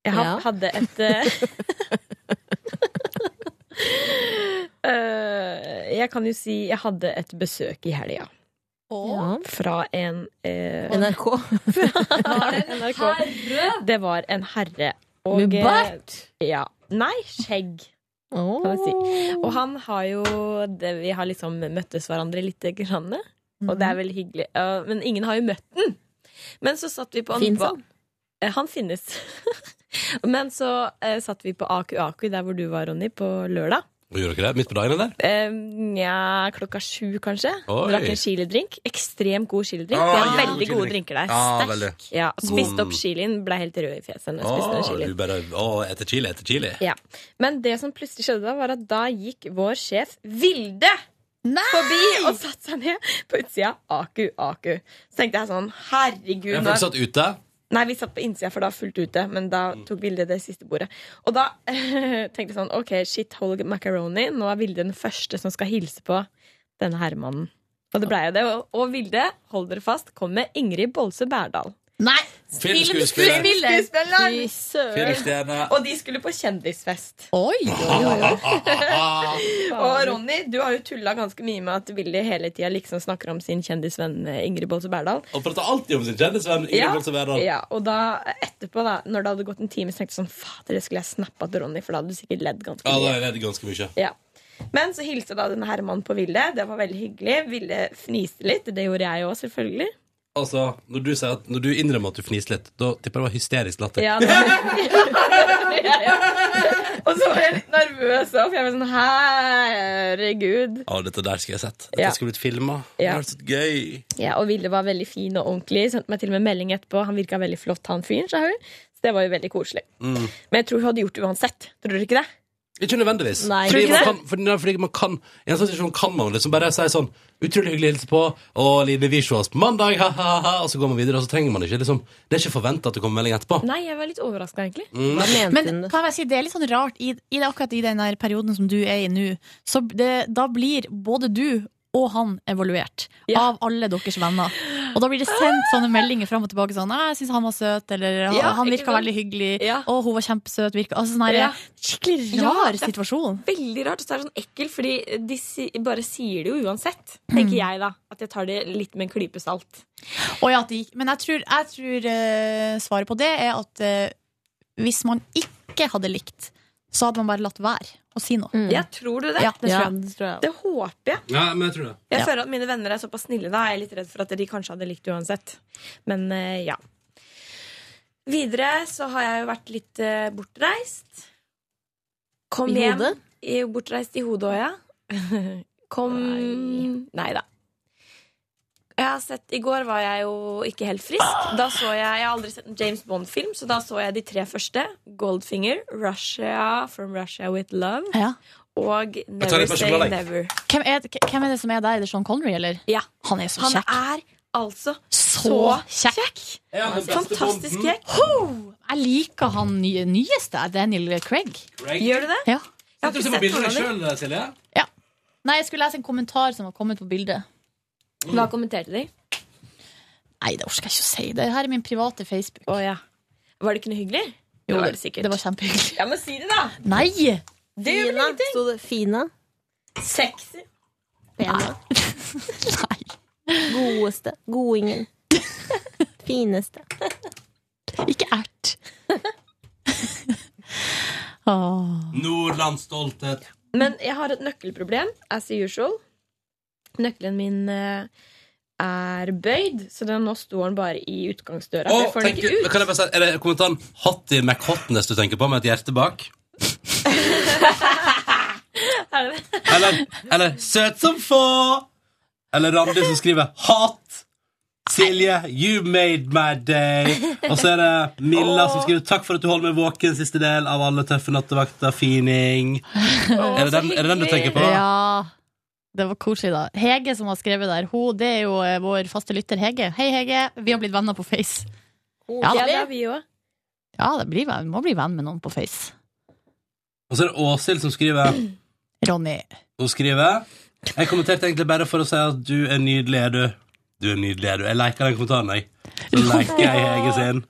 S10: Jeg har,
S12: Ja.
S10: hadde et eh, eh, Jeg kan jo si jeg hadde et besøk i helga.
S7: Ja.
S10: Fra en eh,
S7: NRK.
S10: Var det en herre? Det var en herre.
S7: Med
S10: eh,
S7: bart?
S10: Ja. Nei, skjegg. Kan jeg si. Og han har jo det, Vi har liksom møttes hverandre lite grann. Og
S7: Mhm.
S10: det er veldig hyggelig. Ja, Men ingen har jo møtt den. Men så satt vi på en
S7: Finnes
S10: ba-
S7: han?
S10: Eh, Han finnes. Men så eh, satt vi på Aku Aku, der hvor du var, Ronny, på lørdag.
S1: Hva Gjorde dere det? Midt på dagen, eller?
S10: Eh, Nja, klokka sju, kanskje.
S1: Oi.
S10: Drakk en chilidrink. Ekstremt god chilidrink.
S1: Ah,
S10: Vi har
S1: ja, god
S10: veldig gode
S1: chilidrink.
S10: drinker der.
S1: Ja,
S10: Sterk.
S1: veldig. Ah,
S10: Ja, spiste opp
S1: Mm.
S10: chilien, ble helt rød i fjeset når jeg spiste
S1: Å,
S10: den chilien.
S1: du bare Å, etter chili, etter chili.
S10: Ja. Men det som plutselig skjedde da, var at da gikk vår sjef Vilde forbi og satte seg ned på utsida. Aku, aku. Så tenkte jeg sånn, herregud.
S1: Jeg
S10: nå er-
S1: følte satt ute.
S10: Nei, vi satt på innsida, for da fullt ute. Men da tok Vilde det siste bordet. Og da tenkte jeg sånn, OK, shit, hold macaroni. Nå er Vilde den første som skal hilse på denne herremannen. Og det blei jo det. Og, og Vilde, hold dere fast, kom med Ingrid Bolse Berdal.
S3: Nei!
S1: Filmskuespiller.
S10: Filmskuespilleren!
S3: Fy
S1: Filmstjerne.
S10: Og de skulle på kjendisfest.
S3: Oi,
S10: og Ronny, du har jo tulla ganske mye med at Willy hele tida liksom snakker om sin kjendisvenn eh, Ingrid Bolse Berdal.
S1: Og prater alltid om sin kjendisvenn Ingrid Bolse Verdal.
S10: ja, og da etterpå, da når det hadde gått en time, så tenkte jeg sånn Fader, det skulle jeg snappa til Ronny, for da hadde du sikkert ledd ganske
S1: Ja, da
S10: mye.
S1: er jeg redd ganske mye.
S10: Ja. Men så hilste da denne herremannen på Ville. Det var veldig hyggelig. Ville fniste litt. Det gjorde jeg òg, selvfølgelig.
S1: Altså, når du, sier at, når du innrømmer at du fniste litt, da tipper jeg det var hysterisk latter.
S10: Ja, det ja, ja. Og så var jeg litt nervøs òg, for jeg var sånn Herregud.
S1: Å, dette der skulle jeg sett. Dette
S10: Ja.
S1: skulle blitt filma. Det
S10: Ja.
S1: hadde vært så gøy.
S10: Ja, og Ville var veldig fin og ordentlig. Sendte meg til og med melding etterpå. Han virka veldig flott, han fyren, sa hun. Så det var jo veldig koselig.
S1: Mm.
S10: Men jeg tror hun hadde gjort det uansett. Tror dere ikke det?
S1: Ikke nødvendigvis.
S10: Nei.
S1: Fordi,
S10: Tror du
S1: man
S10: ikke
S1: kan, fordi, nei, fordi man kan I en sånn situasjon kan man liksom bare si sånn Utrolig hyggelig å hilse på, og Line, vi ses på mandag, ha-ha-ha, og så går man videre, og så trenger man ikke liksom Det er ikke forventa at det kommer melding etterpå.
S10: Nei, jeg var litt overraska, egentlig.
S1: Mm.
S3: Men kan jeg bare si, det er litt sånn rart i, i det, akkurat i den der perioden som du er i nå. Så det, da blir både du og han evaluert av alle deres venner. Og da blir det sendt sånne meldinger fram og tilbake sånn «Nei, 'Jeg syns han var søt', eller
S10: Ah!
S3: «Han-
S10: Ja,
S3: 'Han
S10: ikke
S3: virka
S10: sant?
S3: veldig hyggelig', og 'Hun var kjempesøt', virka altså, sånn her,
S10: Ja.
S3: Skikkelig
S10: Ja,
S3: rar
S10: det er
S3: situasjon.
S10: Veldig rart. Og så er det sånn ekkelt, fordi de si, bare sier det jo uansett. Tenker jeg, da. At jeg tar det litt med en klype salt.
S3: Og ja, at det gikk. Men jeg tror, jeg tror eh, svaret på det er at eh, hvis man ikke hadde likt, så hadde man bare latt være å si noe.
S10: Mm. Ja, tror du det?
S3: Ja, det tror jeg.
S10: Det håper jeg.
S1: Ja, men jeg tror det.
S10: Jeg
S3: Ja.
S10: føler at mine venner er såpass snille. Da er jeg litt redd for at de kanskje hadde likt det uansett. Men eh, ja. Videre så har jeg jo vært litt eh, bortreist. Kom
S7: I
S10: hjem.
S7: hodet?
S10: i- bortreist i hodet òg, ja. Kom Nei da. Jeg har sett, I går var jeg jo ikke helt frisk. Da så Jeg jeg har aldri sett en James Bond-film, så da så jeg de tre første. Goldfinger, Russia, From Russia With Love og
S3: tar
S10: Never Say
S3: det personlig.
S10: Never.
S3: Hvem er, hvem er det som er der? Er det Sean Connery, eller? Han er så
S10: Han
S3: kjekk.
S10: er altså så,
S3: kjekk.
S10: Ja, den beste Fantastisk Bonden. kjekk.
S3: Ho! Jeg liker han nye, nyeste, Daniel Craig.
S1: Craig?
S10: Gjør du det?
S3: Ja.
S10: Jeg har
S1: Sitter du og ser
S10: ikke
S1: på
S10: sett
S1: bildene
S10: noen av
S1: sjøl, Silje?
S3: Nei, jeg skulle lese en kommentar som var kommet på bildet.
S10: Hva kommenterte de?
S3: Nei, det orker jeg ikke å si. Det her er min private Facebook.
S10: Var det ikke noe hyggelig? Det
S3: Jo,
S10: var
S3: det, det var kjempehyggelig.
S10: Ja, men si det, da!
S3: Nei!
S10: Det gjør vel ingenting?
S7: Sto det Fina?
S10: Sexy.
S7: Pena. Godeste. Godingen. Fineste.
S3: Ikke ert.
S1: Nordlandsstolthet.
S13: Men jeg har et nøkkelproblem, as usual. Nøkkelen min eh, er bøyd, så den, nå står den bare i utgangsdøra.
S1: Å,
S13: Jeg får den
S1: tenker,
S13: ikke ut.
S1: kan jeg bare si, er det kommentaren 'Hottie McHotness' du tenker på, med et hjerte bak?
S10: Er det det?
S1: Eller, eller 'Søt som få'? Eller Randi som skriver 'Hot'. Silje, you made my day. Og så er det Milla som skriver 'Takk for at du holder meg våken', siste del av alle tøffe nattevakter, fining. er, det den, er det den du tenker på?
S3: Ja. Det var koselig, da. Hege som har skrevet der, hun, det er jo eh, vår faste lytter Hege. Hei, Hege. Vi har blitt venner på Face.
S13: Ja,
S3: da.
S13: det er vi òg.
S3: Ja, det blir, vi må bli venn med noen på Face.
S1: Og så er det Åshild som skriver
S3: Ronny.
S1: Hun skriver Jeg kommenterte egentlig bare for å si at du er nydelig, er du. Du er nydelig, er du. Jeg liker den kommentaren, jeg. Så liker jeg Hege sin.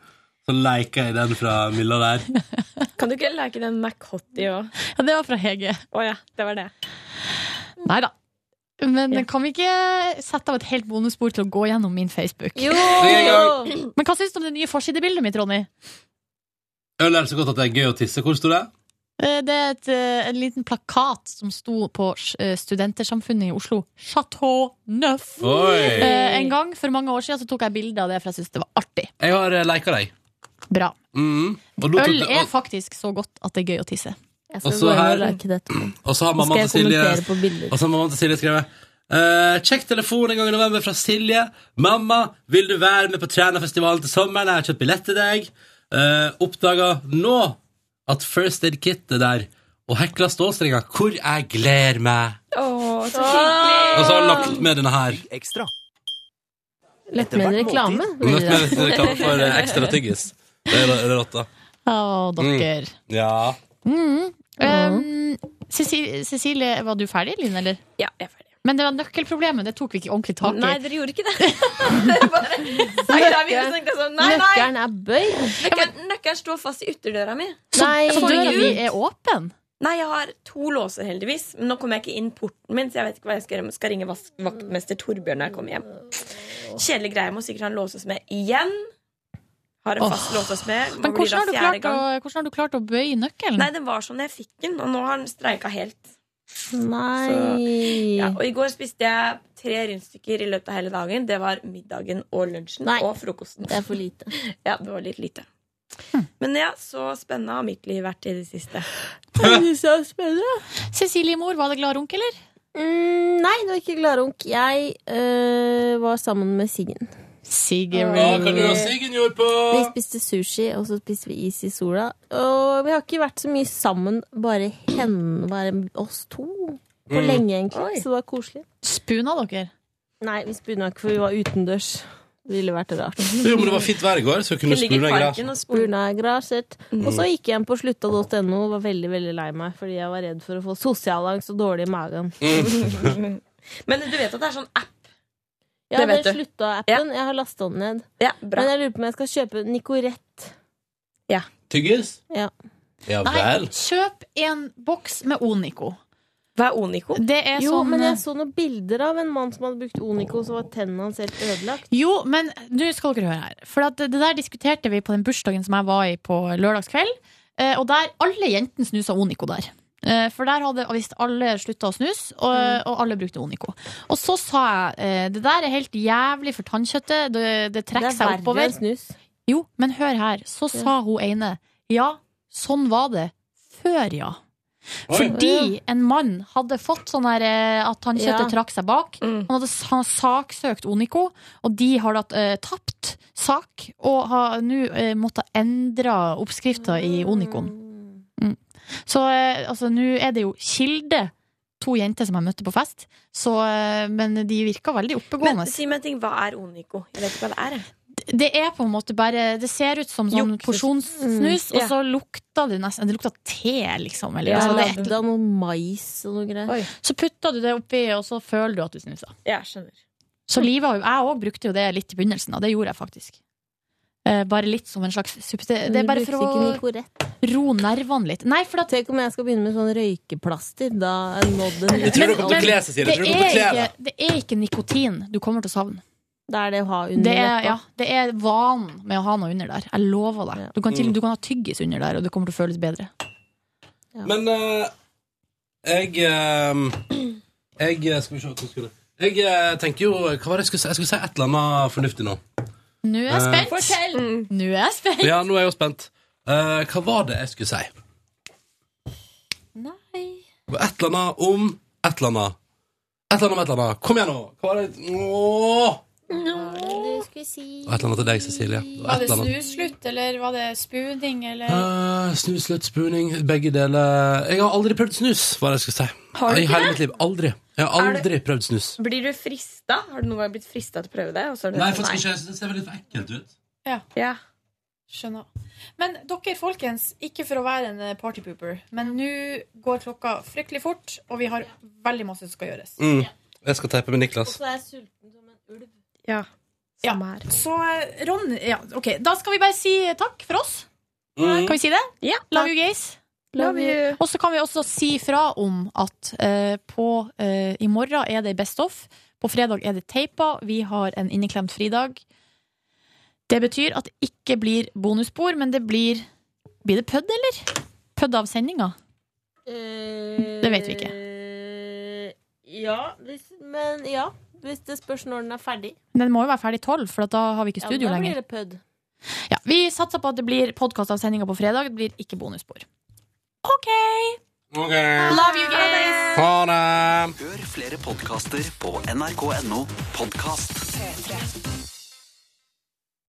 S1: Så liker jeg den fra Milla der.
S13: Kan du ikke leke den McHotty òg?
S3: Ja, det var fra Hege.
S13: Å ja, det var det.
S3: Nei da. Men kan vi ikke sette av et helt bonusspor til å gå gjennom min Facebook?
S7: Jo!
S3: Men hva syns du om det nye forsidebildet mitt, Ronny?
S1: Øl er så godt at det er gøy å tisse. Hvor sto det?
S3: Eh, Det er et, eh, en liten plakat som sto på eh, Studentersamfunnet i Oslo. Chateau Neuf.
S1: Oi.
S3: Eh, En gang for mange år siden så tok jeg bilde av det, for jeg syntes det var artig.
S1: Jeg har lika deg.
S3: Bra.
S1: Mm. Og, nå tok
S3: Øl
S1: det-
S3: er
S1: og,
S3: faktisk så godt at det er gøy å tisse.
S1: skal Og så gå inn og her- like og så har mammaen til Silje Og så har mammaen til Silje skrevet eh, Sjekk telefon en gang i november fra Silje. 'Mamma, vil du være med på Trænafestivalen til sommeren?' 'Jeg har kjøpt billett til deg.' Uh, oppdaga nå at First Aid Kit er der, og hekla stålstrenger. Hvor jeg gleder meg.
S13: Å, så hyggelig!
S1: Og så har hun lagt med denne her. Ekstra.
S7: Lett med en reklame.
S1: Lagt med litt reklame for eh, ekstra tyggis. Det er det er rått, da.
S3: Å, dere.
S1: Mm. Ja.
S3: Mm. Um, Cecilie, Cecilie, var du ferdig, Linn, eller?
S13: Ja, jeg er ferdig.
S3: Men det var nøkkelproblemet, det tok vi ikke ordentlig tak i.
S13: Nei, dere gjorde ikke det. Dere bare sa ja, vi tenkte jeg sånn, nei, nei.
S7: Nøkkelen er bøyd.
S10: Nøkkelen, nøkkelen står fast i ytterdøra mi.
S7: Nei,
S10: Jeg får
S7: døra
S10: ikke
S7: mi
S10: ut.
S3: er åpen.
S10: Nei, jeg har to låser, heldigvis. Men nå kommer jeg ikke inn porten min, så jeg vet ikke hva jeg skal gjøre. Jeg skal ringe vas- vaktmester Torbjørn når jeg kommer hjem. Kjedelig greie. Jeg må sikkert ha en låsesmed igjen. Har en fast låsesmed.
S3: Men hvordan har, du klart å, hvordan har du klart å bøye nøkkelen?
S10: Nei, den var sånn da jeg fikk den, og nå har den streika helt.
S7: Nei.
S10: Ja, og i går spiste jeg tre rundstykker i løpet av hele dagen. Det var middagen og lunsjen
S7: Nei,
S10: og frokosten.
S7: det er for lite.
S10: Ja, det var litt lite.
S3: Hm.
S10: Men ja, så spennende har mitt liv vært i det siste.
S3: Cecilie Mor, var det glad runk, eller?
S7: Mm, nei, det var ikke gladrunk. Jeg øh, var sammen med Siggen.
S3: Siggen.
S1: Hva kan du og Siggen gjorde på?
S7: Vi spiste sushi, og så spiste vi is i sola. Og vi har ikke vært så mye sammen, bare hen, bare oss to, på
S3: Mm.
S7: lenge, egentlig.
S3: Oi.
S7: Så det var koselig.
S3: Spuna dere?
S7: Nei, vi spuna ikke, for vi var utendørs. Det ville vært rart.
S1: Jo, men det var fint vær i går, så jeg kunne spune deg greit.
S10: og
S7: graset. Og så gikk jeg inn på slutta.no og var veldig veldig lei meg fordi jeg var redd for å få sosialangst og dårlig i magen.
S10: Mm. Men du vet at det er sånn app?
S7: Jeg
S10: Det
S7: har
S10: vet
S7: vel
S10: du.
S7: slutta appen. Jeg har lasta den ned. Men jeg lurer på om jeg skal kjøpe Nicorette.
S1: Tyggis?
S7: Ja.
S1: Ja
S3: Nei,
S1: vel.
S3: kjøp en boks med Onico.
S10: Hva er Onico?
S3: Det er
S7: jo,
S3: sånn
S7: men jeg så noen bilder av en mann som hadde brukt Onico, så var tennene hans helt ødelagt.
S3: Jo, men nå skal dere høre her. For at det det der diskuterte vi på den bursdagen som jeg var i på lørdagskveld. eh, Og der alle jentene snusa Onico der. Eh, For der hadde visst alle slutta å snuse, og,
S7: Mm.
S3: og alle brukte Onico. Og så sa jeg eh, det der er helt jævlig for tannkjøttet, det, det trekker
S7: Det er verre
S3: seg oppover.
S7: enn snus.
S3: Jo, men hør her. Så
S7: Ja.
S3: sa hun ene ja, sånn var det før, ja.
S1: Oi.
S3: Fordi en mann hadde fått sånn her eh, at tannkjøttet
S14: Ja.
S3: trakk seg bak.
S10: Mm.
S3: Han hadde sa- saksøkt Oniko, og de har da eh, tapt sak og har nå eh, måttet endre oppskrifta i Onikoen. Mm. Så eh, altså, nå er det jo kilde. To jenter som jeg møtte på fest, så, eh, men de virka veldig oppegående.
S10: Men si meg en ting, hva er Oniko? Jeg vet ikke hva det er. jeg.
S3: Det er på en måte bare Det ser ut som sånn porsjonssnus,
S10: Mm.
S3: og så lukta det nesten Det lukta te, liksom. Eller,
S7: Ja,
S3: altså, det er
S7: lagd av noe mais og noe greier.
S3: Så putter du det oppi, og så føler du at du snuser.
S10: Ja, skjønner.
S3: Så livet, har jo- jeg òg brukte jo det litt i begynnelsen, og det gjorde jeg faktisk. Eh, bare litt som en slags substitutt. Det er bare for å ro nervene litt. Nei, for at
S7: Tenk om jeg skal begynne med sånn røykeplaster. Da er nådd en
S3: Jeg tror du kommer til å
S1: kle seg, Silje. Jeg tror du
S3: det
S1: kommer til å
S3: er
S1: kle
S3: ikke, det er ikke nikotin du kommer til å savne.
S7: Det er det å ha under
S3: Det er,
S7: leppa.
S3: ja, det er vanen med å ha noe under der. Jeg lover deg. Du kan, til,
S1: Mm.
S3: du kan ha tyggis under der, og det kommer til å føles bedre.
S1: Men eh, jeg eh, Jeg eh, Skal vi se hva jeg skulle Jeg eh, tenker jo Hva var det jeg skulle si? Jeg skulle si et eller annet fornuftig nå.
S3: Nå er jeg
S1: Eh,
S3: spent! Fortell! Nå er jeg spent!
S1: Ja, nå er jeg jo spent. Eh, hva var det jeg skulle si?
S3: Nei
S1: Det var Et eller annet om et eller annet. Et eller annet om et eller annet. Kom igjen, nå! Hva var det Åh!
S3: Du skulle si
S1: Det var Et eller annet til deg, Cecilie. Det var
S14: Var
S1: et
S14: det
S1: eller annet.
S14: snuslutt, eller var det spuding, eller
S1: Eh, snus, slutt, spooning, begge deler Jeg har aldri prøvd snus, var det jeg skulle si.
S10: Har du
S1: I
S10: ikke
S1: hele
S10: det?
S1: mitt liv. Aldri. Jeg har
S10: Er du-
S1: aldri prøvd snus.
S10: Blir du frista? Har du noen gang blitt frista til å prøve det? og så har du
S1: Nei,
S10: tenkt
S1: faktisk ikke. Jeg synes Det ser veldig for ekkelt ut.
S14: Ja.
S10: Ja.
S14: Skjønner. Men dere, folkens, ikke for å være en eh, partypooper, men nå går klokka fryktelig fort, og vi har veldig masse som skal gjøres.
S1: Mm. Jeg skal teipe med Niklas.
S7: er jeg sulten som en ulv.
S14: Ja. Så eh, Ron ja, OK. Da skal vi bare si takk for oss.
S3: Mm.
S14: Kan vi si det?
S3: Ja.
S14: Love you, guys.
S3: Love you. Og så kan vi også si fra om at eh, på, eh, i morgen er det Best Off. På fredag er det teipa. Vi har en inneklemt fridag. Det betyr at det ikke blir bonusspor, men det blir Blir det pødd, eller? Pødd av sendinga? Det vet vi ikke.
S7: Eh, Ja, hvis, men ja. Hvis det spørs når den er ferdig.
S3: Den må jo være ferdig tolv, for at da har vi ikke studio
S7: ja, da
S3: lenger.
S7: blir det pødd.
S3: Ja, vi satser på at det blir podkast av sendinga på fredag. Det blir ikke bonusspor.
S1: Ok.
S3: Love you guys!
S1: Ha det!
S11: Hør flere podkaster på nrk.no podkast.